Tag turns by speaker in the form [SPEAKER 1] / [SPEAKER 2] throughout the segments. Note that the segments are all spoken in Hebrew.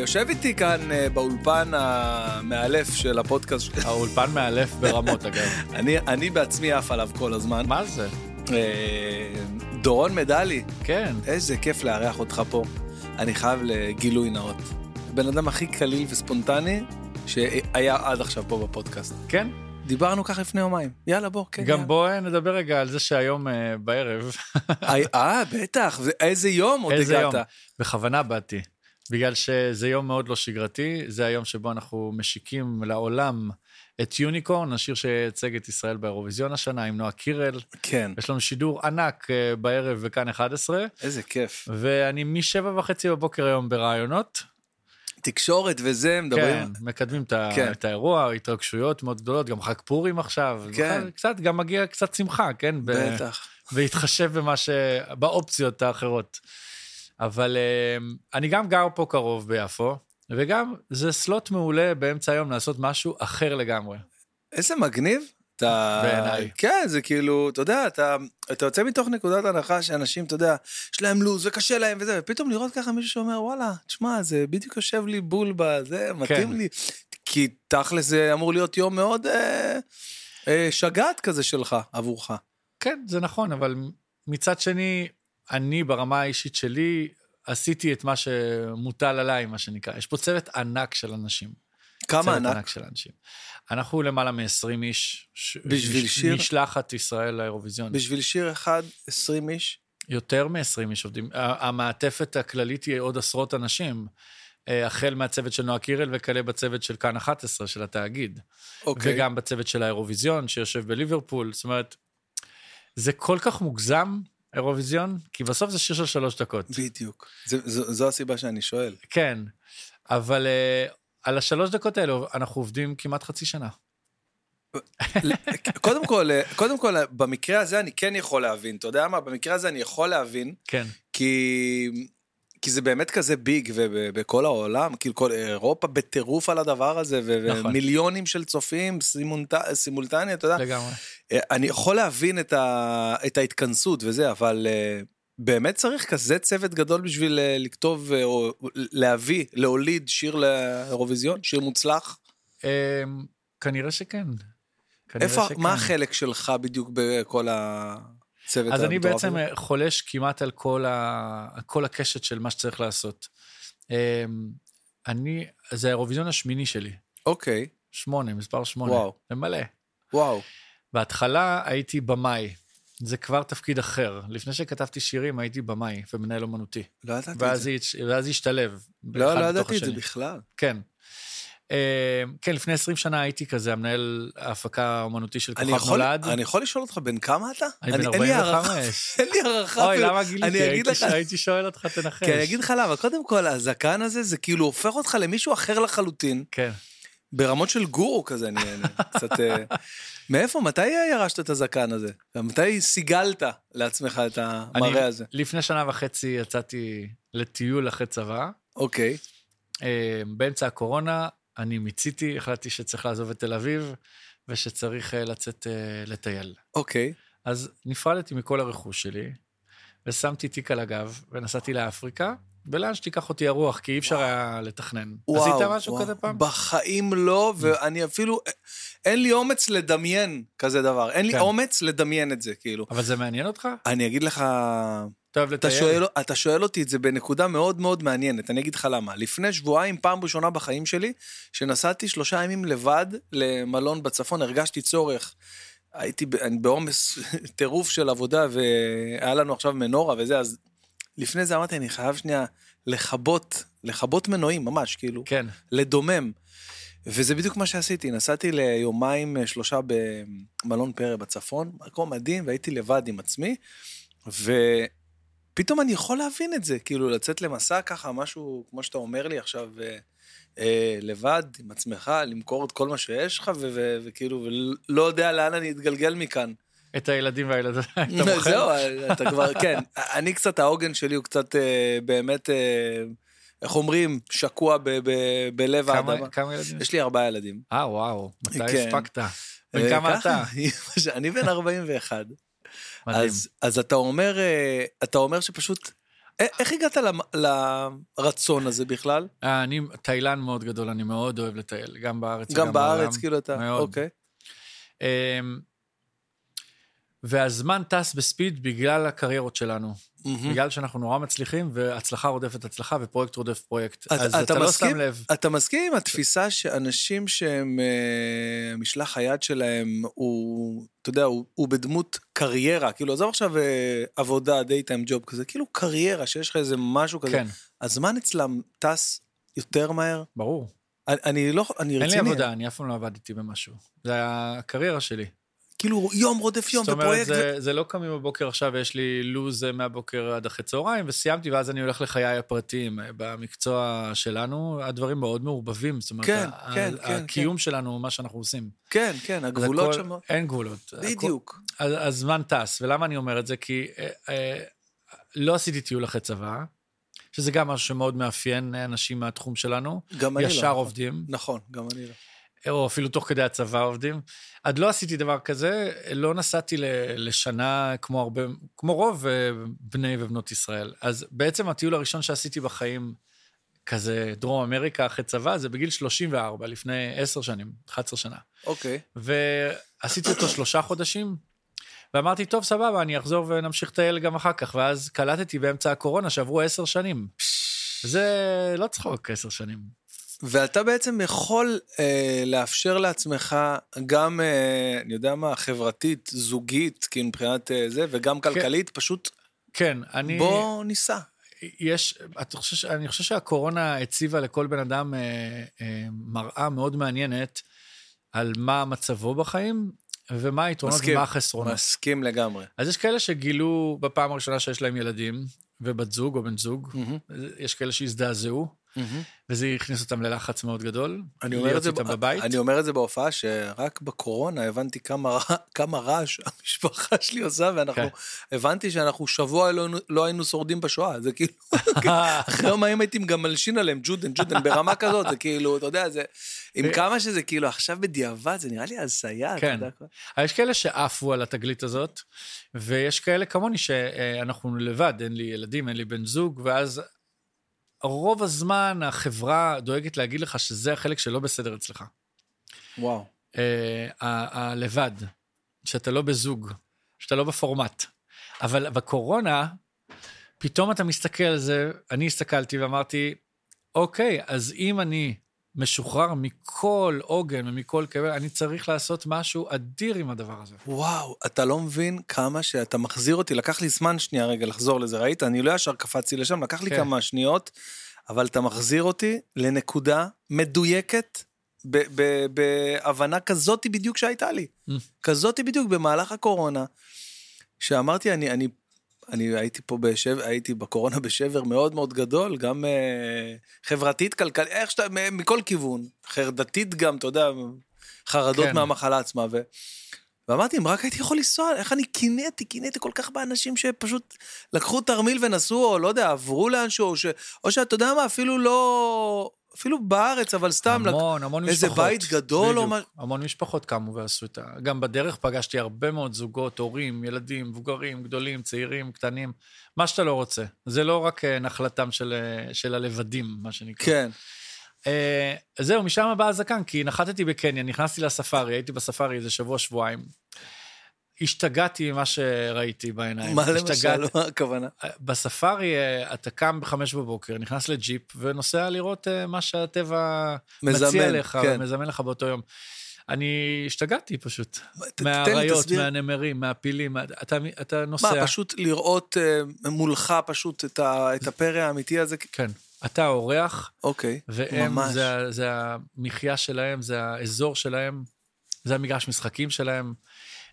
[SPEAKER 1] יושב איתי כאן אה, באולפן המאלף של הפודקאסט,
[SPEAKER 2] האולפן מאלף ברמות, אגב.
[SPEAKER 1] אני, אני בעצמי עף עליו כל הזמן.
[SPEAKER 2] מה זה?
[SPEAKER 1] אה, דורון מדלי,
[SPEAKER 2] כן.
[SPEAKER 1] איזה כיף לארח אותך פה. אני חייב לגילוי נאות. בן אדם הכי קליל וספונטני שהיה עד עכשיו פה בפודקאסט.
[SPEAKER 2] כן?
[SPEAKER 1] דיברנו ככה לפני יומיים. יאללה, בוא, כן.
[SPEAKER 2] גם
[SPEAKER 1] יאללה.
[SPEAKER 2] בוא אה, נדבר רגע על זה שהיום אה, בערב,
[SPEAKER 1] אה, אה, בטח, זה- איזה יום עוד
[SPEAKER 2] איזה יום,
[SPEAKER 1] הגעת.
[SPEAKER 2] בכוונה באתי. בגלל שזה יום מאוד לא שגרתי, זה היום שבו אנחנו משיקים לעולם את יוניקורן, השיר שייצג את ישראל באירוויזיון השנה עם נועה קירל.
[SPEAKER 1] כן,
[SPEAKER 2] יש לנו שידור ענק אה, בערב בכאן 11,
[SPEAKER 1] איזה כיף.
[SPEAKER 2] ואני משבע וחצי בבוקר היום ברעיונות.
[SPEAKER 1] תקשורת וזה,
[SPEAKER 2] כן,
[SPEAKER 1] מדברים.
[SPEAKER 2] מקדמים את, ה-
[SPEAKER 1] כן.
[SPEAKER 2] את האירוע, התרגשויות מאוד גדולות, גם חג פורים עכשיו. אז
[SPEAKER 1] כן.
[SPEAKER 2] בכלל, קצת, גם מגיע קצת שמחה, כן? ב-
[SPEAKER 1] בטח.
[SPEAKER 2] בהתחשב במה ש... באופציות האחרות. אבל אה, אני גם גר פה קרוב ביפו, וגם זה סלוט מעולה באמצע היום לעשות משהו אחר לגמרי.
[SPEAKER 1] איזה מגניב. אתה...
[SPEAKER 2] בעיניי.
[SPEAKER 1] כן, זה כאילו, אתה יודע, אתה, אתה יוצא מתוך נקודת הנחה שאנשים, אתה יודע, יש להם לו"ז וקשה להם וזה, ופתאום לראות ככה מישהו שאומר, וואלה, תשמע, זה בדיוק יושב לי בול בזה, מתאים
[SPEAKER 2] כן.
[SPEAKER 1] לי. כי תכל'ס זה אמור להיות יום מאוד אה, אה, שגעת כזה שלך, עבורך.
[SPEAKER 2] כן, זה נכון, אבל מצד שני, אני ברמה האישית שלי, עשיתי את מה שמוטל עליי, מה שנקרא. יש פה צוות ענק של אנשים.
[SPEAKER 1] כמה
[SPEAKER 2] צוות
[SPEAKER 1] ענק.
[SPEAKER 2] ענק של אנשים. אנחנו למעלה מ-20 איש. ש-
[SPEAKER 1] בשביל
[SPEAKER 2] מש-
[SPEAKER 1] שיר?
[SPEAKER 2] משלחת ישראל לאירוויזיון.
[SPEAKER 1] בשביל שיר אחד, 20 איש.
[SPEAKER 2] יותר מ-20 איש עובדים. ה- המעטפת הכללית היא עוד עשרות אנשים, אה, החל מהצוות של נועה קירל וכלה בצוות של כאן 11, של התאגיד.
[SPEAKER 1] אוקיי.
[SPEAKER 2] וגם בצוות של האירוויזיון, שיושב בליברפול. זאת אומרת, זה כל כך מוגזם, אירוויזיון, כי בסוף זה שיר של שלוש דקות.
[SPEAKER 1] בדיוק. זה, זו, זו הסיבה שאני שואל.
[SPEAKER 2] כן, אבל אה, על השלוש דקות האלו אנחנו עובדים כמעט חצי שנה.
[SPEAKER 1] קודם כל, אה, קודם כל, אה, במקרה הזה אני כן יכול להבין, אתה יודע מה? במקרה הזה אני יכול להבין.
[SPEAKER 2] כן,
[SPEAKER 1] כי, כי זה באמת כזה ביג ובכל העולם, כאילו כל אירופה בטירוף על הדבר הזה, ו-
[SPEAKER 2] נכון.
[SPEAKER 1] ומיליונים של צופים סימונט... סימולטני, אתה יודע.
[SPEAKER 2] לגמרי.
[SPEAKER 1] אה, אני יכול להבין את, ה... את ההתכנסות וזה, אבל אה, באמת צריך כזה צוות גדול בשביל אה, לכתוב אה, או להביא, להוליד שיר לאירוויזיון, שיר מוצלח.
[SPEAKER 2] אה, כנראה שכן. כנראה
[SPEAKER 1] איפה,
[SPEAKER 2] שכן.
[SPEAKER 1] מה החלק שלך בדיוק בכל הצוות
[SPEAKER 2] אז אני
[SPEAKER 1] המטורף
[SPEAKER 2] בעצם אה,
[SPEAKER 1] הזה?
[SPEAKER 2] חולש כמעט על כל, ה... כל הקשת של מה שצריך לעשות. אמ, אני, זה האירוויזיון השמיני שלי,
[SPEAKER 1] אוקיי,
[SPEAKER 2] שמונה, מספר שמונה.
[SPEAKER 1] וואו.
[SPEAKER 2] זה מלא.
[SPEAKER 1] וואו,
[SPEAKER 2] בהתחלה הייתי במאי, זה כבר תפקיד אחר. לפני שכתבתי שירים הייתי במאי ומנהל אומנותי,
[SPEAKER 1] לא ידעתי את
[SPEAKER 2] ואז,
[SPEAKER 1] זה.
[SPEAKER 2] היא... ואז השתלב.
[SPEAKER 1] לא,
[SPEAKER 2] אחד
[SPEAKER 1] לא
[SPEAKER 2] בתוך
[SPEAKER 1] ידעתי את זה
[SPEAKER 2] השני.
[SPEAKER 1] בכלל.
[SPEAKER 2] כן. אמ, כן, לפני 20 שנה הייתי כזה, המנהל ההפקה האומנותי של
[SPEAKER 1] אני
[SPEAKER 2] כוכב
[SPEAKER 1] יכול,
[SPEAKER 2] נולד.
[SPEAKER 1] אני יכול לשאול אותך בן כמה אתה?
[SPEAKER 2] אני בן
[SPEAKER 1] אין לי הערכה-
[SPEAKER 2] 45.
[SPEAKER 1] אין לי הערכה.
[SPEAKER 2] אוי,
[SPEAKER 1] אפילו.
[SPEAKER 2] למה
[SPEAKER 1] אני
[SPEAKER 2] גיליתי?
[SPEAKER 1] אגיד
[SPEAKER 2] הייתי
[SPEAKER 1] לך-
[SPEAKER 2] ש- הייתי שואל אותך, תנחש.
[SPEAKER 1] כי אני אגיד לך למה, קודם כל, הזקן הזה, זה כאילו הופך אותך למישהו אחר לחלוטין,
[SPEAKER 2] כן.
[SPEAKER 1] ברמות של גורו כזה, אני אני קצת... אה, מאיפה, מתי ירשת את הזקן הזה? מתי סיגלת לעצמך את
[SPEAKER 2] אני-
[SPEAKER 1] המראה הזה?
[SPEAKER 2] לפני שנה וחצי יצאתי לטיול אחרי צבא.
[SPEAKER 1] אוקיי,
[SPEAKER 2] אה, באמצע הקורונה אני מיציתי, החלטתי שצריך לעזוב את תל אביב ושצריך אה, לצאת אה, לטייל.
[SPEAKER 1] אוקיי.
[SPEAKER 2] אז נפרדתי מכל הרכוש שלי, ושמתי תיק על הגב, ונסעתי לאפריקה, ולאן שתיקח אותי הרוח, כי אי אפשר היה לתכנן.
[SPEAKER 1] וואו,
[SPEAKER 2] עשית משהו
[SPEAKER 1] וואו,
[SPEAKER 2] כזה פעם?
[SPEAKER 1] בחיים לא, ואני אפילו... אין לי אומץ לדמיין כזה דבר. אין לי
[SPEAKER 2] כן.
[SPEAKER 1] אומץ לדמיין את זה, כאילו.
[SPEAKER 2] אבל זה מעניין אותך?
[SPEAKER 1] אני אגיד לך...
[SPEAKER 2] אתה אוהב
[SPEAKER 1] אתה
[SPEAKER 2] לטייל?
[SPEAKER 1] שואל, אתה שואל אותי את זה בנקודה מאוד מאוד מעניינת, אני אגיד לך למה. לפני שבועיים, פעם ראשונה בחיים שלי, שנסעתי שלושה ימים לבד למלון בצפון, הרגשתי צורך. הייתי ב- אני בעומס טירוף של עבודה, והיה לנו עכשיו מנורה וזה, אז לפני זה אמרתי, אני חייב שנייה לכבות, לכבות מנועים, ממש, כאילו,
[SPEAKER 2] כן,
[SPEAKER 1] לדומם. וזה בדיוק מה שעשיתי, נסעתי ליומיים אה, שלושה במלון פרא בצפון, מקום מדהים, והייתי לבד עם עצמי, ופתאום אני יכול להבין את זה, כאילו לצאת למסע ככה, משהו, כמו שאתה אומר לי עכשיו, אה, אה, לבד, עם עצמך, למכור את כל מה שיש לך, ו- ו- וכאילו, ולא יודע לאן אני אתגלגל מכאן.
[SPEAKER 2] את הילדים והילדות, אתה מוכר?
[SPEAKER 1] זהו, אתה כבר, כן. אני קצת, העוגן שלי הוא קצת אה, באמת, אה, איך אומרים, שקוע ב- ב- בלב
[SPEAKER 2] כמה-
[SPEAKER 1] האדמה.
[SPEAKER 2] כמה ילדים?
[SPEAKER 1] יש לי ארבעה ילדים.
[SPEAKER 2] אה, וואו, מתי
[SPEAKER 1] כן.
[SPEAKER 2] הספקת?
[SPEAKER 1] אה,
[SPEAKER 2] בן כמה
[SPEAKER 1] ככה,
[SPEAKER 2] אתה?
[SPEAKER 1] אני בן 41.
[SPEAKER 2] מדהים.
[SPEAKER 1] אז, אז אתה אומר, אה, אתה אומר שפשוט א- איך הגעת למ- לרצון הזה בכלל?
[SPEAKER 2] אה, אני תאילן מאוד גדול, אני מאוד אוהב לטייל, גם בארץ
[SPEAKER 1] גם בארץ,
[SPEAKER 2] בעולם.
[SPEAKER 1] כאילו אתה...
[SPEAKER 2] מאוד.
[SPEAKER 1] אוקיי.
[SPEAKER 2] אמ, והזמן טס בספיד בגלל הקריירות שלנו,
[SPEAKER 1] מהמם.
[SPEAKER 2] בגלל שאנחנו נורא מצליחים, והצלחה רודפת הצלחה ופרויקט רודף פרויקט.
[SPEAKER 1] אתה-
[SPEAKER 2] אז
[SPEAKER 1] אתה
[SPEAKER 2] אתה לא
[SPEAKER 1] מסכים?
[SPEAKER 2] שם לב.
[SPEAKER 1] אתה מסכים עם התפיסה שאנשים שהם, אה, משלח היד שלהם הוא, אתה יודע, הוא, הוא בדמות קריירה, כאילו, עזוב עכשיו אה, עבודה, דייטיים ג'וב כזה, כאילו קריירה, שיש לך איזה משהו כזה.
[SPEAKER 2] כן,
[SPEAKER 1] הזמן אצלם טס יותר מהר?
[SPEAKER 2] ברור.
[SPEAKER 1] אני, אני לא, אני רציני.
[SPEAKER 2] אין לי עבודה, אני אף פעם לא עבדתי במשהו. זה הקריירה שלי.
[SPEAKER 1] כאילו, יום רודף יום,
[SPEAKER 2] זאת אומרת,
[SPEAKER 1] ופרויקט... ו...
[SPEAKER 2] זה, זה לא קמים בבוקר עכשיו, יש לי לו"ז אה, מהבוקר עד אחרי צהריים, וסיימתי, ואז אני הולך לחיי הפרטיים. אה, במקצוע שלנו, הדברים מאוד מעורבבים. זאת אומרת,
[SPEAKER 1] כן,
[SPEAKER 2] ה-
[SPEAKER 1] כן,
[SPEAKER 2] ה-
[SPEAKER 1] כן,
[SPEAKER 2] הקיום שלנו הוא מה שאנחנו עושים.
[SPEAKER 1] כן, כן,
[SPEAKER 2] אז
[SPEAKER 1] הגבולות
[SPEAKER 2] הכל-
[SPEAKER 1] שם...
[SPEAKER 2] אין גבולות. הכל-
[SPEAKER 1] בדיוק.
[SPEAKER 2] אז- הזמן טס, ולמה אני אומר את זה? כי אה, אה, לא עשיתי טיול אחרי צבא, שזה גם משהו שמאוד מאפיין אה, אנשים מהתחום שלנו.
[SPEAKER 1] גם אני לא.
[SPEAKER 2] ישר עובדים,
[SPEAKER 1] נכון, גם אני לא.
[SPEAKER 2] או אפילו תוך כדי הצבא עובדים. עד לא עשיתי דבר כזה, לא נסעתי ל- לשנה כמו הרבה, כמו רוב אה, בני ובנות ישראל. אז בעצם הטיול הראשון שעשיתי בחיים, כזה דרום אמריקה אחרי צבא, זה בגיל 34, לפני 10 שנים, 11 שנה.
[SPEAKER 1] אוקיי.
[SPEAKER 2] ועשיתי אותו שלושה חודשים, ואמרתי, טוב, סבבה, אני אחזור ונמשיך לטייל גם אחר כך. ואז קלטתי באמצע הקורונה שעברו עשר שנים. זה לא צחוק, עשר שנים.
[SPEAKER 1] ואתה בעצם יכול אה, לאפשר לעצמך גם, אה, אני יודע מה, חברתית, זוגית, כאילו מבחינת אה, זה, וגם כלכלית, פשוט
[SPEAKER 2] כן, אני...
[SPEAKER 1] בוא ניסע.
[SPEAKER 2] יש... אתה חושב, ש- אני חושב שהקורונה הציבה לכל בן אדם אה, אה, מראה מאוד מעניינת על מה מצבו בחיים, ומה היתרונות
[SPEAKER 1] מסכים.
[SPEAKER 2] ומה החסרונות.
[SPEAKER 1] מסכים לגמרי.
[SPEAKER 2] אז יש כאלה שגילו בפעם הראשונה שיש להם ילדים, ובת זוג או בן זוג.
[SPEAKER 1] מהמם,
[SPEAKER 2] יש כאלה שהזדעזעו,
[SPEAKER 1] מהמם.
[SPEAKER 2] וזה הכניס אותם ללחץ מאוד גדול.
[SPEAKER 1] אני אומר, את זה,
[SPEAKER 2] להיות איתם בבית.
[SPEAKER 1] אני אומר את זה בהופעה, שרק בקורונה הבנתי כמה, רע- כמה רעש המשפחה שלי עושה, ואנחנו,
[SPEAKER 2] כן.
[SPEAKER 1] הבנתי שאנחנו שבוע לא, היינו- לא היינו שורדים בשואה, זה כאילו, אחרי יום ההם הייתי גם מלשין עליהם, ג'ודן, ג'ודן, ברמה כזאת, זה כאילו, אתה יודע, זה, עם כמה שזה כאילו, עכשיו בדיעבד, זה נראה לי הזיה, אתה
[SPEAKER 2] אה, כן.
[SPEAKER 1] יודע.
[SPEAKER 2] אבל יש כאלה שעפו על התגלית הזאת, ויש כאלה כמוני שאנחנו לבד, אין לי ילדים, אין לי בן זוג, ואז רוב הזמן החברה דואגת להגיד לך שזה החלק שלא בסדר אצלך.
[SPEAKER 1] וואו.
[SPEAKER 2] אה, ה- הלבד, שאתה לא בזוג, שאתה לא בפורמט. אבל בקורונה, פתאום אתה מסתכל על זה, אני הסתכלתי ואמרתי, אוקיי, אז אם אני משוחרר מכל עוגן ומכל כאב, אני צריך לעשות משהו אדיר עם הדבר הזה.
[SPEAKER 1] וואו, אתה לא מבין כמה שאתה מחזיר אותי, לקח לי זמן שנייה רגע לחזור לזה, ראית? אני לא ישר קפצתי לשם, לקח לי
[SPEAKER 2] כן.
[SPEAKER 1] כמה שניות, אבל אתה מחזיר אותי לנקודה מדויקת, ב- ב- בהבנה כזאתי בדיוק שהייתה לי.
[SPEAKER 2] Mm.
[SPEAKER 1] כזאתי בדיוק במהלך הקורונה, שאמרתי, אני, אני, אני הייתי פה בשבר, הייתי בקורונה בשבר מאוד מאוד גדול, גם אה, חברתית, כלכלית, איך שאתה, מ- מכל כיוון, חרדתית גם, אתה יודע, חרדות
[SPEAKER 2] כן.
[SPEAKER 1] מהמחלה עצמה. ו... ואמרתי, אם רק הייתי יכול לנסוע, איך אני קינאתי, קינאתי כל כך באנשים שפשוט לקחו תרמיל ונסעו, או לא יודע, עברו לאנשהו, או, ש... או שאתה יודע מה, אפילו לא... אפילו בארץ, אבל סתם, לק...
[SPEAKER 2] המון, המון
[SPEAKER 1] איזה
[SPEAKER 2] משפחות.
[SPEAKER 1] בית גדול או
[SPEAKER 2] בדיוק.
[SPEAKER 1] משהו.
[SPEAKER 2] המון משפחות קמו ועשו את ה... גם בדרך פגשתי הרבה מאוד זוגות, הורים, ילדים, מבוגרים, גדולים, צעירים, קטנים, מה שאתה לא רוצה. זה לא רק אה, נחלתם של, אה, של הלבדים, מה שנקרא.
[SPEAKER 1] כן.
[SPEAKER 2] אה, זהו, משם בא הזקן, כי נחתתי בקניה, נכנסתי לספארי, הייתי בספארי איזה שבוע-שבועיים. השתגעתי ממה שראיתי בעיניים.
[SPEAKER 1] מה
[SPEAKER 2] השתגעתי.
[SPEAKER 1] למשל, מה הכוונה?
[SPEAKER 2] בספארי אה, אתה קם בחמש בבוקר, נכנס לג'יפ ונוסע לראות אה, מה שהטבע
[SPEAKER 1] מזמן,
[SPEAKER 2] מציע לך,
[SPEAKER 1] כן.
[SPEAKER 2] מזמן לך באותו יום. אני השתגעתי פשוט.
[SPEAKER 1] ת- תן לי,
[SPEAKER 2] מהאריות,
[SPEAKER 1] תסביר.
[SPEAKER 2] מהנמרים, מהפילים, מה- אתה, אתה נוסע.
[SPEAKER 1] מה, פשוט לראות אה, מולך פשוט את ה- את הפרא האמיתי הזה?
[SPEAKER 2] כן. אתה אורח,
[SPEAKER 1] אוקיי,
[SPEAKER 2] והם,
[SPEAKER 1] ממש.
[SPEAKER 2] זה, ה- זה המחיה שלהם, זה האזור שלהם, זה המגרש משחקים שלהם,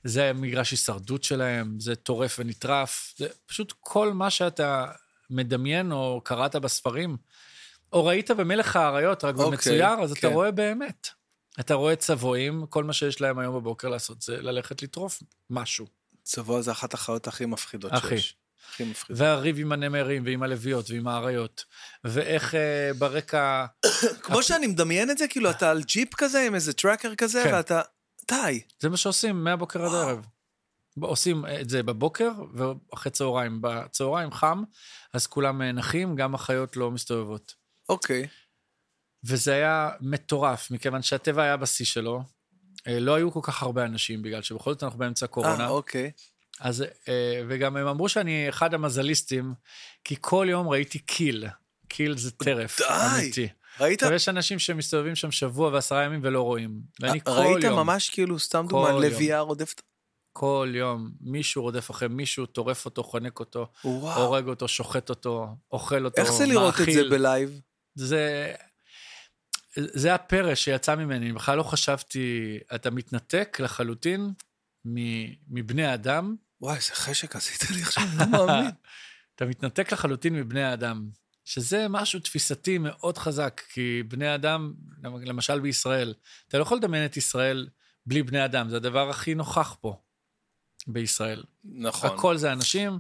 [SPEAKER 2] זה המגרש הישרדות שלהם, זה טורף ונטרף, זה פשוט כל מה שאתה מדמיין או קראת בספרים, או ראית במלך האריות, רק
[SPEAKER 1] אוקיי,
[SPEAKER 2] במצויר, אז אתה
[SPEAKER 1] כן.
[SPEAKER 2] רואה באמת. אתה רואה צבועים, כל מה שיש להם היום בבוקר לעשות זה ללכת לטרוף משהו.
[SPEAKER 1] צבוע זה אחת החיות הכי מפחידות
[SPEAKER 2] אחי.
[SPEAKER 1] שיש. הכי מפחידות.
[SPEAKER 2] והריב עם הנמרים ועם הלוויות ועם האריות, ואיך אה, ברקע...
[SPEAKER 1] כמו שאני מדמיין את זה, כאילו, אתה על ג'יפ כזה עם איזה טראקר כזה,
[SPEAKER 2] כן.
[SPEAKER 1] ואתה... די.
[SPEAKER 2] זה מה שעושים מהבוקר עד
[SPEAKER 1] וואו.
[SPEAKER 2] הערב. עושים את זה בבוקר ואחרי צהריים. בצהריים חם, אז כולם אה, נחים, גם החיות לא מסתובבות.
[SPEAKER 1] אוקיי.
[SPEAKER 2] וזה היה מטורף, מכיוון שהטבע היה בשיא שלו. אה, לא היו כל כך הרבה אנשים, בגלל שבכל זאת אנחנו באמצע קורונה.
[SPEAKER 1] אה, אוקיי.
[SPEAKER 2] אז, אה, וגם הם אמרו שאני אחד המזליסטים, כי כל יום ראיתי קיל. קיל זה טרף,
[SPEAKER 1] די!
[SPEAKER 2] אמיתי.
[SPEAKER 1] ראית?
[SPEAKER 2] עכשיו, יש אנשים שמסתובבים שם שבוע ועשרה ימים ולא רואים. ואני כל יום,
[SPEAKER 1] אה, ראית ממש כאילו, סתם דוגמא,
[SPEAKER 2] כל
[SPEAKER 1] לביאה רודפת?
[SPEAKER 2] כל יום, מישהו רודף אחרי מישהו, טורף אותו, חונק אותו,
[SPEAKER 1] וואו.
[SPEAKER 2] הורג אותו, שוחט אותו, אוכל אותו,
[SPEAKER 1] אה. איך זה לראות את זה
[SPEAKER 2] מאכיל.
[SPEAKER 1] בלייב?
[SPEAKER 2] זה... זה הפרא שיצא ממני, אני בכלל לא חשבתי, אתה מתנתק לחלוטין מ- מבני האדם.
[SPEAKER 1] וואי, איזה חשק עשית לי עכשיו, לא מאמין.
[SPEAKER 2] אתה מתנתק לחלוטין מבני האדם, שזה משהו תפיסתי מאוד חזק, כי בני אדם, למשל בישראל, אתה לא יכול לדמיין את ישראל בלי בני אדם, זה הדבר הכי נוכח פה בישראל.
[SPEAKER 1] נכון.
[SPEAKER 2] הכל זה אנשים,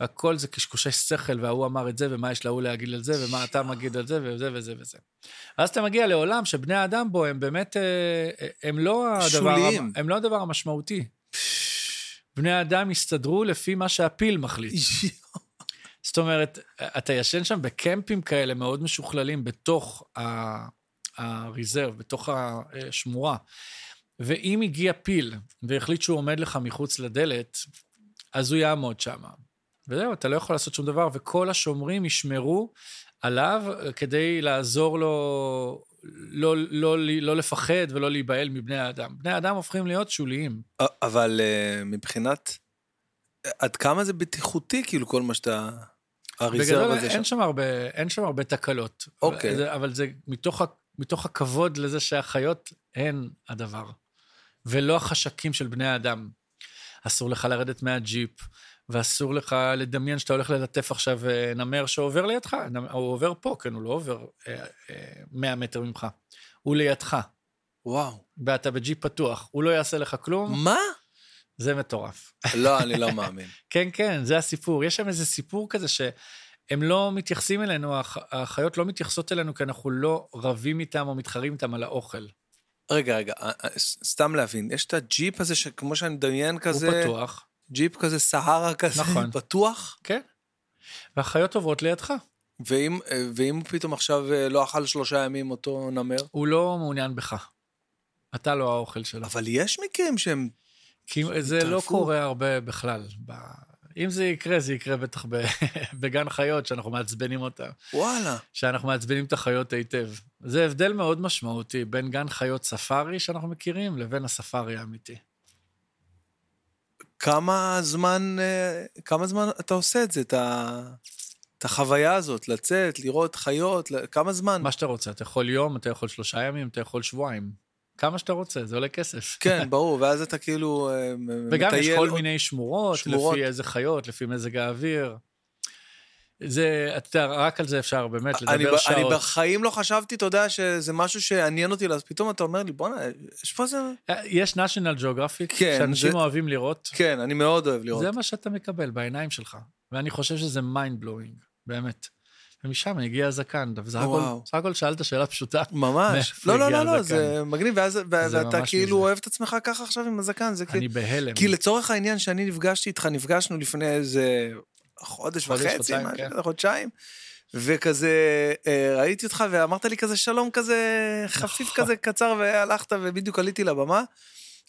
[SPEAKER 2] הכל זה קשקושי שכל, וההוא אמר את זה, ומה יש להוא להגיד על זה, ומה אתה מגיד על זה, וזה וזה וזה. ואז אתה מגיע לעולם שבני האדם בו הם באמת, אה, אה, הם לא הדבר,
[SPEAKER 1] שוליים.
[SPEAKER 2] הם לא הדבר המשמעותי. בני האדם הסתדרו לפי מה שהפיל מחליט. זאת אומרת, אתה ישן שם בקמפים כאלה מאוד משוכללים בתוך ה- הריזרב, בתוך השמורה. ואם הגיע פיל והחליט שהוא עומד לך מחוץ לדלת, אז הוא יעמוד שם. וזהו, אתה לא יכול לעשות שום דבר, וכל השומרים ישמרו עליו כדי לעזור לו לא, לא, לא, לא לפחד ולא להיבהל מבני האדם. בני האדם הופכים להיות שוליים.
[SPEAKER 1] א- אבל אה, מבחינת... עד כמה זה בטיחותי, כאילו, כל מה שאתה... הריזרב
[SPEAKER 2] בגדול
[SPEAKER 1] הזה שם.
[SPEAKER 2] אין שם הרבה, אין שם הרבה תקלות.
[SPEAKER 1] אוקיי.
[SPEAKER 2] זה, אבל זה מתוך, ה- מתוך הכבוד לזה שהחיות הן הדבר, ולא החשקים של בני האדם. אסור לך לרדת מהג'יפ, ואסור לך לדמיין שאתה הולך ללטף עכשיו אה, נמר שעובר לידך. נמ- הוא עובר פה, כן, הוא לא עובר אה, אה, 100 מטר ממך. הוא לידך,
[SPEAKER 1] וואו.
[SPEAKER 2] ואתה בג'יפ פתוח. הוא לא יעשה לך כלום,
[SPEAKER 1] מה?
[SPEAKER 2] זה מטורף.
[SPEAKER 1] לא, אני לא מאמין.
[SPEAKER 2] כן, כן, זה הסיפור. יש שם איזה סיפור כזה שהם לא מתייחסים אלינו, הח- החיות לא מתייחסות אלינו כי אנחנו לא רבים איתם או מתחרים איתם על האוכל.
[SPEAKER 1] רגע, רגע, אה, אה, ס- סתם להבין, יש את הג'יפ הזה, שכמו שאני מדמיין כזה...
[SPEAKER 2] הוא פתוח,
[SPEAKER 1] ג'יפ כזה, סהרה כזה,
[SPEAKER 2] נכון.
[SPEAKER 1] פתוח.
[SPEAKER 2] כן. והחיות עוברות לידך.
[SPEAKER 1] ואם, אה, ואם הוא פתאום עכשיו אה, לא אכל שלושה ימים אותו נמר?
[SPEAKER 2] הוא לא מעוניין בך. אתה לא האוכל שלו.
[SPEAKER 1] אבל יש מקרים שהם...
[SPEAKER 2] כי זה לא
[SPEAKER 1] התעלפו.
[SPEAKER 2] קורה הרבה בכלל. ב... אם זה יקרה, זה יקרה בטח ב... בגן חיות, שאנחנו מעצבנים אותם.
[SPEAKER 1] וואלה.
[SPEAKER 2] שאנחנו מעצבנים את החיות היטב. זה הבדל מאוד משמעותי בין גן חיות ספארי שאנחנו מכירים לבין הספארי האמיתי.
[SPEAKER 1] כמה זמן, אה, כמה זמן אתה עושה את זה, את, ה, את החוויה הזאת, לצאת, לראות חיות, ל- כמה זמן?
[SPEAKER 2] מה שאתה רוצה, אתה יכול יום, אתה יכול שלושה ימים, אתה יכול שבועיים. כמה שאתה רוצה, זה עולה כסף.
[SPEAKER 1] כן, ברור, ואז אתה כאילו אה, מ-
[SPEAKER 2] וגם יש
[SPEAKER 1] מטייל
[SPEAKER 2] כל
[SPEAKER 1] עוד-
[SPEAKER 2] מיני
[SPEAKER 1] שמורות.
[SPEAKER 2] שמורות, שמורות, לפי איזה חיות, לפי מזג האוויר. זה, אתה יודע, רק על זה אפשר באמת
[SPEAKER 1] אני,
[SPEAKER 2] לדבר
[SPEAKER 1] ב-
[SPEAKER 2] שעות.
[SPEAKER 1] אני בחיים לא חשבתי, אתה יודע, שזה משהו שעניין אותי, אז פתאום אתה אומר לי, בואנה, יש פה איזה...
[SPEAKER 2] אה, יש national geographic,
[SPEAKER 1] כן,
[SPEAKER 2] שאנשים
[SPEAKER 1] זה-
[SPEAKER 2] אוהבים לראות,
[SPEAKER 1] כן, אני מאוד אוהב לראות.
[SPEAKER 2] זה מה שאתה מקבל בעיניים שלך. ואני חושב שזה mind blowing, באמת. ומשם הגיע הזקן, בסך הכל-
[SPEAKER 1] וואו.
[SPEAKER 2] בסך הכל שאלת שאלה פשוטה.
[SPEAKER 1] ממש.
[SPEAKER 2] מאיפה
[SPEAKER 1] לא, לא,
[SPEAKER 2] הגיע
[SPEAKER 1] לא, לא,
[SPEAKER 2] הזקן?
[SPEAKER 1] זה מגניב, ואז, ו- ואתה
[SPEAKER 2] ממש
[SPEAKER 1] כאילו
[SPEAKER 2] מזה.
[SPEAKER 1] אוהב את עצמך ככה עכשיו עם הזקן, זה כאילו...
[SPEAKER 2] אני בהלם.
[SPEAKER 1] כי לצורך העניין, שאני נפגשתי איתך, נפגשנו לפני איזה חודש
[SPEAKER 2] חודש,
[SPEAKER 1] וחצי,
[SPEAKER 2] חודשיים,
[SPEAKER 1] משהו
[SPEAKER 2] כן.
[SPEAKER 1] כזה, חודשיים, וכזה, אה, ראיתי אותך ואמרת לי כזה שלום כזה חפיף
[SPEAKER 2] נכון.
[SPEAKER 1] כזה קצר, והלכת ובדיוק עליתי לבמה.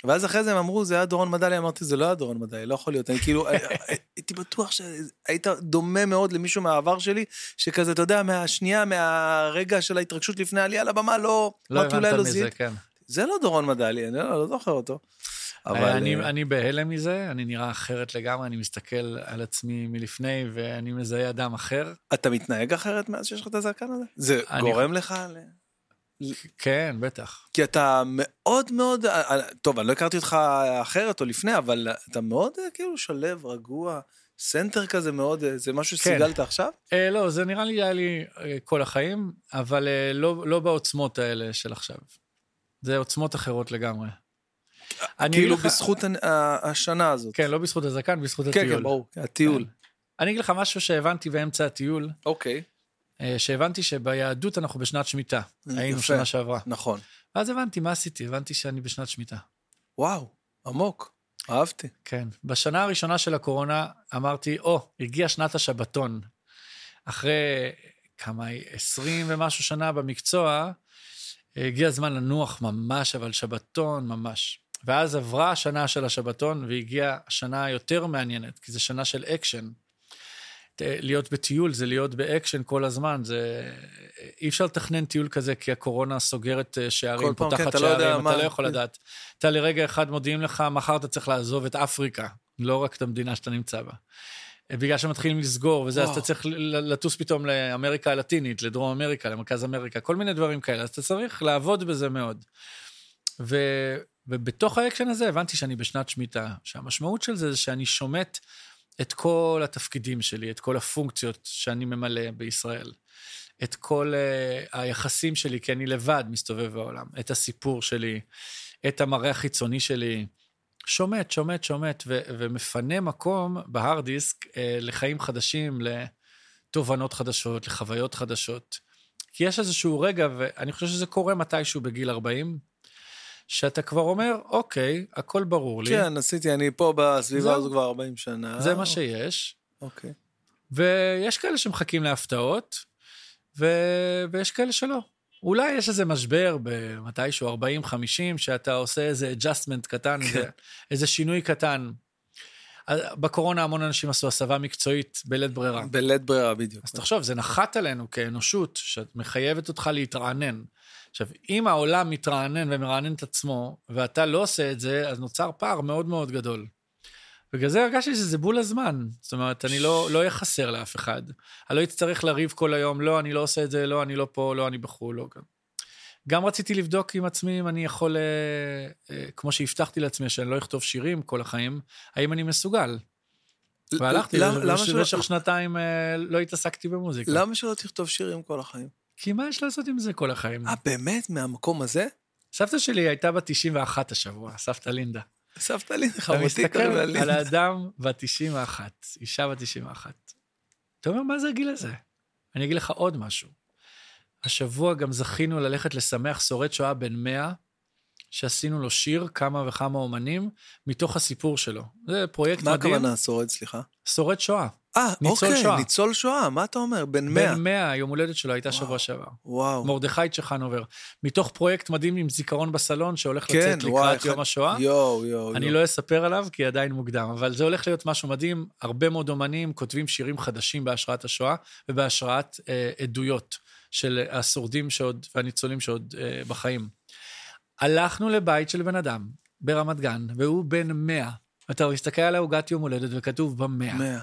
[SPEAKER 1] ואז אחרי זה הם אמרו, זה היה דורון מדלי, אמרתי, זה לא היה דורון מדלי, לא יכול להיות. אני כאילו, אה, אה, הייתי בטוח שהיית דומה מאוד למישהו מהעבר שלי, שכזה, אתה יודע, מהשנייה, מהרגע של ההתרגשות לפני העלייה לבמה, לא...
[SPEAKER 2] לא
[SPEAKER 1] אמרתי, אולי
[SPEAKER 2] הבנת
[SPEAKER 1] זיהיתי.
[SPEAKER 2] מזה, כן.
[SPEAKER 1] זה לא דורון מדלי, אני לא, לא זוכר אותו. אבל...
[SPEAKER 2] אבל... אני,
[SPEAKER 1] אה,
[SPEAKER 2] אני בהלם מזה, אני נראה אחרת לגמרי, אני מסתכל על עצמי מלפני ואני מזהה אדם אחר.
[SPEAKER 1] אתה מתנהג אחרת מאז שיש לך את הזקן הזה? זה
[SPEAKER 2] אני-
[SPEAKER 1] גורם לך ל...
[SPEAKER 2] כן, בטח.
[SPEAKER 1] כי אתה מאוד מאוד, אה, אה, טוב, אני לא הכרתי אותך אחרת או לפני, אבל אתה מאוד אה, כאילו שלב, רגוע, סנטר כזה מאוד, אה, זה
[SPEAKER 2] כן.
[SPEAKER 1] משהו שסיגלת עכשיו?
[SPEAKER 2] אה, לא, זה נראה לי היה לי אה, כל החיים, אבל אה, לא, לא בעוצמות האלה של עכשיו. זה עוצמות אחרות לגמרי. אני אגיד
[SPEAKER 1] כאילו
[SPEAKER 2] לך-
[SPEAKER 1] בזכות הנ- ה- השנה הזאת.
[SPEAKER 2] כן, לא בזכות הזקן, בזכות
[SPEAKER 1] כן,
[SPEAKER 2] הטיול.
[SPEAKER 1] כן, ברור, הטיול.
[SPEAKER 2] אני אגיד לך משהו שהבנתי באמצע הטיול,
[SPEAKER 1] אוקיי.
[SPEAKER 2] אה, שהבנתי שביהדות אנחנו בשנת שמיטה. היינו
[SPEAKER 1] יפה.
[SPEAKER 2] שנה שעברה.
[SPEAKER 1] נכון.
[SPEAKER 2] ואז הבנתי, מה עשיתי? הבנתי שאני בשנת שמיטה.
[SPEAKER 1] וואו, עמוק. אהבתי.
[SPEAKER 2] כן. בשנה הראשונה של הקורונה אמרתי, או, oh, הגיעה שנת השבתון. אחרי כמה, 20 ומשהו שנה במקצוע, הגיע הזמן לנוח ממש, אבל שבתון ממש. ואז עברה השנה של השבתון והגיעה השנה היותר מעניינת, כי זו שנה של אקשן. להיות בטיול זה להיות באקשן כל הזמן, זה... אי אפשר לתכנן טיול כזה, כי הקורונה סוגרת אה, שערים,
[SPEAKER 1] כל פעם,
[SPEAKER 2] פותחת
[SPEAKER 1] כן, אתה לא
[SPEAKER 2] שערים,
[SPEAKER 1] יודע
[SPEAKER 2] אתה
[SPEAKER 1] מה-
[SPEAKER 2] לא יכול
[SPEAKER 1] כן.
[SPEAKER 2] לדעת. אתה לרגע אחד מודיעים לך, מחר אתה צריך לעזוב את אפריקה, לא רק את המדינה שאתה נמצא בה. אה, בגלל שמתחילים לסגור וזה, אז
[SPEAKER 1] וואו.
[SPEAKER 2] אתה צריך ל- לטוס פתאום לאמריקה הלטינית, לדרום אמריקה, למרכז אמריקה, כל מיני דברים כאלה, אז אתה צריך לעבוד בזה מאוד. ו... ובתוך האקשן הזה הבנתי שאני בשנת שמיטה, שהמשמעות של זה זה שאני שומט את כל התפקידים שלי, את כל הפונקציות שאני ממלא בישראל, את כל uh, היחסים שלי, כי אני לבד מסתובב בעולם, את הסיפור שלי, את המראה החיצוני שלי, שומט, שומט, שומט, ו- ומפנה מקום בהארד דיסק uh, לחיים חדשים, לתובנות חדשות, לחוויות חדשות. כי יש איזשהו רגע, ואני חושב שזה קורה מתישהו בגיל 40, שאתה כבר אומר, אוקיי, הכל ברור לי,
[SPEAKER 1] כן, אה, עשיתי, אני פה בסביבה
[SPEAKER 2] זהו.
[SPEAKER 1] הזו כבר 40 שנה.
[SPEAKER 2] זה מה שיש.
[SPEAKER 1] אוקיי.
[SPEAKER 2] ויש כאלה שמחכים להפתעות, ו... ויש כאלה שלא. אולי יש איזה משבר במתישהו 40-50, שאתה עושה איזה adjustment קטן,
[SPEAKER 1] כן.
[SPEAKER 2] איזה, איזה שינוי קטן. אז בקורונה המון אנשים עשו הסבה מקצועית בלית ברירה.
[SPEAKER 1] בלית ברירה, בדיוק.
[SPEAKER 2] אז תחשוב, זה נחת עלינו כאנושות, שמחייבת אותך להתרענן. עכשיו, אם העולם מתרענן ומרענן את עצמו, ואתה לא עושה את זה, אז נוצר פער מאוד מאוד גדול. בגלל זה הרגשתי שזה בול הזמן. זאת אומרת, אני לא לא אהיה חסר לאף אחד. אני לא אצטרך לריב כל היום, לא, אני לא עושה את זה, לא, אני לא פה, לא, אני בחו"ל, לא גם. גם רציתי לבדוק עם עצמי אם אני יכול, אה, אה, כמו שהבטחתי לעצמי, שאני לא אכתוב שירים כל החיים, האם אני מסוגל. והלכתי,
[SPEAKER 1] למה- למה
[SPEAKER 2] ובש-
[SPEAKER 1] שלא-
[SPEAKER 2] במשך שנתיים אה, לא התעסקתי במוזיקה.
[SPEAKER 1] למה שלא תכתוב שירים כל החיים?
[SPEAKER 2] כי מה יש לעשות עם זה כל החיים?
[SPEAKER 1] אה, באמת? מהמקום הזה?
[SPEAKER 2] סבתא שלי הייתה בת 91 השבוע, סבתא לינדה.
[SPEAKER 1] סבתא לי,
[SPEAKER 2] אתה
[SPEAKER 1] חמותי
[SPEAKER 2] מסתכל
[SPEAKER 1] קוראים לה
[SPEAKER 2] על
[SPEAKER 1] לינדה.
[SPEAKER 2] האדם בת 91, אישה בת 91. אתה אומר, מה זה הגיל הזה? אני אגיד לך עוד משהו. השבוע גם זכינו ללכת לשמח שורד שואה בן 100, שעשינו לו שיר, כמה וכמה אומנים, מתוך הסיפור שלו. זה פרויקט
[SPEAKER 1] מה
[SPEAKER 2] מדהים.
[SPEAKER 1] הכוונה שורד, סליחה?
[SPEAKER 2] שורד שואה.
[SPEAKER 1] אה,
[SPEAKER 2] ניצול
[SPEAKER 1] אוקיי,
[SPEAKER 2] שואה.
[SPEAKER 1] ניצול שואה, מה אתה אומר? בן 100.
[SPEAKER 2] בן 100, יום הולדת שלו הייתה שבוע
[SPEAKER 1] וואו.
[SPEAKER 2] שעבר.
[SPEAKER 1] וואו.
[SPEAKER 2] מרדכי צ'חנובר. מתוך פרויקט מדהים עם זיכרון בסלון, שהולך לצאת
[SPEAKER 1] כן, וואי,
[SPEAKER 2] לקראת
[SPEAKER 1] אחד-
[SPEAKER 2] יום השואה.
[SPEAKER 1] יואו, יואו.
[SPEAKER 2] אני
[SPEAKER 1] יואו.
[SPEAKER 2] לא אספר עליו, כי עדיין מוקדם, אבל זה הולך להיות משהו מדהים. הרבה מאוד אומנים כותבים שירים חדשים בהשראת השואה ובהשראת אה, עדויות של השורדים שעוד, והניצולים שעוד אה, בחיים. הלכנו לבית של בן אדם ברמת גן, והוא בן 100. אתה מסתכל על העוגת יום הולדת וכתוב במאה.
[SPEAKER 1] 100.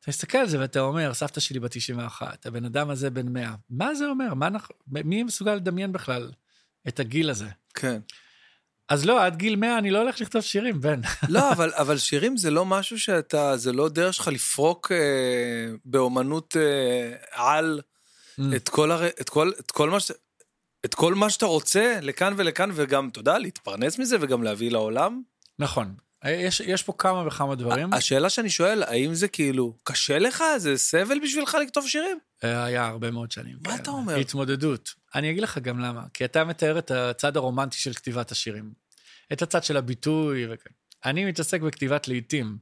[SPEAKER 2] אתה מסתכל על זה ואתה אומר, סבתא שלי בת 91, הבן אדם הזה בן 100. מה זה אומר? מה אנחנו, מי מסוגל לדמיין בכלל את הגיל הזה?
[SPEAKER 1] כן.
[SPEAKER 2] אז לא, עד גיל 100 אני לא הולך לכתוב שירים, בן.
[SPEAKER 1] לא, אבל, אבל שירים זה לא משהו שאתה, זה לא דרך שלך לפרוק אה, באומנות אה, על
[SPEAKER 2] Mm.
[SPEAKER 1] את כל, הר... את, כל, את, כל מה ש... את כל מה שאתה רוצה לכאן ולכאן, וגם, אתה יודע, להתפרנס מזה וגם להביא לעולם.
[SPEAKER 2] נכון. יש, יש פה כמה וכמה דברים.
[SPEAKER 1] השאלה שאני שואל, האם זה כאילו, קשה לך? זה סבל בשבילך לכתוב שירים?
[SPEAKER 2] אה, היה הרבה מאוד שנים.
[SPEAKER 1] מה
[SPEAKER 2] כאלה.
[SPEAKER 1] אתה אומר?
[SPEAKER 2] התמודדות. אני אגיד לך גם למה. כי אתה מתאר את הצד הרומנטי של כתיבת השירים. את הצד של הביטוי וכן. אני מתעסק בכתיבת לעיתים.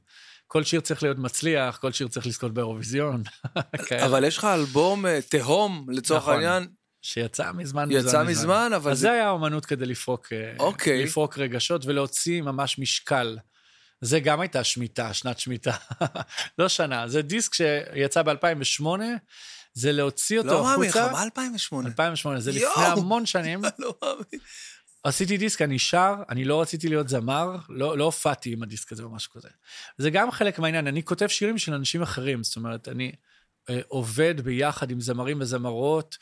[SPEAKER 2] כל שיר צריך להיות מצליח, כל שיר צריך לזכות באירוויזיון. כאלה.
[SPEAKER 1] אבל יש לך אלבום אה, תהום, לצורך
[SPEAKER 2] כן. נכון.
[SPEAKER 1] העניין,
[SPEAKER 2] שיצא מזמן,
[SPEAKER 1] יצא מזמן, אבל
[SPEAKER 2] אז
[SPEAKER 1] זה...
[SPEAKER 2] זה היה אומנות כדי לפרוק, אה,
[SPEAKER 1] אוקיי.
[SPEAKER 2] לפרוק רגשות ולהוציא ממש משקל. זה גם הייתה שמיטה, שנת שמיטה. לא שנה, זה דיסק שיצא ב-2008, זה להוציא אותו
[SPEAKER 1] לא מאמין לך,
[SPEAKER 2] החוצה.
[SPEAKER 1] מה 2008?
[SPEAKER 2] 2008, זה
[SPEAKER 1] יואו.
[SPEAKER 2] לפני המון שנים.
[SPEAKER 1] לא מאמין.
[SPEAKER 2] עשיתי דיסק, אני שר, אני לא רציתי להיות זמר, לא, לא הופעתי עם הדיסק הזה או משהו כזה. זה גם חלק מהעניין, אני כותב שירים של אנשים אחרים, זאת אומרת, אני אה, עובד ביחד עם זמרים וזמרות,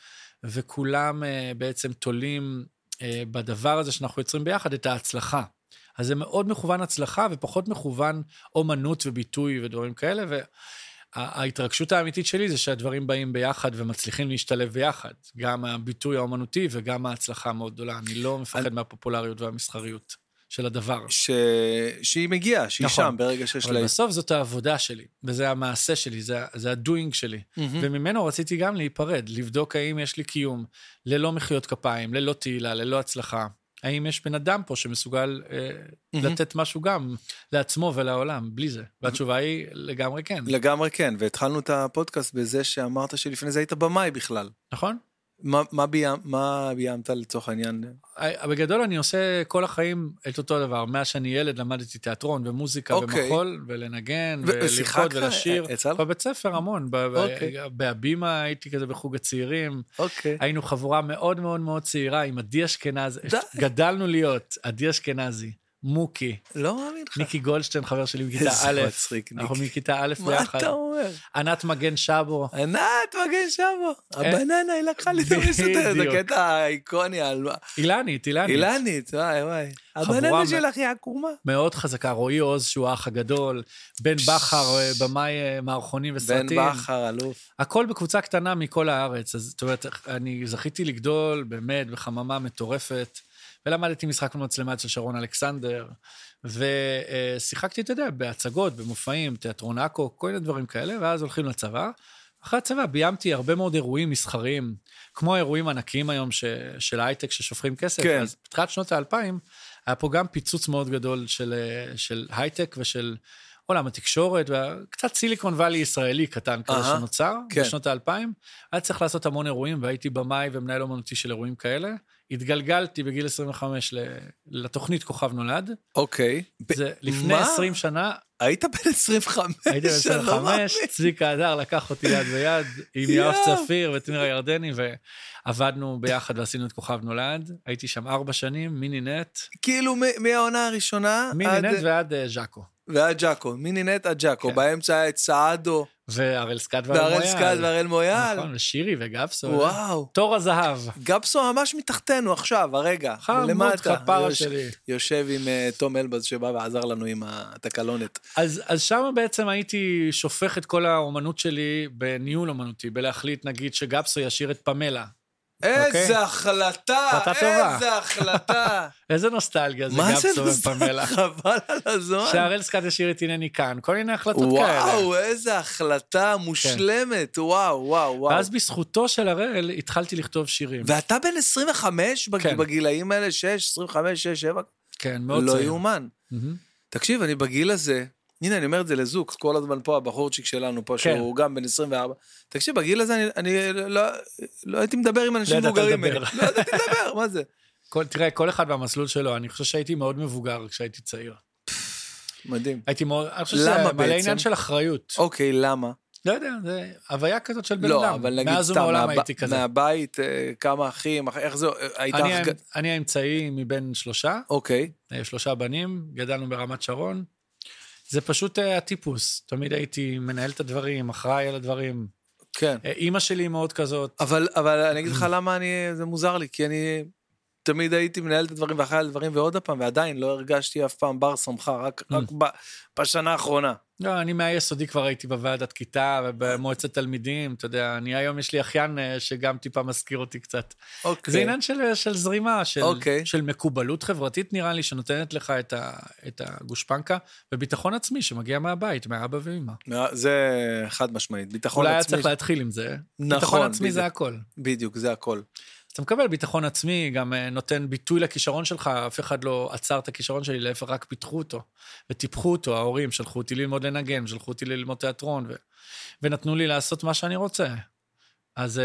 [SPEAKER 2] וכולם אה, בעצם תולים אה, בדבר הזה שאנחנו יוצרים ביחד את ההצלחה. אז זה מאוד מכוון הצלחה ופחות מכוון אומנות וביטוי ודברים כאלה, וההתרגשות האמיתית שלי זה שהדברים באים ביחד ומצליחים להשתלב ביחד. גם הביטוי האומנותי וגם ההצלחה המאוד גדולה. אני לא מפחד מהפופולריות והמסחריות של הדבר.
[SPEAKER 1] ש... שהיא מגיעה, שהיא
[SPEAKER 2] נכון.
[SPEAKER 1] שם ברגע שיש לה...
[SPEAKER 2] אבל בסוף זאת העבודה שלי, וזה המעשה שלי, זה, ה- זה הדוינג שלי.
[SPEAKER 1] מהמם.
[SPEAKER 2] וממנו רציתי גם להיפרד, לבדוק האם יש לי קיום ללא מחיאות כפיים, ללא תהילה, ללא הצלחה. האם יש בן אדם פה שמסוגל אה,
[SPEAKER 1] מהמם.
[SPEAKER 2] לתת משהו גם לעצמו ולעולם, בלי זה? והתשובה היא לגמרי כן,
[SPEAKER 1] לגמרי כן, והתחלנו את הפודקאסט בזה שאמרת שלפני זה היית במאי בכלל.
[SPEAKER 2] נכון?
[SPEAKER 1] מה, מה, ביים, מה ביימת לצורך העניין?
[SPEAKER 2] אה, בגדול אני עושה כל החיים את אותו דבר. מאז שאני ילד למדתי תיאטרון ומוזיקה
[SPEAKER 1] אוקיי.
[SPEAKER 2] ומחול, ולנגן,
[SPEAKER 1] ו- ושיחקת?
[SPEAKER 2] ולרקוד ולשיר.
[SPEAKER 1] אה, יצא לך?
[SPEAKER 2] בבית ספר המון, ב- ב-
[SPEAKER 1] אוקיי.
[SPEAKER 2] בהבימה הייתי כזה בחוג הצעירים.
[SPEAKER 1] אוקיי.
[SPEAKER 2] היינו חבורה מאוד מאוד מאוד צעירה עם עדי אשכנזי.
[SPEAKER 1] די.
[SPEAKER 2] גדלנו להיות עדי אשכנזי, מוקי,
[SPEAKER 1] לא מאמין לך.
[SPEAKER 2] ניקי גולדשטיין, חבר שלי מכיתה
[SPEAKER 1] איזה
[SPEAKER 2] א',
[SPEAKER 1] מצחיק,
[SPEAKER 2] אנחנו
[SPEAKER 1] ניקי.
[SPEAKER 2] מכיתה א'
[SPEAKER 1] מה
[SPEAKER 2] ביחד.
[SPEAKER 1] אתה אומר?
[SPEAKER 2] ענת מגן שבו,
[SPEAKER 1] ענת מגן שבו, הבננה היא לקחה לי את
[SPEAKER 2] אה? בדיוק.
[SPEAKER 1] המסודרת, זה קטע האיקוני, על-
[SPEAKER 2] אילנית, אילנית.
[SPEAKER 1] אילנית, וואי וואי.
[SPEAKER 2] חבורה
[SPEAKER 1] הבננה
[SPEAKER 2] מ-
[SPEAKER 1] שלך היא עקומה.
[SPEAKER 2] מאוד חזקה, רועי עוז, שהוא האח הגדול, בן בכר, אה, במאי אה, מערכונים
[SPEAKER 1] בן
[SPEAKER 2] וסרטים.
[SPEAKER 1] בכר, אלוף.
[SPEAKER 2] הכל בקבוצה קטנה מכל הארץ. אז זאת אומרת, אני זכיתי לגדול באמת בחממה מטורפת, ולמדתי משחק במצלמה אצל שרון אלכסנדר, ושיחקתי, אתה יודע, בהצגות, במופעים, תיאטרון עכו, כל מיני דברים כאלה, ואז הולכים לצבא. אחרי הצבא ביימתי הרבה מאוד אירועים מסחריים, כמו האירועים הענקיים היום ש... של ההייטק ששופכים כסף.
[SPEAKER 1] כן.
[SPEAKER 2] אז בתחילת שנות האלפיים, היה פה גם פיצוץ מאוד גדול של, אה, של הייטק ושל עולם התקשורת, וקצת סיליקון וואלי ישראלי קטן כזה
[SPEAKER 1] אהה.
[SPEAKER 2] שנוצר
[SPEAKER 1] כן.
[SPEAKER 2] בשנות האלפיים. היה צריך לעשות המון אירועים, והייתי במאי ומנהל אומנותי של אירועים כאלה. התגלגלתי בגיל 25 ל- לתוכנית כוכב נולד.
[SPEAKER 1] אוקיי. ב-
[SPEAKER 2] זה לפני
[SPEAKER 1] מה?
[SPEAKER 2] 20 שנה,
[SPEAKER 1] היית בן 25.
[SPEAKER 2] הייתי בן
[SPEAKER 1] שלא
[SPEAKER 2] 25,
[SPEAKER 1] מאמין.
[SPEAKER 2] צביקה הדר לקח אותי יד ביד עם
[SPEAKER 1] לא יואו.
[SPEAKER 2] יואב צפיר וטירה ירדני, ועבדנו ביחד ועשינו את כוכב נולד. הייתי שם ארבע שנים, מיני נט,
[SPEAKER 1] כאילו מ- מהעונה הראשונה
[SPEAKER 2] מיני
[SPEAKER 1] עד-
[SPEAKER 2] נט ועד אה, ז'אקו.
[SPEAKER 1] ועד ג'אקו, מיני נט עד ג'אקו,
[SPEAKER 2] כן.
[SPEAKER 1] באמצע היה את סעדו,
[SPEAKER 2] והראל סקאט והראל
[SPEAKER 1] והראל
[SPEAKER 2] מויאל.
[SPEAKER 1] סקאט והראל מויאל.
[SPEAKER 2] נכון, ושירי וגפסו.
[SPEAKER 1] וואו.
[SPEAKER 2] תור הזהב.
[SPEAKER 1] גפסו ממש מתחתנו עכשיו, הרגע.
[SPEAKER 2] חמוד
[SPEAKER 1] למטה.
[SPEAKER 2] כפרה
[SPEAKER 1] יוש-
[SPEAKER 2] שלי.
[SPEAKER 1] יושב עם אה, תום אלבז שבא ועזר לנו עם התקלונת.
[SPEAKER 2] אז, אז שם בעצם הייתי שופך את כל האומנות שלי בניהול אומנותי, בלהחליט, נגיד, שגפסו ישיר את פמלה. אוקיי.
[SPEAKER 1] איזה החלטה,
[SPEAKER 2] החלטה טובה.
[SPEAKER 1] איזה החלטה.
[SPEAKER 2] איזה נוסטלגיה זה
[SPEAKER 1] מה זה
[SPEAKER 2] גפסו ופמלה.
[SPEAKER 1] נוסטלגיה? חבל על הזמן.
[SPEAKER 2] שהראל סקאט ישיר את הנני כאן, כל מיני החלטות כאלה. כן.
[SPEAKER 1] וואו, איזה החלטה מושלמת, וואו, וואו, וואו.
[SPEAKER 2] ואז בזכותו של הראל התחלתי לכתוב שירים.
[SPEAKER 1] ואתה בן 25 בג-
[SPEAKER 2] כן.
[SPEAKER 1] בגילאים האלה, 6, 25, 6, 7,
[SPEAKER 2] כן, מאוד
[SPEAKER 1] לא
[SPEAKER 2] צעיר.
[SPEAKER 1] יאומן.
[SPEAKER 2] מהמם.
[SPEAKER 1] תקשיב, אני בגיל הזה, הנה, אני אומר את זה לזוג, כל הזמן פה, הבחורצ'יק שלנו פה,
[SPEAKER 2] כן.
[SPEAKER 1] שהוא גם בן 24. תקשיב, בגיל הזה אני, אני לא, לא הייתי מדבר עם אנשים
[SPEAKER 2] ידעת
[SPEAKER 1] מבוגרים ממני.
[SPEAKER 2] לדבר.
[SPEAKER 1] לא ידעתי לדבר, מה זה?
[SPEAKER 2] כל- תראה, כל אחד והמסלול שלו, אני חושב שהייתי מאוד מבוגר כשהייתי צעיר.
[SPEAKER 1] מדהים.
[SPEAKER 2] הייתי מאוד, אני חושב
[SPEAKER 1] למה
[SPEAKER 2] שזה מלא
[SPEAKER 1] בעצם?
[SPEAKER 2] עניין של אחריות.
[SPEAKER 1] אוקיי, למה?
[SPEAKER 2] לא יודע, זה הוויה כזאת של בן אדם.
[SPEAKER 1] לא, אבל נגיד
[SPEAKER 2] מאז
[SPEAKER 1] סתם,
[SPEAKER 2] ומעולם
[SPEAKER 1] מהב-
[SPEAKER 2] הייתי כזה.
[SPEAKER 1] מהבית, אה, כמה אחים, אח- איך זה, אה, הייתה...
[SPEAKER 2] אני
[SPEAKER 1] החג-
[SPEAKER 2] האמ- אני האמצעי מבין שלושה,
[SPEAKER 1] אוקיי,
[SPEAKER 2] אה, שלושה בנים, גדלנו ברמת שרון. זה פשוט אה, הטיפוס, תמיד הייתי מנהל את הדברים, אחראי על הדברים.
[SPEAKER 1] כן.
[SPEAKER 2] אה, אימא שלי היא מאוד כזאת,
[SPEAKER 1] אבל, אבל אני אגיד לך למה אני, זה מוזר לי, כי אני תמיד הייתי מנהל את הדברים ואחראי על הדברים, ועוד פעם, ועדיין לא הרגשתי אף פעם בר סמכה, רק,
[SPEAKER 2] Mm.
[SPEAKER 1] רק ב, בשנה האחרונה.
[SPEAKER 2] לא, אני מהיסודי כבר הייתי בוועדת כיתה ובמועצת תלמידים, אתה יודע, אני היום יש לי אחיין אה, שגם טיפה מזכיר אותי קצת.
[SPEAKER 1] אוקיי.
[SPEAKER 2] זה עניין של, אה, של זרימה, של,
[SPEAKER 1] אוקיי.
[SPEAKER 2] של מקובלות חברתית, נראה לי, שנותנת לך את, ה, את הגושפנקה, וביטחון עצמי שמגיע מהבית, מאבא ואמא.
[SPEAKER 1] מה- זה חד משמעית. ביטחון
[SPEAKER 2] אולי היה
[SPEAKER 1] עצמי,
[SPEAKER 2] צריך להתחיל עם זה.
[SPEAKER 1] נכון,
[SPEAKER 2] ביטחון עצמי
[SPEAKER 1] בדיוק.
[SPEAKER 2] זה הכל.
[SPEAKER 1] בדיוק, זה הכל.
[SPEAKER 2] אז אתה מקבל ביטחון עצמי, גם אה, נותן ביטוי לכישרון שלך, אף אחד לא עצר את הכישרון שלי, להפך, רק פיתחו אותו. וטיפחו אותו, ההורים, שלחו אותי ללמוד לנגן, שלחו אותי ללמוד תיאטרון, ו... ונתנו לי לעשות מה שאני רוצה. אז אה,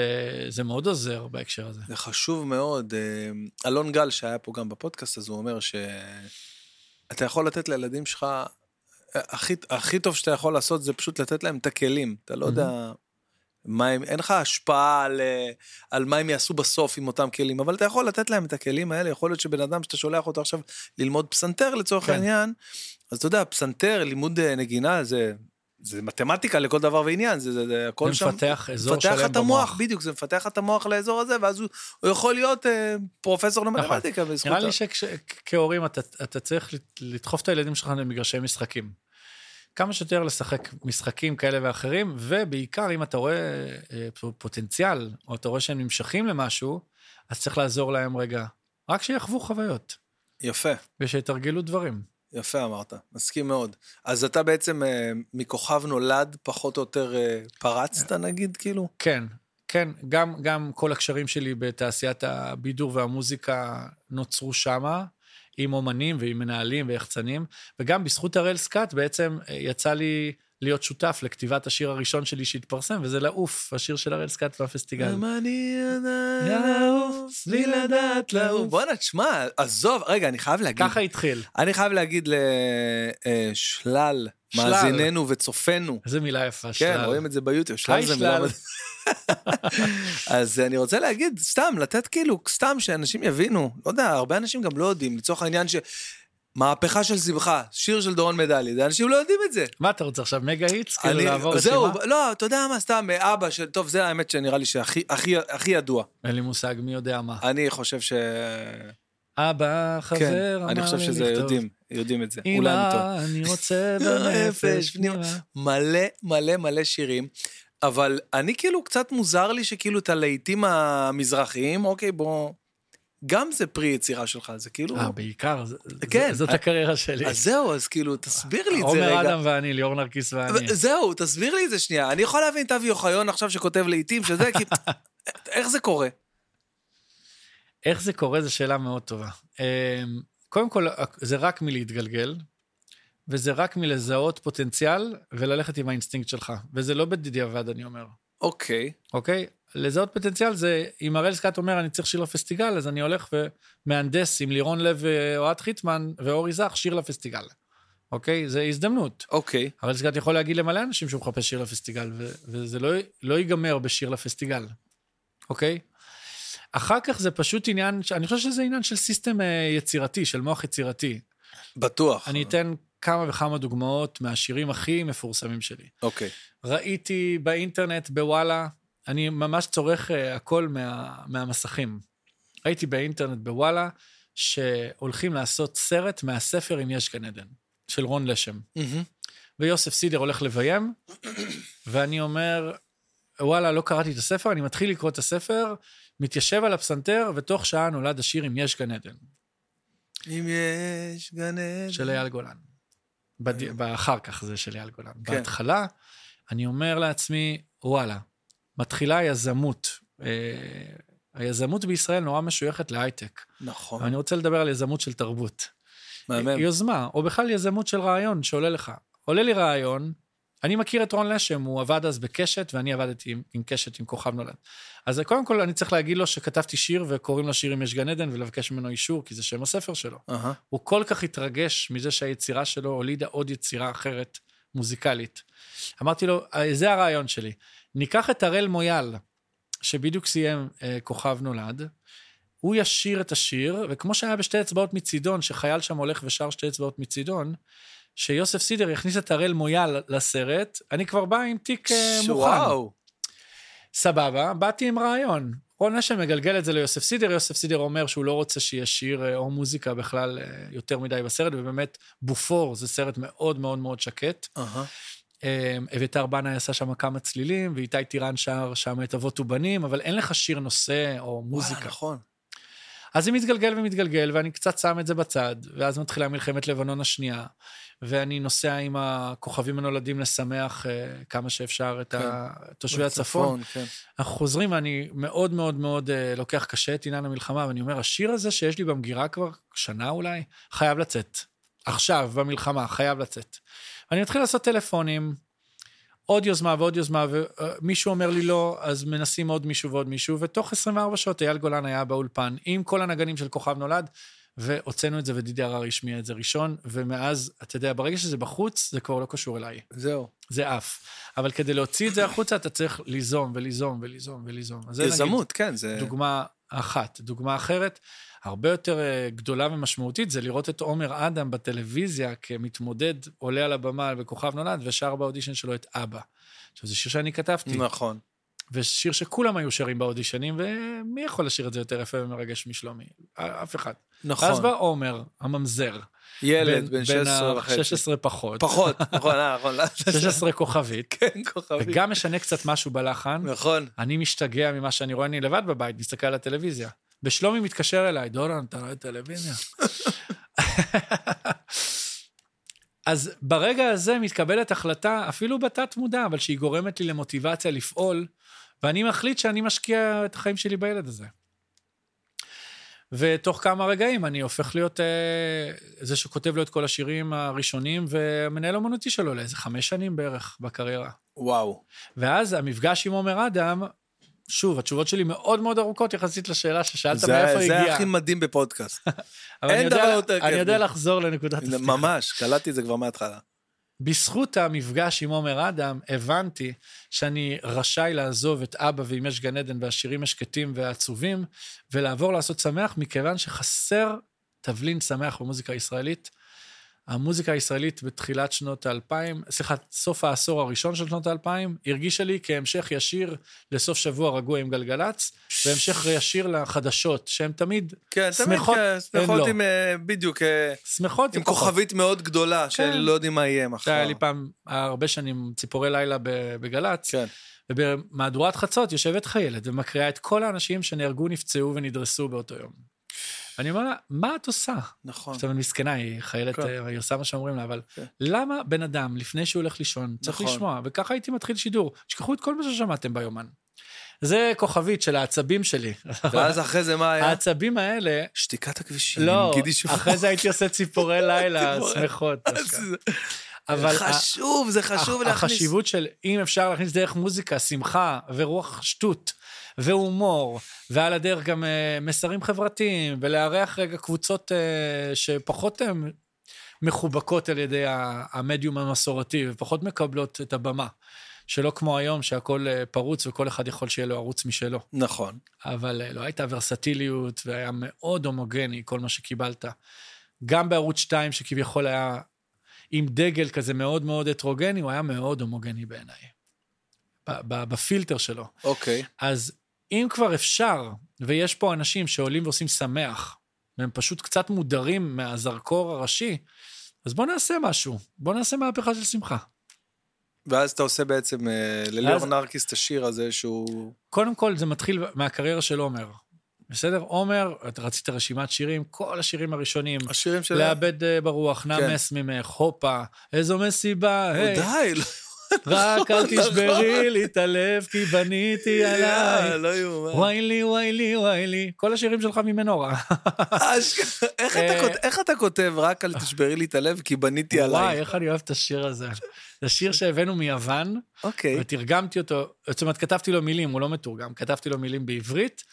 [SPEAKER 2] זה מאוד עוזר בהקשר הזה.
[SPEAKER 1] זה חשוב מאוד. אה, אלון גל, שהיה פה גם בפודקאסט, אז הוא אומר שאתה יכול לתת לילדים שלך, אה, הכי, הכי טוב שאתה יכול לעשות זה פשוט לתת להם את הכלים. אתה לא יודע
[SPEAKER 2] Mm-hmm.
[SPEAKER 1] מה הם, אין לך השפעה על, אה, על מה הם יעשו בסוף עם אותם כלים, אבל אתה יכול לתת להם את הכלים האלה. יכול להיות שבן אדם שאתה שולח אותו עכשיו ללמוד פסנתר לצורך
[SPEAKER 2] כן.
[SPEAKER 1] העניין, אז אתה יודע, פסנתר, לימוד אה, נגינה, זה... זה מתמטיקה לכל דבר ועניין, זה, זה, זה הכל
[SPEAKER 2] זה
[SPEAKER 1] שם.
[SPEAKER 2] מפתח אזור
[SPEAKER 1] מפתח
[SPEAKER 2] שלם
[SPEAKER 1] את המוח,
[SPEAKER 2] במוח.
[SPEAKER 1] בדיוק, זה מפתח את המוח לאזור הזה, ואז הוא, הוא יכול להיות אה, פרופסור למתמטיקה בזכות...
[SPEAKER 2] נכון. נראה
[SPEAKER 1] ה-
[SPEAKER 2] לי שכהורים אתה, אתה צריך לת- לדחוף את הילדים שלך למגרשי משחקים. כמה שיותר לשחק משחקים כאלה ואחרים, ובעיקר אם אתה רואה אה, פ- פוטנציאל, או אתה רואה שהם נמשכים למשהו, אז צריך לעזור להם רגע. רק שיחוו חוויות,
[SPEAKER 1] יפה,
[SPEAKER 2] ושיתרגלו דברים.
[SPEAKER 1] יפה אמרת, מסכים מאוד. אז אתה
[SPEAKER 2] אה,
[SPEAKER 1] בעצם אה, מכוכב נולד, פחות או יותר אה, פרצת נגיד, כאילו?
[SPEAKER 2] כן, כן, גם, גם כל הקשרים שלי בתעשיית הבידור והמוזיקה נוצרו שמה, עם אומנים ועם מנהלים ויחצנים, וגם בזכות הראל סקאט בעצם אה, יצא לי להיות שותף לכתיבת השיר הראשון שלי שהתפרסם, וזה לעוף, השיר של הראל סקאט והפסטיגל.
[SPEAKER 1] גם אני
[SPEAKER 2] לעוף, בלי לדעת לעוף.
[SPEAKER 1] בואנה, תשמע, עזוב, רגע, אני חייב להגיד.
[SPEAKER 2] ככה התחיל.
[SPEAKER 1] אני חייב להגיד לשלל
[SPEAKER 2] שלל.
[SPEAKER 1] מאזיננו וצופינו.
[SPEAKER 2] איזה מילה יפה,
[SPEAKER 1] כן,
[SPEAKER 2] שלל.
[SPEAKER 1] רואים את זה ביוטיוב, שלל
[SPEAKER 2] היי,
[SPEAKER 1] זה מילה...
[SPEAKER 2] שלל.
[SPEAKER 1] אז אני רוצה להגיד, סתם, לתת כאילו, סתם שאנשים יבינו. לא יודע, הרבה אנשים גם לא יודעים, לצורך העניין ש... מהפכה של שמחה, שיר של דורון מדלי, זה אנשים לא יודעים את זה.
[SPEAKER 2] מה אתה רוצה עכשיו, מגה היטס? כאילו
[SPEAKER 1] אני-
[SPEAKER 2] לעבור רשימה?
[SPEAKER 1] זהו, לא, אתה יודע מה, סתם, אבא של... טוב, זה האמת שנראה לי שהכי הכי- הכי ידוע.
[SPEAKER 2] אין לי מושג מי יודע מה.
[SPEAKER 1] אני חושב ש...
[SPEAKER 2] אבא,
[SPEAKER 1] כן,
[SPEAKER 2] חבר, אמר לי לכתוב.
[SPEAKER 1] אני חושב שזה יודעים, יודעים את זה. אולי אני טועה.
[SPEAKER 2] אמא, אני רוצה
[SPEAKER 1] אפס,
[SPEAKER 2] בנפש
[SPEAKER 1] פנימה.
[SPEAKER 2] פנימה.
[SPEAKER 1] מלא מלא מלא שירים, אבל אני כאילו, קצת מוזר לי שכאילו את הלהיטים המזרחיים, אוקיי, בוא... גם זה פרי יצירה שלך, זה כאילו...
[SPEAKER 2] אה, בעיקר, זה- זה-
[SPEAKER 1] כן.
[SPEAKER 2] זאת הקריירה שלי.
[SPEAKER 1] אז זהו, אז כאילו, תסביר לי את זה רגע.
[SPEAKER 2] עומר אדם ואני, ליאור נרקיס ואני.
[SPEAKER 1] ו- זהו, תסביר לי את זה שנייה. אני יכול להבין את אבי אוחיון עכשיו שכותב לעיתים, שזה כי... איך זה קורה?
[SPEAKER 2] איך זה קורה זו שאלה מאוד טובה. אמ, קודם כל, זה רק מלהתגלגל, וזה רק מלזהות פוטנציאל וללכת עם האינסטינקט שלך, וזה לא בדיעבד, אני אומר,
[SPEAKER 1] אוקיי.
[SPEAKER 2] אוקיי? לזהות פוטנציאל זה, אם הראל סקאט אומר, אני צריך שיר לפסטיגל, אז אני הולך ומהנדס עם לירון לב ואוהד חיטמן ואורי זך שיר לפסטיגל, אוקיי? זה הזדמנות.
[SPEAKER 1] אוקיי.
[SPEAKER 2] הראל סקאט יכול להגיד למלא אנשים שהוא מחפש שיר לפסטיגל, ו- וזה לא, לא ייגמר בשיר לפסטיגל, אוקיי? אחר כך זה פשוט עניין, ש- אני חושב שזה עניין של סיסטם אה, יצירתי, של מוח יצירתי.
[SPEAKER 1] בטוח.
[SPEAKER 2] אני אתן כמה וכמה דוגמאות מהשירים הכי מפורסמים שלי.
[SPEAKER 1] אוקיי.
[SPEAKER 2] ראיתי באינטרנט, בוואלה, אני ממש צורך אה, הכל מה, מהמסכים. ראיתי באינטרנט, בוואלה, שהולכים לעשות סרט מהספר אם יש גן עדן, של רון לשם.
[SPEAKER 1] מהמם.
[SPEAKER 2] ויוסף סידר הולך לביים, ואני אומר, וואלה, לא קראתי את הספר, אני מתחיל לקרוא את הספר, מתיישב על הפסנתר, ותוך שעה נולד השיר "אם יש גן עדן",
[SPEAKER 1] אם יש גן עדן.
[SPEAKER 2] של אייל גולן. בד...
[SPEAKER 1] היום.
[SPEAKER 2] באחר כך זה של אייל גולן.
[SPEAKER 1] כן.
[SPEAKER 2] בהתחלה, אני אומר לעצמי, וואלה, מתחילה היזמות. אה, היזמות בישראל נורא משויכת להייטק.
[SPEAKER 1] נכון.
[SPEAKER 2] אני רוצה לדבר על יזמות של תרבות.
[SPEAKER 1] מהמם.
[SPEAKER 2] יוזמה, או בכלל יזמות של רעיון שעולה לך. עולה לי רעיון, אני מכיר את רון לשם, הוא עבד אז בקשת, ואני עבדתי עם, עם קשת, עם כוכב נולד. אז קודם כל אני צריך להגיד לו שכתבתי שיר, וקוראים לו שיר אם יש גן עדן, ולבקש ממנו אישור, כי זה שם הספר שלו.
[SPEAKER 1] אהה.
[SPEAKER 2] הוא כל כך התרגש מזה שהיצירה שלו הולידה עוד יצירה אחרת, מוזיקלית. אמרתי לו, "אה, זה הרעיון שלי. ניקח את הראל מויאל, שבדיוק סיים אה, כוכב נולד, הוא ישיר את השיר, וכמו שהיה בשתי אצבעות מצידון, שחייל שם הולך ושר שתי אצבעות מצידון, שיוסף סידר יכניס את הראל מויאל לסרט, אני כבר בא עם תיק אה, מוכן.
[SPEAKER 1] וואו.
[SPEAKER 2] סבבה, באתי עם רעיון. רון אשם מגלגל את זה ליוסף סידר, יוסף סידר אומר שהוא לא רוצה שיהיה שיר אה, או מוזיקה בכלל אה, יותר מדי בסרט, ובאמת, בופור זה סרט מאוד מאוד מאוד שקט.
[SPEAKER 1] אהה.
[SPEAKER 2] אה, אביתר בנאי עשה שם כמה צלילים, ואיתי טירן שר שם את אבות ובנים, אבל אין לך שיר נושא או
[SPEAKER 1] וואלה,
[SPEAKER 2] מוזיקה.
[SPEAKER 1] נכון.
[SPEAKER 2] אז זה מתגלגל ומתגלגל, ואני קצת שם את זה בצד, ואז מתחילה מלחמת לבנון השנייה, ואני נוסע עם הכוכבים הנולדים לשמח אה, כמה שאפשר את
[SPEAKER 1] כן.
[SPEAKER 2] ה- תושבי הצפון.
[SPEAKER 1] כן.
[SPEAKER 2] אנחנו חוזרים, ואני מאוד מאוד מאוד אה, לוקח קשה את עניין המלחמה, ואני אומר, השיר הזה שיש לי במגירה כבר שנה אולי, חייב לצאת. עכשיו, במלחמה, חייב לצאת. אני מתחיל לעשות טלפונים, עוד יוזמה ועוד יוזמה, ומישהו אומר לי לא, אז מנסים עוד מישהו ועוד מישהו, ותוך 24 שעות אייל גולן היה באולפן עם כל הנגנים של כוכב נולד, והוצאנו את זה, ודידי הרר השמיע את זה ראשון, ומאז, אתה יודע, ברגע שזה בחוץ, זה כבר לא קשור אליי.
[SPEAKER 1] זהו.
[SPEAKER 2] זה עף. אבל כדי להוציא את זה החוצה, אתה צריך ליזום וליזום וליזום וליזום. אז זה נגיד
[SPEAKER 1] יזמות, כן, זה...
[SPEAKER 2] דוגמה אחת. דוגמה אחרת, הרבה יותר אה, גדולה ומשמעותית, זה לראות את עומר אדם בטלוויזיה כמתמודד, עולה על הבמה בכוכב נולד, ושר באודישן שלו את אבא. עכשיו, זה שיר שאני כתבתי,
[SPEAKER 1] נכון.
[SPEAKER 2] ושיר שכולם היו שרים באודישנים, ומי יכול לשיר את זה יותר יפה ומרגש משלומי? א- אף אחד.
[SPEAKER 1] נכון.
[SPEAKER 2] אז בא עומר, הממזר.
[SPEAKER 1] ילד בן 16
[SPEAKER 2] ה-
[SPEAKER 1] וחצי.
[SPEAKER 2] 16 פחות.
[SPEAKER 1] פחות, נכון, אה, נכון. לא,
[SPEAKER 2] 16 כוכבית.
[SPEAKER 1] כן, כוכבי.
[SPEAKER 2] וגם משנה קצת משהו בלחן.
[SPEAKER 1] נכון.
[SPEAKER 2] אני משתגע ממה שאני רואה, אני לבד בבית, מסתכל על הטלוויזיה. ושלומי מתקשר אליי, דורון, אתה רואה טלוויזיה? אז ברגע הזה מתקבלת החלטה, אפילו בתת-מודע, אבל שהיא גורמת לי למוטיבציה לפעול ואני מחליט שאני משקיע את החיים שלי בילד הזה. ותוך כמה רגעים אני הופך להיות אה, זה שכותב לו את כל השירים הראשונים, ומנהל אומנותי שלו לאיזה חמש שנים בערך בקריירה.
[SPEAKER 1] וואו.
[SPEAKER 2] ואז המפגש עם עומר אדם, שוב, התשובות שלי מאוד מאוד ארוכות יחסית לשאלה ששאלת
[SPEAKER 1] זה,
[SPEAKER 2] מאיפה
[SPEAKER 1] זה
[SPEAKER 2] הגיעה.
[SPEAKER 1] הכי מדהים בפודקאסט.
[SPEAKER 2] אבל אני
[SPEAKER 1] אין
[SPEAKER 2] יודע-
[SPEAKER 1] דבר יותר
[SPEAKER 2] אני
[SPEAKER 1] כיף
[SPEAKER 2] יודע
[SPEAKER 1] מזה.
[SPEAKER 2] לחזור לנקודת הסטייה.
[SPEAKER 1] ממש, קלטתי את זה כבר מההתחלה.
[SPEAKER 2] בזכות המפגש עם עומר אדם, הבנתי שאני רשאי לעזוב את אבא ואם יש גן עדן והשירים השקטים והעצובים, ולעבור לעשות שמח, מכיוון שחסר תבלין שמח במוזיקה הישראלית. המוזיקה הישראלית בתחילת שנות האלפיים, סליחה, סוף העשור הראשון של שנות האלפיים, הרגישה לי כהמשך ישיר לסוף שבוע רגוע עם גלגלצ, והמשך ישיר לחדשות, שהן תמיד
[SPEAKER 1] כן, תמיד
[SPEAKER 2] שמחות,
[SPEAKER 1] כן, שמחות
[SPEAKER 2] אין לו.
[SPEAKER 1] עם, אה, בדיוק, אה,
[SPEAKER 2] שמחות.
[SPEAKER 1] עם
[SPEAKER 2] פחות.
[SPEAKER 1] כוכבית מאוד גדולה, שלא יודעים מה יהיה מחר.
[SPEAKER 2] היה לי פעם, הרבה שנים, ציפורי לילה ב- בגל"צ,
[SPEAKER 1] כן.
[SPEAKER 2] ובמהדורת חצות יושבת חיילת ומקריאה את כל האנשים שנהרגו, נפצעו ונדרסו באותו יום. אני אומר לה, מה את עושה?
[SPEAKER 1] נכון.
[SPEAKER 2] עכשיו, אני מסכנה, היא חיילת,
[SPEAKER 1] כן.
[SPEAKER 2] אה, היא עושה מה שאומרים לה, אבל
[SPEAKER 1] כן.
[SPEAKER 2] למה בן אדם, לפני שהוא הולך לישון, צריך
[SPEAKER 1] נכון.
[SPEAKER 2] לשמוע? וככה הייתי מתחיל שידור. תשכחו את כל מה ששמעתם ביומן. זה כוכבית של העצבים שלי.
[SPEAKER 1] ואז אחרי זה מה היה?
[SPEAKER 2] העצבים האלה,
[SPEAKER 1] שתיקת הכבישים,
[SPEAKER 2] אה, לא,
[SPEAKER 1] גידי שחור.
[SPEAKER 2] אחרי זה הייתי עושה ציפורי לילה,
[SPEAKER 1] ציפורי.
[SPEAKER 2] שמחות. דווקא. אבל ה-
[SPEAKER 1] חשוב, זה חשוב
[SPEAKER 2] הח-
[SPEAKER 1] להכניס.
[SPEAKER 2] החשיבות של אם אפשר להכניס דרך מוזיקה, שמחה ורוח שטות והומור, ועל הדרך גם אה, מסרים חברתיים, ולארח רגע קבוצות אה, שפחות אה, מחובקות על ידי ה- המדיום המסורתי, ופחות מקבלות את הבמה. שלא כמו היום שהכל אה, פרוץ וכל אחד יכול שיהיה לו ערוץ משלו.
[SPEAKER 1] נכון.
[SPEAKER 2] אבל אה, לא הייתה ורסטיליות, והיה מאוד הומוגני כל מה שקיבלת. גם בערוץ 2, שכביכול היה עם דגל כזה מאוד מאוד הטרוגני, הוא היה מאוד הומוגני בעיניי, ב- ב- בפילטר שלו.
[SPEAKER 1] אוקיי.
[SPEAKER 2] אז אם כבר אפשר, ויש פה אנשים שעולים ועושים שמח, והם פשוט קצת מודרים מהזרקור הראשי, אז בואו נעשה משהו, בואו נעשה מהפכה של שמחה.
[SPEAKER 1] ואז אתה עושה בעצם אה, לליאור
[SPEAKER 2] ואז-
[SPEAKER 1] נרקיס את השיר הזה שהוא...
[SPEAKER 2] קודם כל, זה מתחיל מהקריירה של עומר. בסדר? עומר, אתה רצית רשימת שירים, כל השירים הראשונים.
[SPEAKER 1] השירים של...
[SPEAKER 2] לאבד אה, ברוח,
[SPEAKER 1] כן.
[SPEAKER 2] נמס ממך, הופה, איזו מסיבה,
[SPEAKER 1] היי. די,
[SPEAKER 2] היי,
[SPEAKER 1] לא-
[SPEAKER 2] רק אל
[SPEAKER 1] נכון.
[SPEAKER 2] תשברי לי את הלב, כי בניתי
[SPEAKER 1] אה,
[SPEAKER 2] עליי.
[SPEAKER 1] לא יאומן.
[SPEAKER 2] וואי לי, וואי לי, וואי לי. כל השירים שלך ממנורה.
[SPEAKER 1] אשכרה. איך אתה
[SPEAKER 2] אה.
[SPEAKER 1] כות- איך אתה כותב רק אל תשברי לי את הלב כי בניתי
[SPEAKER 2] וואי,
[SPEAKER 1] עלייך?
[SPEAKER 2] איך אני אוהב את השיר הזה. זה שיר שהבאנו מיוון,
[SPEAKER 1] אוקיי.
[SPEAKER 2] ותרגמתי אותו, זאת אומרת, כתבתי לו מילים, הוא לא מתורגם, כתבתי לו מילים בעברית.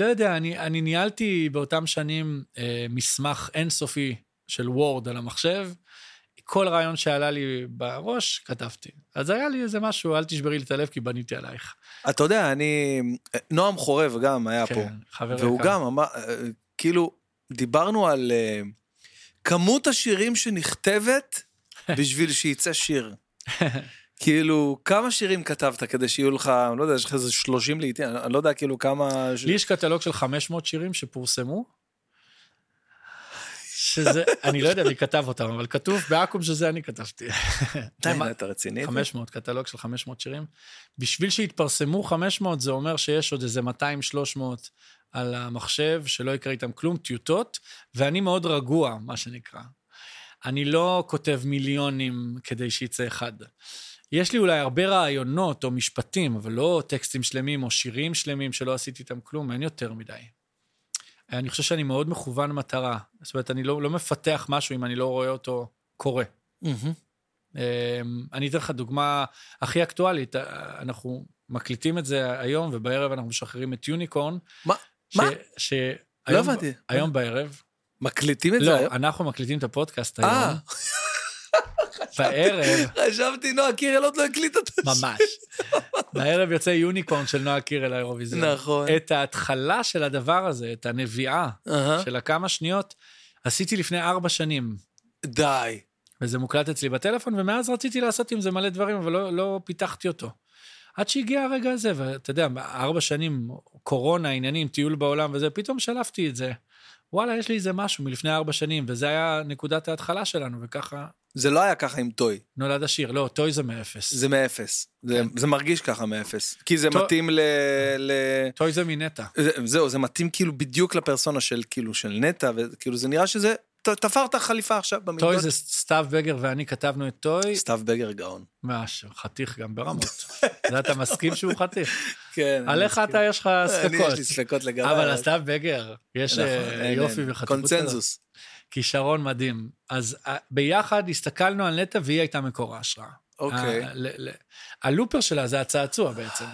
[SPEAKER 2] לא יודע, אני, אני ניהלתי באותם שנים אה, מסמך אינסופי של וורד על המחשב. כל רעיון שעלה לי בראש, כתבתי. אז היה לי איזה משהו, אל תשברי לי את הלב כי בניתי עלייך.
[SPEAKER 1] אתה יודע, אני... נועם חורב גם היה
[SPEAKER 2] כן,
[SPEAKER 1] פה.
[SPEAKER 2] חבר
[SPEAKER 1] והוא
[SPEAKER 2] יקר.
[SPEAKER 1] גם אמר, אה, כאילו, דיברנו על אה, כמות השירים שנכתבת בשביל שיצא שיר. כאילו, כמה שירים כתבת כדי שיהיו לך, אני לא יודע, יש לך איזה 30 לעיתים, אני אני לא יודע כאילו כמה... ש-
[SPEAKER 2] לי יש קטלוג של 500 שירים שפורסמו, שזה, אני לא יודע מי כתב אותם, אבל כתוב בעכו"ם שזה אני כתבתי.
[SPEAKER 1] די,
[SPEAKER 2] למה-
[SPEAKER 1] מה, אה, אתה רציני?
[SPEAKER 2] 500, קטלוג של 500 שירים. בשביל שיתפרסמו 500, זה אומר שיש עוד איזה 200-300 על המחשב, שלא יקרה איתם כלום, טיוטות, ואני מאוד רגוע, מה שנקרא. אני לא כותב מיליונים כדי שיצא אחד. יש לי אולי הרבה רעיונות או משפטים, אבל לא טקסטים שלמים או שירים שלמים שלא עשיתי איתם כלום, אין יותר מדי. אני חושב שאני מאוד מכוון מטרה. זאת אומרת, אני לא, לא מפתח משהו אם אני לא רואה אותו קורה.
[SPEAKER 1] מהמם. לא
[SPEAKER 2] אמ, אני אתן לך דוגמה הכי אקטואלית. אה, אנחנו מקליטים את זה היום, ובערב אנחנו משחררים את יוניקורן.
[SPEAKER 1] מה?
[SPEAKER 2] ש-
[SPEAKER 1] מה?
[SPEAKER 2] ש...
[SPEAKER 1] לא
[SPEAKER 2] היום-
[SPEAKER 1] הבנתי.
[SPEAKER 2] היום בערב.
[SPEAKER 1] מקליטים את זה
[SPEAKER 2] לא,
[SPEAKER 1] היום?
[SPEAKER 2] אנחנו מקליטים את הפודקאסט
[SPEAKER 1] אה.
[SPEAKER 2] היום. בערב,
[SPEAKER 1] חשבתי, נועה קירל עוד לא הקליטה את השיר.
[SPEAKER 2] ממש. בערב יוצא יוניקורן של נועה קירל לאירוויזיון.
[SPEAKER 1] נכון.
[SPEAKER 2] את ההתחלה של הדבר הזה, את הנביאה
[SPEAKER 1] אהה.
[SPEAKER 2] של הכמה שניות, עשיתי לפני ארבע שנים.
[SPEAKER 1] די.
[SPEAKER 2] וזה מוקלט אצלי בטלפון, ומאז רציתי לעשות עם זה מלא דברים, אבל לא, לא פיתחתי אותו. עד שהגיע הרגע הזה, ואתה יודע, ארבע שנים, קורונה, עניינים, טיול בעולם וזה, פתאום שלפתי את זה. וואלה, יש לי איזה משהו מלפני ארבע שנים, וזה היה נקודת ההתחלה שלנו, וככה
[SPEAKER 1] זה לא היה ככה עם טוי,
[SPEAKER 2] נולד השיר. לא, טוי זה מאפס.
[SPEAKER 1] זה מאפס. זה-
[SPEAKER 2] כן.
[SPEAKER 1] זה מרגיש ככה מאפס. כי זה
[SPEAKER 2] טו-
[SPEAKER 1] מתאים ל- ל...
[SPEAKER 2] טוי זה מנטע.
[SPEAKER 1] זה- זהו, זה מתאים כאילו בדיוק לפרסונה של כאילו של נטע, וכאילו זה נראה שזה, ת- תפרת חליפה עכשיו במידות.
[SPEAKER 2] טוי זה סתיו בגר ואני כתבנו את טוי,
[SPEAKER 1] סתיו בגר גאון.
[SPEAKER 2] משהו, חתיך גם ברמות. זה אתה מסכים שהוא חתיך.
[SPEAKER 1] כן. אני
[SPEAKER 2] עליך
[SPEAKER 1] מסכים.
[SPEAKER 2] אתה יש לך
[SPEAKER 1] אני, יש לי
[SPEAKER 2] ספקות.
[SPEAKER 1] ספקות לגביו.
[SPEAKER 2] אבל אז סתיו בגר, יש
[SPEAKER 1] נכון,
[SPEAKER 2] אה,
[SPEAKER 1] אין,
[SPEAKER 2] יופי
[SPEAKER 1] אין.
[SPEAKER 2] וחטיפות. כזאת.
[SPEAKER 1] קונצנזוס.
[SPEAKER 2] כישרון מדהים. אז אה, ביחד הסתכלנו על נטע והיא הייתה מקור ההשראה.
[SPEAKER 1] אוקיי.
[SPEAKER 2] ה- ל- ל- הלופר שלה זה הצעצוע בעצם.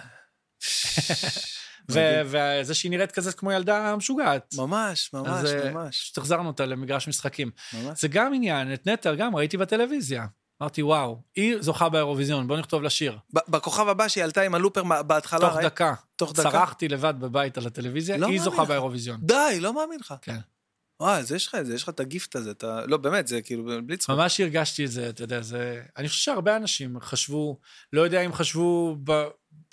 [SPEAKER 2] ו-
[SPEAKER 1] מדהים.
[SPEAKER 2] וזה שהיא נראית כזה כמו ילדה משוגעת.
[SPEAKER 1] ממש, ממש,
[SPEAKER 2] אז, אה,
[SPEAKER 1] ממש.
[SPEAKER 2] פשוט החזרנו אותה למגרש משחקים.
[SPEAKER 1] ממש.
[SPEAKER 2] זה גם עניין, את נטע גם ראיתי בטלוויזיה. אמרתי, וואו, היא זוכה באירוויזיון, בוא נכתוב לה שיר.
[SPEAKER 1] ב- בכוכב הבא שהיא עלתה עם הלופר מה- בהתחלה,
[SPEAKER 2] תוך
[SPEAKER 1] ראי-
[SPEAKER 2] דקה.
[SPEAKER 1] תוך דקה.
[SPEAKER 2] צרחתי לבד בבית על הטלוויזיה,
[SPEAKER 1] לא
[SPEAKER 2] היא
[SPEAKER 1] מאמין
[SPEAKER 2] זוכה
[SPEAKER 1] לך.
[SPEAKER 2] באירוויזיון.
[SPEAKER 1] די, לא מאמין לך.
[SPEAKER 2] כן.
[SPEAKER 1] וואי, אז יש לך את זה, יש לך את הגיפט הזה, אתה... לא, באמת, זה כאילו, בלי צחוק.
[SPEAKER 2] ממש הרגשתי את זה, אתה יודע, זה... אני חושב שהרבה אנשים חשבו, לא יודע אם חשבו ב...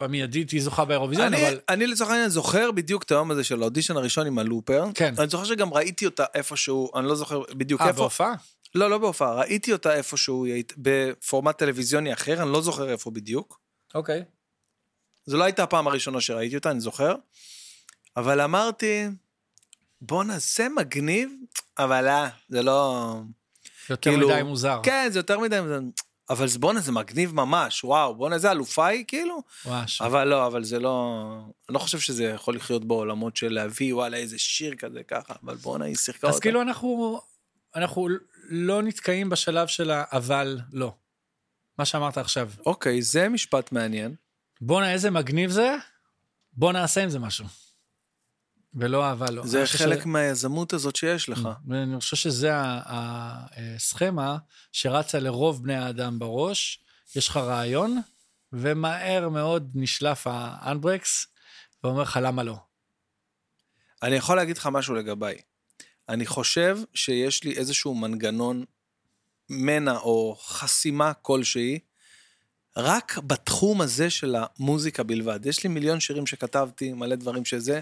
[SPEAKER 2] במיידית היא זוכה באירוויזיון,
[SPEAKER 1] אני, כאילו,
[SPEAKER 2] אבל...
[SPEAKER 1] אני לצורך העניין זוכר בדיוק את היום הזה של האודישן הראשון עם הלופר.
[SPEAKER 2] כן.
[SPEAKER 1] אני זוכר שגם ראיתי אותה איפשהו, אני לא זוכר בדיוק
[SPEAKER 2] אה,
[SPEAKER 1] איפה.
[SPEAKER 2] בהופעה?
[SPEAKER 1] לא, לא בהופעה, ראיתי אותה איפשהו, היא היית- בפורמט טלוויזיוני אחר, אני לא זוכר איפה בדיוק.
[SPEAKER 2] אוקיי.
[SPEAKER 1] זו לא הייתה הפעם הראשונה שראיתי אותה, אני זוכר. אבל אמרתי, בואנה, זה מגניב, אבל אה, זה לא...
[SPEAKER 2] יותר
[SPEAKER 1] כאילו-
[SPEAKER 2] מדי מוזר.
[SPEAKER 1] כן, זה יותר מדי... זה- אבל זה- בואנה, זה מגניב ממש, וואו, בואנה, זה אלופה היא, כאילו.
[SPEAKER 2] ממש.
[SPEAKER 1] אבל לא, אבל זה לא... אני לא חושב שזה יכול לחיות בעולמות של להביא, וואלה, איזה שיר כזה, ככה, אבל בואנה, היא שיחקה
[SPEAKER 2] אז
[SPEAKER 1] אותה.
[SPEAKER 2] כאילו אנחנו, אנחנו לא נתקעים בשלב של ה"אבל לא". מה שאמרת עכשיו.
[SPEAKER 1] אוקיי, זה משפט מעניין.
[SPEAKER 2] בואנה, איזה מגניב זה, בוא נעשה עם זה משהו. ולא אבל לא.
[SPEAKER 1] זה
[SPEAKER 2] אני חושב Mm.
[SPEAKER 1] חלק
[SPEAKER 2] ש-
[SPEAKER 1] מהיזמות הזאת שיש לך.
[SPEAKER 2] ואני חושב שזה ה- ה- הסכמה שרצה לרוב בני האדם בראש, יש לך רעיון, ומהר מאוד נשלף האנברקס, ואומר לך למה לא.
[SPEAKER 1] אני יכול להגיד לך משהו לגביי. אני חושב שיש לי איזשהו מנגנון מנע או חסימה כלשהי, רק בתחום הזה של המוזיקה בלבד. יש לי מיליון שירים שכתבתי, מלא דברים שזה.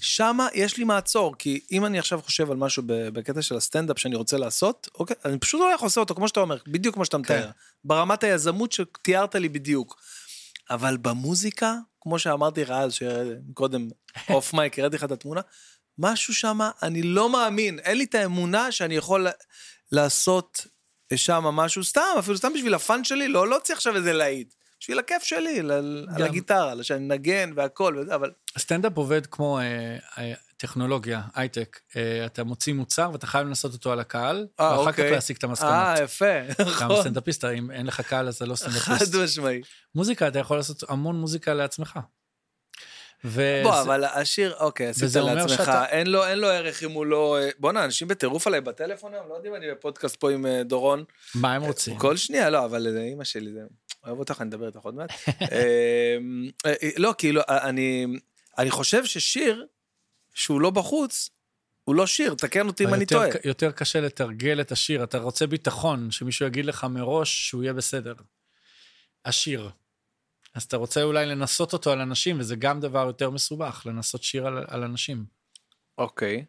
[SPEAKER 1] שמה יש לי מעצור, כי אם אני עכשיו חושב על משהו ב- בקטע של הסטנדאפ שאני רוצה לעשות, אוקיי, אני פשוט לא איך עושה אותו, כמו שאתה אומר, בדיוק כמו שאתה מתאר.
[SPEAKER 2] כן.
[SPEAKER 1] ברמת היזמות שתיארת לי בדיוק. אבל במוזיקה, כמו שאמרתי לך אז, שקודם אוף מייק, הראיתי לך את התמונה, משהו שם, אני לא מאמין, אין לי את האמונה שאני יכול לעשות שם משהו סתם, אפילו סתם בשביל הפאן שלי, לא להוציא עכשיו איזה להיט. בשביל הכיף שלי, ל- על הגיטרה, שאני נגן והכל וזה, אבל...
[SPEAKER 2] סטנדאפ עובד כמו אה, אה, טכנולוגיה, הייטק. אה, אתה מוציא מוצר ואתה חייב לנסות אותו על הקהל,
[SPEAKER 1] אה,
[SPEAKER 2] ואחר כך
[SPEAKER 1] אוקיי.
[SPEAKER 2] להסיק את
[SPEAKER 1] אה,
[SPEAKER 2] המסקנות.
[SPEAKER 1] יפה,
[SPEAKER 2] גם
[SPEAKER 1] נכון.
[SPEAKER 2] סטנדאפיסט, אם אין לך קהל אז אתה לא
[SPEAKER 1] חד
[SPEAKER 2] סטנדאפיסט.
[SPEAKER 1] משמעי.
[SPEAKER 2] מוזיקה, אתה יכול לעשות המון מוזיקה לעצמך. ו-
[SPEAKER 1] בוא,
[SPEAKER 2] אה, זה-
[SPEAKER 1] אבל השיר, אוקיי, עשית
[SPEAKER 2] וזה אומר
[SPEAKER 1] לעצמך,
[SPEAKER 2] שאתה-
[SPEAKER 1] אין לו אין לו ערך אם הוא לא... אה, בואנה, אנשים בטירוף עליי בטלפון היום, לא יודעים, אני בפודקאסט פה עם אה, דורון.
[SPEAKER 2] מה הם רוצים?
[SPEAKER 1] כל שנייה, לא, אבל זה אימא שלי, זה... אוהב אותך, אני אדבר איתך עוד מעט. אמ, אה, אה, לא, כאילו, אה, אני, אני חושב ששיר שהוא לא בחוץ, הוא לא שיר, תקן אותי אם
[SPEAKER 2] אבל
[SPEAKER 1] אני
[SPEAKER 2] יותר
[SPEAKER 1] טועה.
[SPEAKER 2] ק- יותר קשה לתרגל את השיר, אתה רוצה ביטחון, שמישהו יגיד לך מראש שהוא יהיה בסדר. השיר. אז אתה רוצה אולי לנסות אותו על אנשים, וזה גם דבר יותר מסובך, לנסות שיר על, על אנשים.
[SPEAKER 1] אוקיי.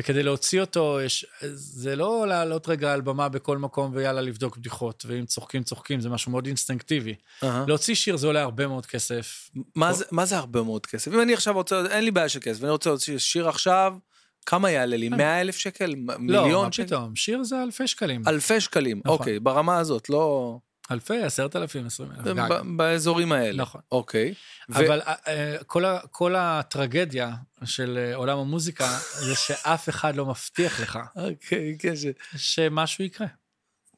[SPEAKER 2] וכדי להוציא אותו, יש, זה לא לעלות רגע על במה בכל מקום ויאללה לבדוק בדיחות, ואם צוחקים, צוחקים, זה משהו מאוד אינסטינקטיבי.
[SPEAKER 1] אהה.
[SPEAKER 2] להוציא שיר זה עולה הרבה מאוד כסף,
[SPEAKER 1] מה זה- מה זה הרבה מאוד כסף? אם אני עכשיו רוצה, אין לי בעיה של כסף, אני רוצה להוציא שיר עכשיו, כמה יעלה לי? 100 אלף שקל? מ-
[SPEAKER 2] אה. לא, מה
[SPEAKER 1] מיליון שקל?
[SPEAKER 2] פתאום, שיר זה אלפי שקלים.
[SPEAKER 1] אלפי שקלים,
[SPEAKER 2] נכון.
[SPEAKER 1] אוקיי, ברמה הזאת, לא...
[SPEAKER 2] אלפי, עשרת אלפים, עשרים אלף.
[SPEAKER 1] ב-
[SPEAKER 2] גג.
[SPEAKER 1] באזורים האלה.
[SPEAKER 2] אה, נכון.
[SPEAKER 1] אוקיי. ו-
[SPEAKER 2] אבל אה, אה, כל ה- כל הטרגדיה של אה, עולם המוזיקה זה שאף אחד לא מבטיח לך
[SPEAKER 1] אוקיי, כן, ש-
[SPEAKER 2] אה. שמשהו יקרה.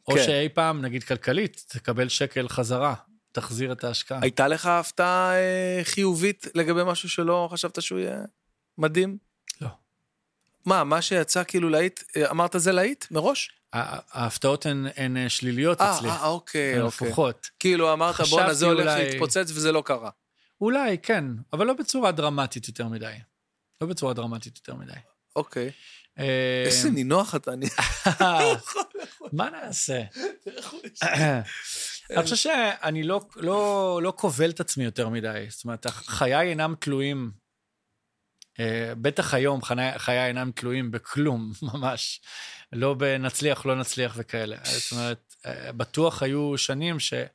[SPEAKER 2] או
[SPEAKER 1] כן.
[SPEAKER 2] שאי פעם, נגיד כלכלית, תקבל שקל חזרה, תחזיר את ההשקעה.
[SPEAKER 1] הייתה לך הפתעה אה, חיובית לגבי משהו שלא חשבת שהוא יהיה מדהים?
[SPEAKER 2] לא.
[SPEAKER 1] מה, מה שיצא כאילו להיט, אה, אמרת זה להיט מראש?
[SPEAKER 2] הה- ההפתעות הן- הן אה, שליליות
[SPEAKER 1] אה,
[SPEAKER 2] אצלי,
[SPEAKER 1] אה, אוקיי,
[SPEAKER 2] הן
[SPEAKER 1] אוקיי.
[SPEAKER 2] הפוכות.
[SPEAKER 1] כאילו אמרת,
[SPEAKER 2] חשבתי
[SPEAKER 1] בואנה, זה הולך
[SPEAKER 2] אולי-
[SPEAKER 1] להתפוצץ וזה לא קרה.
[SPEAKER 2] אולי, כן, אבל לא בצורה דרמטית יותר מדי. לא בצורה דרמטית יותר מדי.
[SPEAKER 1] אוקיי.
[SPEAKER 2] אה,
[SPEAKER 1] איזה נינוח אתה, אני...
[SPEAKER 2] מה נעשה? אני חושב שאני לא, לא, לא כובל את עצמי יותר מדי. זאת אומרת, חיי אינם תלויים, אה, בטח היום חיי, חיי אינם תלויים בכלום, ממש. לא בנצליח, לא נצליח וכאלה. זאת אומרת, אה, בטוח היו שנים שהיה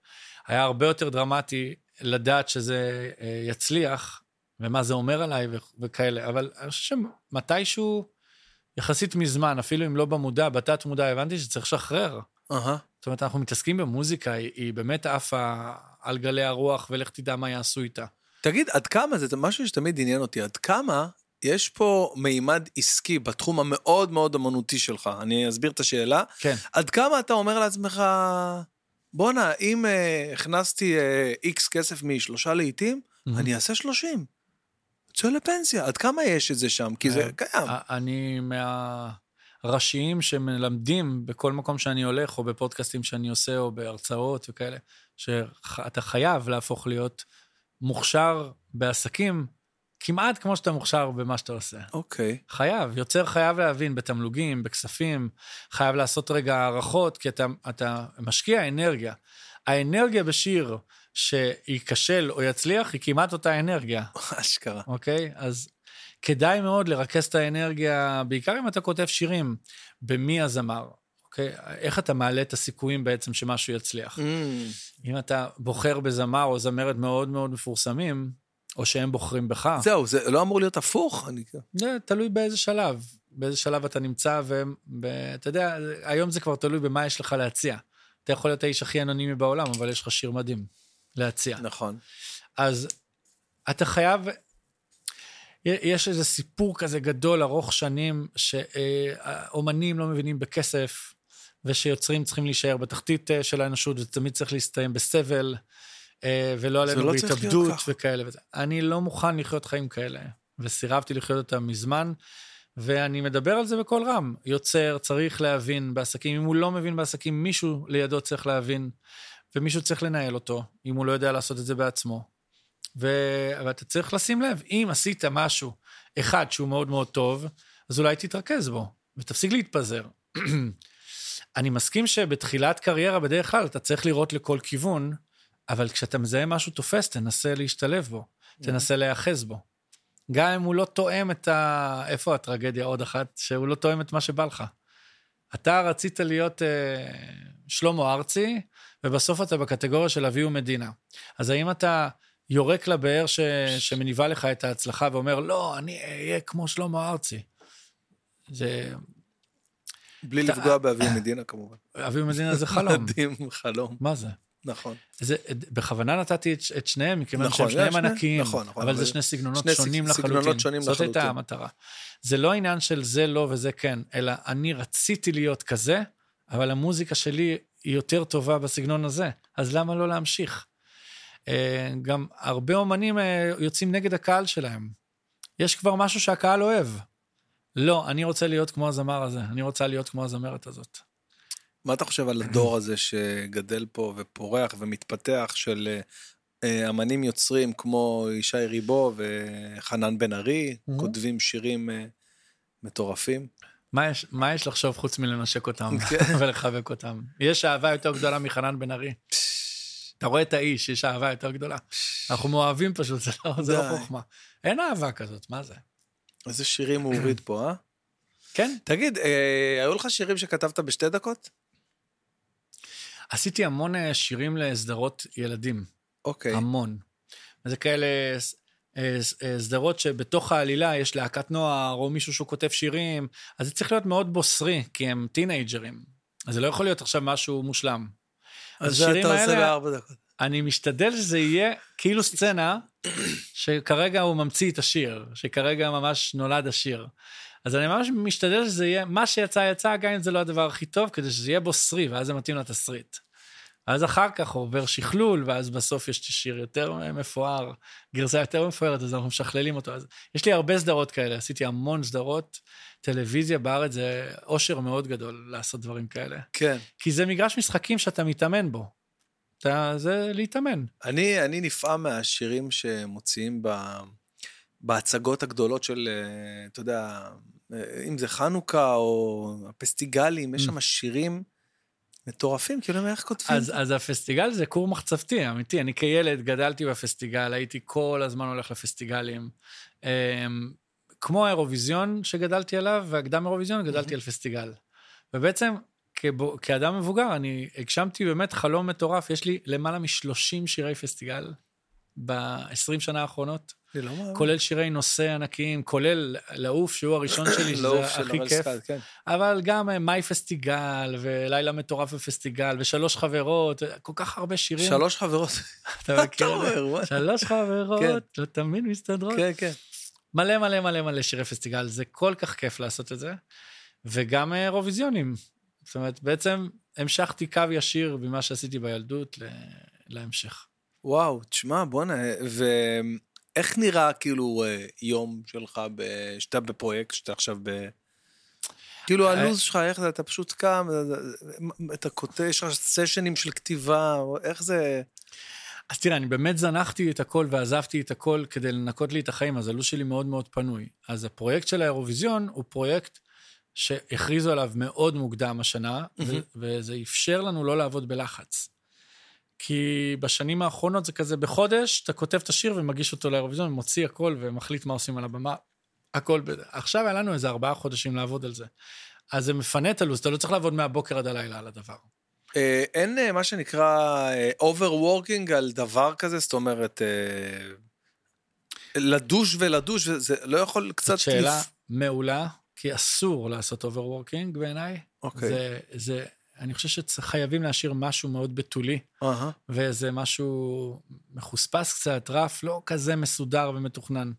[SPEAKER 2] הרבה יותר דרמטי לדעת שזה אה, יצליח, ומה זה אומר עליי ו- וכאלה, אבל אני חושב שמתישהו, יחסית מזמן, אפילו אם לא במודע, בתת-מודע, הבנתי שצריך לשחרר.
[SPEAKER 1] אהה.
[SPEAKER 2] זאת אומרת, אנחנו מתעסקים במוזיקה, היא, היא באמת עפה על גלי הרוח, ולך תדע מה יעשו איתה.
[SPEAKER 1] תגיד, עד כמה, זה משהו שתמיד עניין אותי, עד כמה יש פה מימד עסקי בתחום המאוד מאוד אמנותי שלך? אני אסביר את השאלה.
[SPEAKER 2] כן.
[SPEAKER 1] עד כמה אתה אומר לעצמך, בואנה, אם אה, הכנסתי אה, איקס כסף משלושה לעיתים,
[SPEAKER 2] Mhm.
[SPEAKER 1] אני אעשה שלושים. יוצא לפנסיה, עד כמה יש את זה שם? כי זה
[SPEAKER 2] אה,
[SPEAKER 1] קיים.
[SPEAKER 2] א- אני מהראשיים שמלמדים בכל מקום שאני הולך, או בפודקאסטים שאני עושה, או בהרצאות וכאלה, שאתה חייב להפוך להיות מוכשר בעסקים כמעט כמו שאתה מוכשר במה שאתה עושה.
[SPEAKER 1] אוקיי.
[SPEAKER 2] חייב, יוצר חייב להבין בתמלוגים, בכספים, חייב לעשות רגע הערכות, כי אתה, אתה משקיע אנרגיה. האנרגיה בשיר שייכשל או יצליח היא כמעט אותה אנרגיה.
[SPEAKER 1] אשכרה.
[SPEAKER 2] אוקיי? אז כדאי מאוד לרכז את האנרגיה, בעיקר אם אתה כותב שירים, במי הזמר, אוקיי? איך אתה מעלה את הסיכויים בעצם שמשהו יצליח. אם אתה בוחר בזמר או זמרת מאוד מאוד מפורסמים, או שהם בוחרים בך,
[SPEAKER 1] זהו, זה לא אמור להיות הפוך? אני...
[SPEAKER 2] זה תלוי באיזה שלב, באיזה שלב אתה נמצא, ואתה יודע, היום זה כבר תלוי במה יש לך להציע. אתה יכול להיות האיש הכי אנונימי בעולם, אבל יש לך שיר מדהים להציע.
[SPEAKER 1] נכון.
[SPEAKER 2] אז אתה חייב... יש איזה סיפור כזה גדול, ארוך שנים, שאומנים לא מבינים בכסף, ושיוצרים צריכים להישאר בתחתית אה, של האנושות, וזה תמיד צריך להסתיים בסבל, אה, ולא עלינו
[SPEAKER 1] לא צריך להיות
[SPEAKER 2] בהתאבדות
[SPEAKER 1] ככה.
[SPEAKER 2] וכאלה. וזה. אני לא מוכן לחיות חיים כאלה, וסירבתי לחיות אותם מזמן, ואני מדבר על זה בקול רם. יוצר צריך להבין בעסקים, אם הוא לא מבין בעסקים, מישהו לידו צריך להבין, ומישהו צריך לנהל אותו, אם הוא לא יודע לעשות את זה בעצמו. ו... אבל אתה צריך לשים לב, אם עשית משהו, אחד שהוא מאוד מאוד טוב, אז אולי תתרכז בו, ותפסיק להתפזר. אני מסכים שבתחילת קריירה בדרך כלל אתה צריך לראות לכל כיוון, אבל כשאתה מזהה משהו תופס, תנסה להשתלב בו, תנסה להיאחז בו. גם אם הוא לא תואם את ה... איפה הטרגדיה עוד אחת? שהוא לא תואם את מה שבא לך. אתה רצית להיות אה, שלמה ארצי, ובסוף אתה בקטגוריה של אביהו מדינה. אז האם אתה יורק לבאר ש... שמניבה לך את ההצלחה ואומר, לא, אני אהיה כמו שלמה ארצי? זה...
[SPEAKER 1] בלי
[SPEAKER 2] אתה-
[SPEAKER 1] לפגוע באביב מדינה כמובן.
[SPEAKER 2] אביהו מדינה אה, זה חלום.
[SPEAKER 1] מדהים, חלום.
[SPEAKER 2] מה זה?
[SPEAKER 1] נכון.
[SPEAKER 2] זה, בכוונה נתתי את, את שניהם, מכיוון
[SPEAKER 1] נכון,
[SPEAKER 2] שהם שניהם
[SPEAKER 1] שני-
[SPEAKER 2] ענקיים,
[SPEAKER 1] נכון, נכון,
[SPEAKER 2] אבל
[SPEAKER 1] אבל
[SPEAKER 2] זה שני סגנונות
[SPEAKER 1] שני סג-
[SPEAKER 2] שונים
[SPEAKER 1] סגנונות
[SPEAKER 2] לחלוטין.
[SPEAKER 1] שונים
[SPEAKER 2] זאת
[SPEAKER 1] לחלוטין.
[SPEAKER 2] הייתה המטרה. זה לא עניין של זה לא וזה כן, אלא אני רציתי להיות כזה, אבל המוזיקה שלי היא יותר טובה בסגנון הזה, אז למה לא להמשיך? אה, גם הרבה אומנים אה, יוצאים נגד הקהל שלהם. יש כבר משהו שהקהל אוהב. לא, אני רוצה להיות כמו הזמר הזה, אני רוצה להיות כמו הזמרת הזאת.
[SPEAKER 1] מה אתה חושב על הדור הזה שגדל פה ופורח ומתפתח של אה, אה, אמנים יוצרים כמו ישי ריבו וחנן בן ארי,
[SPEAKER 2] Mhm.
[SPEAKER 1] כותבים שירים אה, מטורפים?
[SPEAKER 2] מה יש, מה יש לחשוב חוץ מלנשק אותם
[SPEAKER 1] כן.
[SPEAKER 2] ולחבק אותם? יש אהבה יותר גדולה מחנן בן ארי. אתה רואה את האיש, יש אהבה יותר גדולה. אנחנו מאוהבים פשוט, זה לא, זה לא
[SPEAKER 1] די.
[SPEAKER 2] חוכמה. אין אהבה כזאת, מה זה?
[SPEAKER 1] איזה שירים הוא הוריד פה, אה?
[SPEAKER 2] כן,
[SPEAKER 1] תגיד, אה, היו לך שירים שכתבת בשתי דקות?
[SPEAKER 2] עשיתי המון אה, שירים לסדרות ילדים,
[SPEAKER 1] אוקיי.
[SPEAKER 2] המון. זה כאלה ס- אה, ס- אה, סדרות שבתוך העלילה יש להקת נוער, או מישהו שהוא כותב שירים, אז זה צריך להיות מאוד בוסרי, כי הם טינג'רים. אז זה לא יכול להיות עכשיו משהו מושלם.
[SPEAKER 1] אז זה
[SPEAKER 2] השירים
[SPEAKER 1] אתה עושה
[SPEAKER 2] האלה-
[SPEAKER 1] בארבע דקות.
[SPEAKER 2] אני משתדל שזה יהיה כאילו סצנה שכרגע הוא ממציא את השיר, שכרגע ממש נולד השיר. אז אני ממש משתדל שזה יהיה, מה שיצא יצא, גם אם זה לא הדבר הכי טוב, כדי שזה יהיה בו שרי, ואז זה מתאים לתסריט. ואז אחר כך הוא עובר שכלול, ואז בסוף יש שיר יותר מפואר, גרסה יותר מפוארת, אז אנחנו משכללים אותו. אז יש לי הרבה סדרות כאלה, עשיתי המון סדרות. טלוויזיה בארץ זה אושר מאוד גדול לעשות דברים כאלה.
[SPEAKER 1] כן.
[SPEAKER 2] כי זה מגרש משחקים שאתה מתאמן בו. אתה, זה להתאמן.
[SPEAKER 1] אני, אני נפעם מהשירים שמוציאים ב, בהצגות הגדולות של, אה, אתה יודע, אה, אם זה חנוכה או הפסטיגלים, יש
[SPEAKER 2] Mm.
[SPEAKER 1] שם שירים מטורפים, כאילו, איך כותבים?
[SPEAKER 2] אז, אז הפסטיגל זה כור מחצבתי, אמיתי. אני כילד גדלתי בפסטיגל, הייתי כל הזמן הולך לפסטיגלים. אמ, כמו האירוויזיון שגדלתי עליו, והקדם אירוויזיון, גדלתי על פסטיגל. ובעצם, כבו, כאדם מבוגר, אני הגשמתי באמת חלום מטורף. יש לי למעלה מ-30 שירי פסטיגל ב-20 שנה האחרונות.
[SPEAKER 1] אני לא מאמין.
[SPEAKER 2] כולל שירי נושא ענקיים, כולל לעוף, שהוא הראשון שלי, שזה
[SPEAKER 1] לעוף של
[SPEAKER 2] הכי
[SPEAKER 1] אורל
[SPEAKER 2] כיף.
[SPEAKER 1] סקאט, כן.
[SPEAKER 2] אבל גם אה, מיי פסטיגל, ולילה מטורף בפסטיגל, ושלוש חברות, אה, כל כך הרבה שירים.
[SPEAKER 1] שלוש חברות.
[SPEAKER 2] אתה
[SPEAKER 1] אתה
[SPEAKER 2] מכיר את זה?
[SPEAKER 1] אומר, וואי.
[SPEAKER 2] שלוש חברות, לא תמיד מסתדרות.
[SPEAKER 1] כן, כן.
[SPEAKER 2] מלא מלא מלא מלא שירי פסטיגל, זה כל כך כיף לעשות את זה. וגם אה, אירוויזיונים. זאת אומרת, בעצם המשכתי קו ישיר ממה שעשיתי בילדות ל- להמשך.
[SPEAKER 1] וואו, תשמע, בואנה, ואיך נראה כאילו אה, יום שלך, ב- שאתה בפרויקט, שאתה עכשיו ב... כאילו
[SPEAKER 2] אה,
[SPEAKER 1] הלו"ז שלך, איך זה, אתה פשוט קם, אה, אתה כותב, יש לך סשנים של כתיבה, או איך זה...
[SPEAKER 2] אז תראה, אני באמת זנחתי את הכל ועזבתי את הכל כדי לנקות לי את החיים, אז הלו"ז שלי מאוד מאוד פנוי. אז הפרויקט של האירוויזיון הוא פרויקט שהכריזו עליו מאוד מוקדם השנה, ו-
[SPEAKER 1] מהמם.
[SPEAKER 2] וזה אפשר לנו לא לעבוד בלחץ. כי בשנים האחרונות זה כזה בחודש, אתה כותב את השיר ומגיש אותו לאירוויזיון, מוציא הכל ומחליט מה עושים על הבמה. הכל, ב- עכשיו היה לנו איזה ארבעה חודשים לעבוד על זה. אז זה מפנה את הלו"ז, אתה לא צריך לעבוד מהבוקר עד הלילה על הדבר.
[SPEAKER 1] אה, אין אה, מה שנקרא אוברוורקינג על דבר כזה, זאת אומרת, אה, לדוש ולדוש, זה- זה לא יכול קצת...
[SPEAKER 2] זאת שאלה
[SPEAKER 1] לפ-
[SPEAKER 2] מעולה, כי אסור לעשות אוברוורקינג בעיניי.
[SPEAKER 1] אוקיי.
[SPEAKER 2] זה, זה, אני חושב שחייבים להשאיר משהו מאוד בתולי,
[SPEAKER 1] אהה.
[SPEAKER 2] ואיזה משהו מחוספס קצת, רף, לא כזה מסודר ומתוכנן.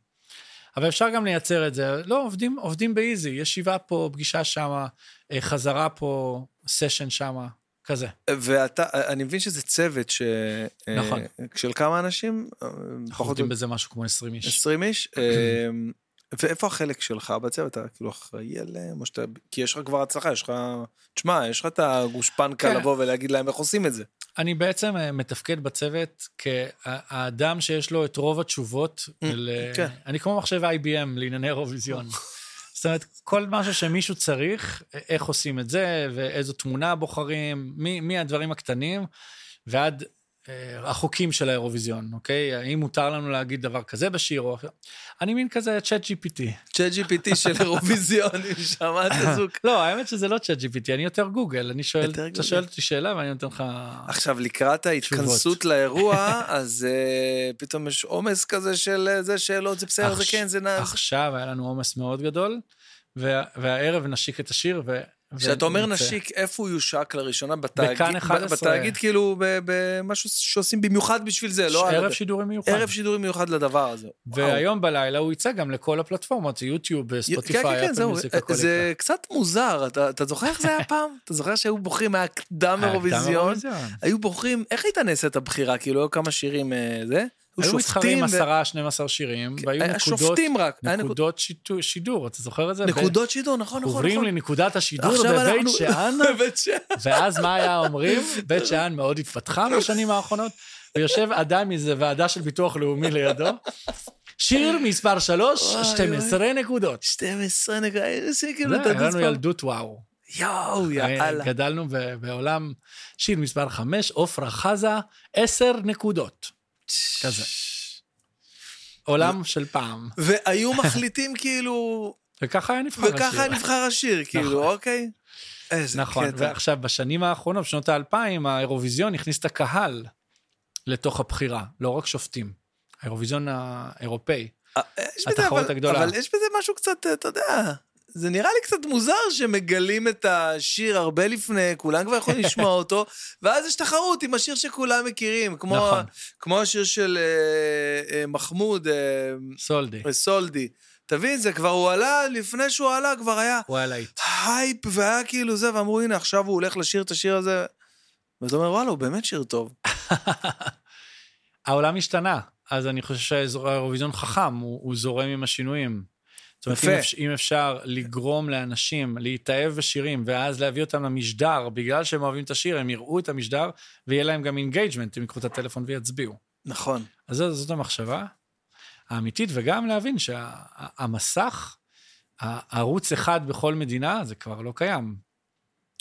[SPEAKER 2] אבל אפשר גם לייצר את זה. לא, עובדים, עובדים באיזי, ישיבה פה, פגישה שמה, אה, חזרה פה, סשן שמה, כזה.
[SPEAKER 1] ואתה, אני מבין שזה צוות ש...
[SPEAKER 2] נכון.
[SPEAKER 1] אה, של כמה אנשים? אה,
[SPEAKER 2] אנחנו
[SPEAKER 1] פחות או
[SPEAKER 2] עובדים בזה משהו כמו 20 איש.
[SPEAKER 1] 20 איש. אה, ואיפה החלק שלך בצוות? אתה כאילו אחראי עליהם? או שאתה... כי יש לך כבר הצלחה, יש לך... תשמע, יש לך את הגושפנקה
[SPEAKER 2] כן.
[SPEAKER 1] לבוא ולהגיד להם איך עושים את זה.
[SPEAKER 2] אני בעצם אה, מתפקד בצוות כהאדם שיש לו את רוב התשובות. ל...
[SPEAKER 1] כן.
[SPEAKER 2] אני כמו מחשב IBM לענייני אירוויזיון. זאת אומרת, כל משהו שמישהו צריך, א- איך עושים את זה, ואיזו תמונה בוחרים, מי, מי הדברים הקטנים, ועד אה, החוקים של האירוויזיון, אוקיי? האם מותר לנו להגיד דבר כזה בשיר או אחר? אני מין כזה צ'אט GPT.
[SPEAKER 1] צ'אט GPT של אירוויזיון, אם שמעת זוג.
[SPEAKER 2] לא, האמת שזה לא צ'אט GPT, אני יותר גוגל. אני שואל,
[SPEAKER 1] יותר גוגל.
[SPEAKER 2] אתה שואל אותי שאלה ואני נותן לך...
[SPEAKER 1] עכשיו, לקראת ההתכנסות
[SPEAKER 2] תשובות.
[SPEAKER 1] לאירוע, אז אה, פתאום יש עומס כזה של אה, זה שאלות, זה בסדר, זה
[SPEAKER 2] עכש-
[SPEAKER 1] כן, זה נע...
[SPEAKER 2] עכשיו היה לנו עומס מאוד גדול, וה, והערב נשיק את השיר. ו,
[SPEAKER 1] כשאתה אומר
[SPEAKER 2] ונצא.
[SPEAKER 1] נשיק, איפה הוא יושק לראשונה? בתאגיד,
[SPEAKER 2] בכאן 11.
[SPEAKER 1] בתאגיד כאילו ב- במשהו שעושים במיוחד בשביל זה, לא...
[SPEAKER 2] ערב
[SPEAKER 1] על-
[SPEAKER 2] שידורים מיוחד.
[SPEAKER 1] ערב שידורים מיוחד לדבר הזה. וואו.
[SPEAKER 2] והיום בלילה הוא יצא גם לכל הפלטפורמות, יוטיוב,
[SPEAKER 1] כן,
[SPEAKER 2] ספוטיפיי,
[SPEAKER 1] כן, כן,
[SPEAKER 2] אפל
[SPEAKER 1] זהו,
[SPEAKER 2] מיוזיק, הכל
[SPEAKER 1] זה קצת מוזר, אתה אתה זוכר איך זה היה פעם? אתה זוכר שהיו בוחרים, היה קדם
[SPEAKER 2] יקרה. אה, גם
[SPEAKER 1] אירוויזיון,
[SPEAKER 2] אירוויזיון.
[SPEAKER 1] היו בוחרים, איך הייתה נעשית הבחירה? כאילו, היו כמה שירים, אה, זה?
[SPEAKER 2] היו מתחרים
[SPEAKER 1] שופטים ו-
[SPEAKER 2] 10, 12 שירים, והיו
[SPEAKER 1] היה
[SPEAKER 2] נקודות,
[SPEAKER 1] שופטים רק, היה נקוד-
[SPEAKER 2] נקודות שיטו- שידור, אתה זוכר את זה?
[SPEAKER 1] נקודות שידור, נכון, נכון,
[SPEAKER 2] עוברים
[SPEAKER 1] נכון.
[SPEAKER 2] לנקודת השידור
[SPEAKER 1] עכשיו
[SPEAKER 2] בבית
[SPEAKER 1] אנחנו-
[SPEAKER 2] שאן,
[SPEAKER 1] בית שאן.
[SPEAKER 2] ואז מה היה אומרים? בית שאן מאוד התפתחה בשנים האחרונות, ויושב אדם מאיזה ועדה של ביטוח לאומי לידו, שיר מספר 3,
[SPEAKER 1] וואי,
[SPEAKER 2] 12 נקודות.
[SPEAKER 1] 12 נקודות, איזה כאילו,
[SPEAKER 2] זה,
[SPEAKER 1] אתה
[SPEAKER 2] היה לנו
[SPEAKER 1] תספר.
[SPEAKER 2] ילדות וואו. אה,
[SPEAKER 1] יואו, יאללה.
[SPEAKER 2] גדלנו ב- בעולם שיר מספר 5, עפרה חזה, 10 נקודות. כזה. עולם של פעם.
[SPEAKER 1] והיו מחליטים כאילו,
[SPEAKER 2] וככה היה נבחר השיר.
[SPEAKER 1] וככה נבחר השיר, כאילו, אוקיי? איזה
[SPEAKER 2] נכון,
[SPEAKER 1] קטע.
[SPEAKER 2] ועכשיו, בשנים האחרונות, בשנות האלפיים, האירוויזיון הכניס את הקהל לתוך הבחירה, לא רק שופטים. האירוויזיון האירופאי.
[SPEAKER 1] אה, יש בזה,
[SPEAKER 2] התחרות
[SPEAKER 1] אבל-
[SPEAKER 2] הגדולה.
[SPEAKER 1] אבל יש בזה משהו קצת, אה, אתה יודע, זה נראה לי קצת מוזר שמגלים את השיר הרבה לפני, כולם כבר יכולים לשמוע אותו, ואז יש תחרות עם השיר שכולם מכירים, כמו-
[SPEAKER 2] נכון.
[SPEAKER 1] כמו השיר של אה, אה, מחמוד, אה,
[SPEAKER 2] סולדי.
[SPEAKER 1] סולדי. תבין, זה כבר הוא עלה, לפני שהוא עלה כבר היה
[SPEAKER 2] הוא היה להיט.
[SPEAKER 1] הייפ, והיה כאילו זה, ואמרו, הנה, עכשיו הוא הולך לשיר את השיר הזה. ואתה אומר, וואלה, הוא באמת שיר טוב.
[SPEAKER 2] העולם השתנה, אז אני חושב שהאירוויזיון חכם, הוא, הוא זורם עם השינויים. זאת אומרת,
[SPEAKER 1] יפה.
[SPEAKER 2] אם אפשר, אם אפשר לגרום לאנשים להתאהב בשירים, ואז להביא אותם למשדר, בגלל שהם אוהבים את השיר, הם יראו את המשדר, ויהיה להם גם אינגייג'מנט, הם ייקחו את הטלפון ויצביעו.
[SPEAKER 1] נכון.
[SPEAKER 2] אז זאת, זאת המחשבה האמיתית, וגם להבין שהמסך, הערוץ אחד בכל מדינה, זה כבר לא קיים.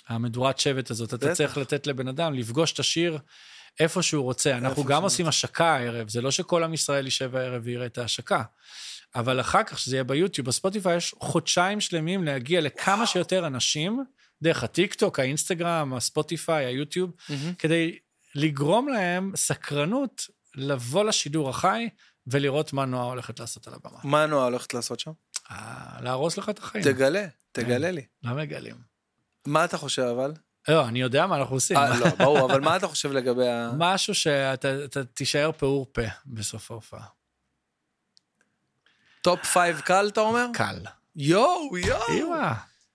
[SPEAKER 2] המדורת שבט הזאת, אתה
[SPEAKER 1] בטח.
[SPEAKER 2] צריך לתת לבן אדם לפגוש את השיר איפה שהוא רוצה. אנחנו
[SPEAKER 1] שהוא
[SPEAKER 2] גם עושים
[SPEAKER 1] רוצה.
[SPEAKER 2] השקה הערב, זה לא שכל עם ישראל יישב הערב ויראה את ההשקה. אבל אחר כך, שזה יהיה ביוטיוב, בספוטיפיי, יש חודשיים שלמים להגיע לכמה שיותר אנשים, דרך הטיקטוק, האינסטגרם, הספוטיפיי, היוטיוב, כדי לגרום להם סקרנות לבוא לשידור החי ולראות מה נועה הולכת לעשות על הבמה.
[SPEAKER 1] מה נועה הולכת לעשות שם?
[SPEAKER 2] אה, להרוס לך את החיים.
[SPEAKER 1] תגלה, תגלה לי.
[SPEAKER 2] לא מגלים.
[SPEAKER 1] מה אתה חושב אבל?
[SPEAKER 2] לא, אני יודע מה אנחנו עושים.
[SPEAKER 1] אה, לא, ברור, אבל מה אתה חושב לגבי ה...
[SPEAKER 2] משהו שאתה אתה תישאר פעור פה בסוף ההופעה.
[SPEAKER 1] טופ פייב קל, אתה אומר?
[SPEAKER 2] קל.
[SPEAKER 1] יואו, יואו.
[SPEAKER 2] אימא.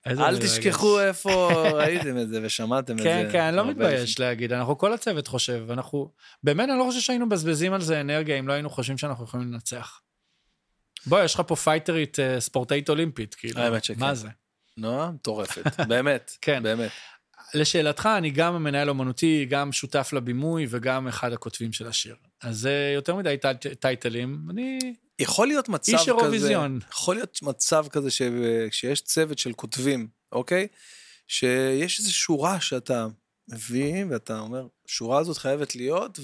[SPEAKER 2] איזה
[SPEAKER 1] אל
[SPEAKER 2] מרגש.
[SPEAKER 1] תשכחו איפה ראיתם את זה ושמעתם את זה.
[SPEAKER 2] כן, כן, אני לא
[SPEAKER 1] הרבה
[SPEAKER 2] מתבייש להגיד, אנחנו, כל הצוות חושב, אנחנו, באמת, אני לא חושב שהיינו מבזבזים על זה אנרגיה אם לא היינו חושבים שאנחנו יכולים לנצח. בוא, יש לך פה פייטרית, אה, ספורטאית אולימפית, כאילו,
[SPEAKER 1] האמת שכן.
[SPEAKER 2] מה זה?
[SPEAKER 1] לפני. נועה מטורפת, באמת,
[SPEAKER 2] כן.
[SPEAKER 1] באמת.
[SPEAKER 2] לשאלתך, אני גם מנהל אומנותי, גם שותף לבימוי וגם אחד הכותבים של השיר. אז זה יותר מדי טייט- טייטלים, אני...
[SPEAKER 1] יכול להיות מצב
[SPEAKER 2] איש
[SPEAKER 1] כזה,
[SPEAKER 2] אירוויזיון.
[SPEAKER 1] יכול להיות מצב כזה ש- שיש צוות של כותבים, אוקיי? שיש איזו שורה שאתה מביא ואתה אומר, שורה הזאת חייבת להיות,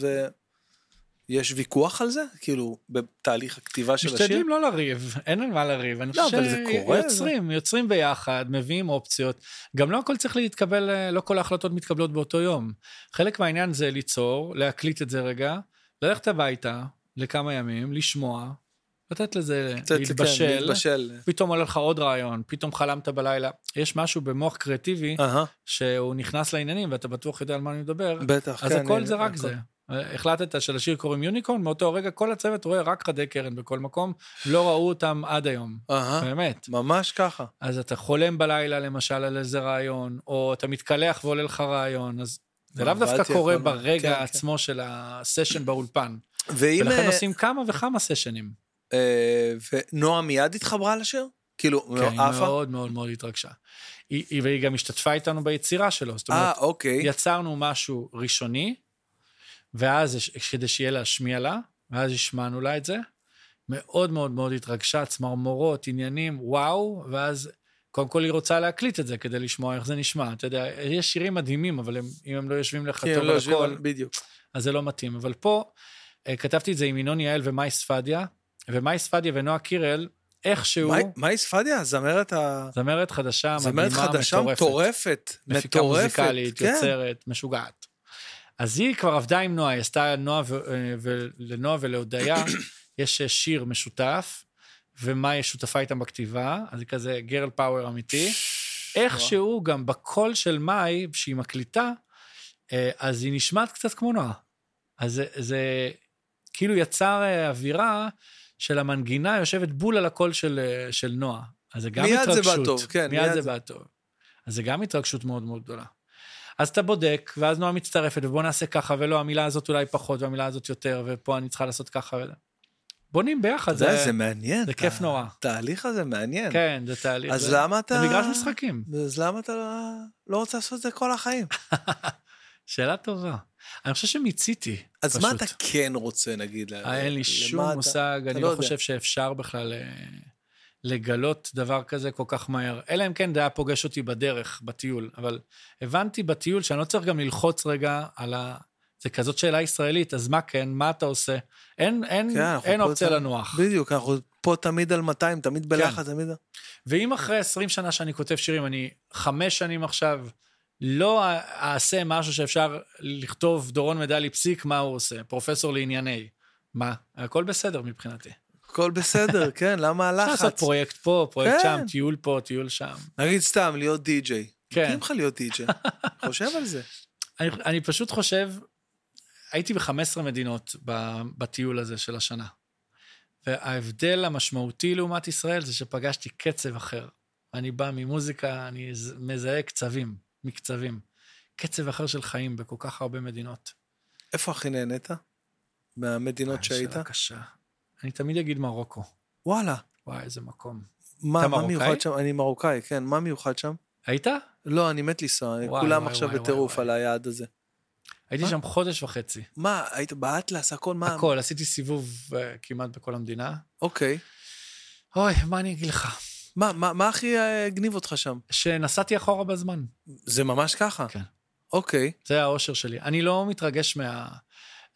[SPEAKER 1] ויש ויכוח על זה? כאילו, בתהליך הכתיבה של השיר?
[SPEAKER 2] משתדלים לא לריב, אין על מה לריב. אני
[SPEAKER 1] לא,
[SPEAKER 2] חושב
[SPEAKER 1] אבל זה קורה,
[SPEAKER 2] שיוצרים, יוצרים ביחד, מביאים אופציות. גם לא הכל צריך להתקבל, אה, לא כל ההחלטות מתקבלות באותו יום. חלק מהעניין זה ליצור, להקליט את זה רגע, ללכת הביתה לכמה ימים, לשמוע, לתת לזה
[SPEAKER 1] קצת, כן,
[SPEAKER 2] להתבשל.
[SPEAKER 1] להתבשל.
[SPEAKER 2] פתאום עולה לך עוד רעיון, פתאום חלמת בלילה. יש משהו במוח קריאטיבי
[SPEAKER 1] אהה,
[SPEAKER 2] שהוא נכנס לעניינים ואתה בטוח יודע על מה אני מדבר,
[SPEAKER 1] בטח,
[SPEAKER 2] אז
[SPEAKER 1] כן,
[SPEAKER 2] הכל
[SPEAKER 1] אני-
[SPEAKER 2] זה רק זה. החלטת שלשיר קוראים יוניקורן, מאותו רגע כל הצוות רואה רק חדי קרן בכל מקום, לא ראו אותם עד היום.
[SPEAKER 1] אהה,
[SPEAKER 2] באמת.
[SPEAKER 1] ממש ככה.
[SPEAKER 2] אז אתה חולם בלילה למשל על איזה רעיון, או אתה מתקלח ועולה לך רעיון, אז זה לאו
[SPEAKER 1] עבדתי
[SPEAKER 2] דווקא
[SPEAKER 1] הכל
[SPEAKER 2] קורה
[SPEAKER 1] מה-
[SPEAKER 2] ברגע
[SPEAKER 1] אה, כן, כן.
[SPEAKER 2] עצמו של הסשן באולפן.
[SPEAKER 1] ואם...
[SPEAKER 2] ולכן
[SPEAKER 1] אה,
[SPEAKER 2] עושים כמה וכמה סשנים.
[SPEAKER 1] אה, ונועה מיד התחברה לשיר? כאילו,
[SPEAKER 2] כן, היא
[SPEAKER 1] עפה?
[SPEAKER 2] מאוד מאוד מאוד התרגשה. היא- היא- והיא גם השתתפה איתנו ביצירה שלו, זאת אומרת,
[SPEAKER 1] אה, אוקיי.
[SPEAKER 2] יצרנו משהו ראשוני, ואז יש- כדי שיהיה להשמיע לה, ואז השמענו לה את זה. מאוד מאוד מאוד התרגשה, צמרמורות, עניינים, וואו, ואז קודם כל היא רוצה להקליט את זה כדי לשמוע איך זה נשמע. אתה יודע, יש שירים מדהימים, אבל הם, אם הם לא יושבים לך
[SPEAKER 1] כן,
[SPEAKER 2] טוב
[SPEAKER 1] לא,
[SPEAKER 2] על
[SPEAKER 1] יושבים
[SPEAKER 2] הכל,
[SPEAKER 1] על- בדיוק.
[SPEAKER 2] אז זה לא מתאים. אבל פה אה, כתבתי את זה עם ינון יעל ומאי ספדיה, ומאי ספדיה ונועה קירל, איכשהו,
[SPEAKER 1] מאי- מאי ספדיה, הזמרת ה...
[SPEAKER 2] זמרת חדשה אה, מדהימה,
[SPEAKER 1] זמרת
[SPEAKER 2] מטורפת.
[SPEAKER 1] חדשה מטורפת,
[SPEAKER 2] מפיקה
[SPEAKER 1] מטורפת,
[SPEAKER 2] מוזיקלית,
[SPEAKER 1] כן.
[SPEAKER 2] יוצרת, משוגעת. אז היא כבר עבדה עם נועה, היא עשתה נועה ו... אה, ולנועה ולהודיה, יש אה, שיר משותף, ומאי שותפה איתם בכתיבה, אז היא כזה גרל פאוור אמיתי. איכשהו גם בקול של מאי, שהיא מקליטה, אה, אז היא נשמעת קצת כמו נועה. אז זה, זה כאילו יצר אה, אווירה של המנגינה יושבת בול על הקול של, אה, של נועה. אז זה גם
[SPEAKER 1] מיד זה בא
[SPEAKER 2] התרגשות.
[SPEAKER 1] טוב, כן,
[SPEAKER 2] מיד
[SPEAKER 1] מיד
[SPEAKER 2] זה
[SPEAKER 1] זה-
[SPEAKER 2] בא טוב. אז זה גם התרגשות מאוד מאוד גדולה. אז אתה בודק, ואז נועה מצטרפת, ובוא נעשה ככה, ולא, המילה הזאת אולי פחות, והמילה הזאת יותר, ופה אני צריכה לעשות ככה. ו- בונים ביחד,
[SPEAKER 1] אתה יודע, זה מעניין. אה,
[SPEAKER 2] זה כיף נורא.
[SPEAKER 1] התהליך הזה מעניין.
[SPEAKER 2] כן, זה תהליך.
[SPEAKER 1] אז
[SPEAKER 2] זה-
[SPEAKER 1] למה אתה...
[SPEAKER 2] זה מגרש משחקים.
[SPEAKER 1] אז למה אתה לא- לא רוצה לעשות את זה כל החיים?
[SPEAKER 2] שאלה טובה. אני חושב שמיציתי.
[SPEAKER 1] אז
[SPEAKER 2] פשוט.
[SPEAKER 1] מה אתה כן רוצה, נגיד? ל-
[SPEAKER 2] אה, אין לי
[SPEAKER 1] למה
[SPEAKER 2] שום
[SPEAKER 1] אתה-
[SPEAKER 2] מושג,
[SPEAKER 1] אתה
[SPEAKER 2] אני
[SPEAKER 1] לא
[SPEAKER 2] לא
[SPEAKER 1] יודע.
[SPEAKER 2] חושב שאפשר בכלל אה, לגלות דבר כזה כל כך מהר. אלא אם כן זה היה פוגש אותי בדרך, בטיול. אבל הבנתי בטיול שאני לא צריך גם ללחוץ רגע על ה... זה כזאת שאלה ישראלית, אז מה כן, מה אתה עושה? אין, אין,
[SPEAKER 1] כן, אנחנו
[SPEAKER 2] אין
[SPEAKER 1] פה
[SPEAKER 2] אופציה
[SPEAKER 1] ת-
[SPEAKER 2] לנוח. כן.
[SPEAKER 1] בדיוק, אנחנו פה תמיד על 200, תמיד בלחץ, תמיד...
[SPEAKER 2] ואם אחרי 20 שנה שאני כותב שירים, אני חמש שנים עכשיו לא א- אעשה משהו שאפשר לכתוב דורון מדלי פסיק, מה הוא עושה? פרופסור לענייני. מה? הכל בסדר מבחינתי.
[SPEAKER 1] הכל בסדר, כן, למה
[SPEAKER 2] אפשר לעשות
[SPEAKER 1] הלחץ?
[SPEAKER 2] פרויקט פה, פרויקט
[SPEAKER 1] כן.
[SPEAKER 2] שם, טיול פה, טיול שם.
[SPEAKER 1] נגיד סתם, להיות די-ג'יי.
[SPEAKER 2] כן.
[SPEAKER 1] מתאים לך להיות די-ג'יי. חושב על זה.
[SPEAKER 2] אני, אני פשוט חושב, הייתי ב-15 מדינות ב- בטיול הזה של השנה. וההבדל המשמעותי לעומת ישראל זה שפגשתי קצב אחר. אני בא ממוזיקה, אני ז- מזהה קצבים, מקצבים. קצב אחר של חיים בכל כך הרבה מדינות.
[SPEAKER 1] איפה הכי נהנית?
[SPEAKER 2] אה,
[SPEAKER 1] מהמדינות שהיית?
[SPEAKER 2] שאלה קשה. אני תמיד אגיד מרוקו.
[SPEAKER 1] וואלה.
[SPEAKER 2] וואי, איזה מקום.
[SPEAKER 1] מה,
[SPEAKER 2] אתה
[SPEAKER 1] מה
[SPEAKER 2] מרוקאי?
[SPEAKER 1] מיוחד שם? אני מרוקאי, כן. מה מיוחד שם?
[SPEAKER 2] היית?
[SPEAKER 1] לא, אני מת לנסוע, אני-
[SPEAKER 2] וואי,
[SPEAKER 1] כולם
[SPEAKER 2] וואי,
[SPEAKER 1] עכשיו
[SPEAKER 2] וואי,
[SPEAKER 1] בטירוף
[SPEAKER 2] וואי,
[SPEAKER 1] על היעד הזה.
[SPEAKER 2] הייתי
[SPEAKER 1] מה?
[SPEAKER 2] שם חודש וחצי.
[SPEAKER 1] מה, היית באטלס, הכל, מה?
[SPEAKER 2] הכל, עשיתי סיבוב אה, כמעט בכל המדינה.
[SPEAKER 1] אוקיי.
[SPEAKER 2] אוי, מה אני אגיד לך?
[SPEAKER 1] מה, מה, מה הכי אה, הגניב אותך שם?
[SPEAKER 2] שנסעתי אחורה בזמן.
[SPEAKER 1] זה ממש ככה.
[SPEAKER 2] כן.
[SPEAKER 1] אוקיי,
[SPEAKER 2] זה האושר שלי. אני לא מתרגש מה...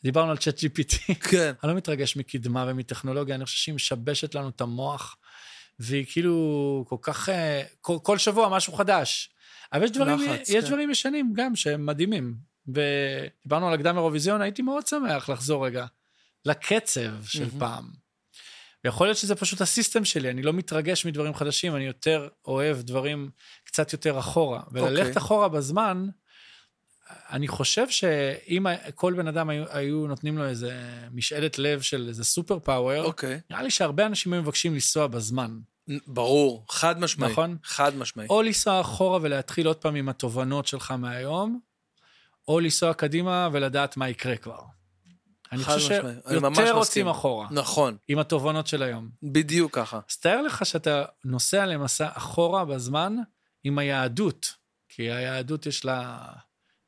[SPEAKER 2] דיברנו על צ'אט GPT.
[SPEAKER 1] כן.
[SPEAKER 2] אני לא מתרגש מקדמה ומטכנולוגיה, אני חושב שהיא משבשת לנו את המוח, והיא כאילו כל כך... אה, כל, כל שבוע משהו חדש. אבל יש דברים,
[SPEAKER 1] לחץ,
[SPEAKER 2] יש
[SPEAKER 1] כן.
[SPEAKER 2] דברים ישנים גם שהם מדהימים. ודיברנו על הקדם אירוויזיון, הייתי מאוד שמח לחזור רגע לקצב של
[SPEAKER 1] מהמם.
[SPEAKER 2] פעם. ויכול להיות שזה פשוט הסיסטם שלי, אני לא מתרגש מדברים חדשים, אני יותר אוהב דברים קצת יותר אחורה.
[SPEAKER 1] אוקיי.
[SPEAKER 2] וללכת אחורה בזמן, אני חושב שאם כל בן אדם היו, היו נותנים לו איזה משאלת לב של איזה סופר פאוור,
[SPEAKER 1] אוקיי.
[SPEAKER 2] נראה לי שהרבה אנשים היו מבקשים לנסוע בזמן.
[SPEAKER 1] נ- ברור, חד משמעי.
[SPEAKER 2] נכון.
[SPEAKER 1] חד משמעי.
[SPEAKER 2] או לנסוע אחורה ולהתחיל עוד פעם עם התובנות שלך מהיום, או לנסוע קדימה ולדעת מה יקרה כבר. אני
[SPEAKER 1] חד
[SPEAKER 2] חושב
[SPEAKER 1] משמעי. אני ממש
[SPEAKER 2] שיותר
[SPEAKER 1] מסכים.
[SPEAKER 2] רוצים אחורה,
[SPEAKER 1] נכון,
[SPEAKER 2] עם התובנות של היום.
[SPEAKER 1] בדיוק ככה.
[SPEAKER 2] אז תאר לך שאתה נוסע למסע אחורה בזמן עם היהדות, כי היהדות יש לה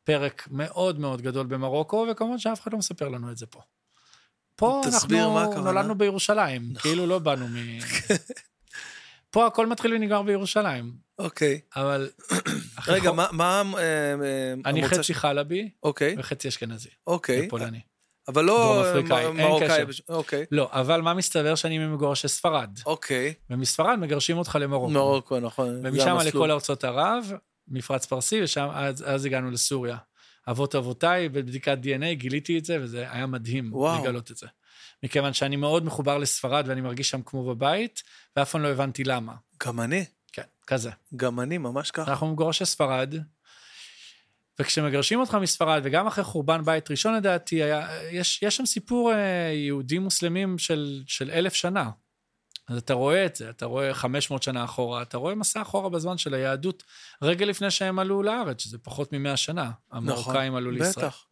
[SPEAKER 2] פרק מאוד מאוד גדול במרוקו, וכמובן שאף אחד לא מספר לנו את זה פה. פה
[SPEAKER 1] תסביר מה
[SPEAKER 2] אנחנו
[SPEAKER 1] הכוונה. נכון.
[SPEAKER 2] נולדנו בירושלים, כאילו לא באנו מ... פה הכל מתחיל ונגמר בירושלים,
[SPEAKER 1] אוקיי.
[SPEAKER 2] אבל...
[SPEAKER 1] רגע, מה- מה אה, אה,
[SPEAKER 2] אני
[SPEAKER 1] המוצא ש-
[SPEAKER 2] חצי חלבי
[SPEAKER 1] אוקיי,
[SPEAKER 2] וחצי אשכנזי,
[SPEAKER 1] אוקיי.
[SPEAKER 2] ופולני.
[SPEAKER 1] אבל לא
[SPEAKER 2] דרום אפריקאי,
[SPEAKER 1] אה,
[SPEAKER 2] אין
[SPEAKER 1] מרוקאי.
[SPEAKER 2] קשר.
[SPEAKER 1] בש- אוקיי,
[SPEAKER 2] לא, אבל מה מסתבר שאני ממגורשי ספרד,
[SPEAKER 1] אוקיי.
[SPEAKER 2] ומספרד מגרשים אותך למרוקו.
[SPEAKER 1] מרוקו, נכון. זה
[SPEAKER 2] ומשם
[SPEAKER 1] המסלול.
[SPEAKER 2] לכל ארצות ערב, מפרץ פרסי, ושם אז, אז הגענו לסוריה. אבות אבותיי, בבדיקת DNA גיליתי את זה, וזה היה מדהים
[SPEAKER 1] וואו.
[SPEAKER 2] וואו. לגלות את זה. מכיוון שאני מאוד מחובר לספרד ואני מרגיש שם כמו בבית, ואף פעם לא הבנתי למה.
[SPEAKER 1] גם אני,
[SPEAKER 2] כן, כזה.
[SPEAKER 1] גם אני, ממש ככה.
[SPEAKER 2] אנחנו מגורשי ספרד, וכשמגרשים אותך מספרד, וגם אחרי חורבן בית ראשון לדעתי, היה, יש, יש שם סיפור אה, יהודים-מוסלמים של, של אלף שנה. אז אתה רואה את זה, אתה רואה 500 שנה אחורה, אתה רואה מסע אחורה בזמן של היהדות, רגע לפני שהם עלו לארץ, שזה פחות מ-100 שנה, המרוקאים עלו לא לישראל.
[SPEAKER 1] בטח.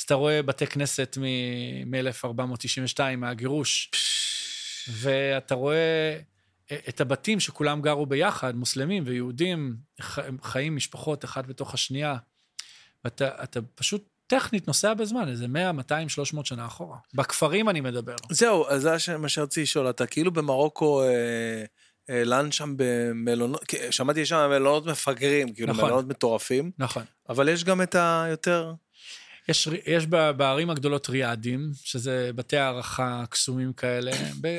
[SPEAKER 2] אז אתה רואה בתי כנסת מ-1492, מהגירוש, ואתה רואה אה, את הבתים שכולם גרו ביחד, מוסלמים ויהודים, ח- חיים משפחות אחת בתוך השנייה, ואתה אתה פשוט טכנית נוסע בזמן, איזה 100, 200, 300 שנה אחורה. בכפרים אני מדבר.
[SPEAKER 1] זהו, אז זה מה שרציתי לשאול, אתה כאילו במרוקו, אה, אה, לן שם במלונות, כי שמעתי שם מלונות מפגרים, כאילו
[SPEAKER 2] נכון.
[SPEAKER 1] מלונות מטורפים,
[SPEAKER 2] נכון.
[SPEAKER 1] אבל יש גם את היותר...
[SPEAKER 2] יש, ר- יש ב- בערים הגדולות ריאדים, שזה בתי הערכה קסומים כאלה,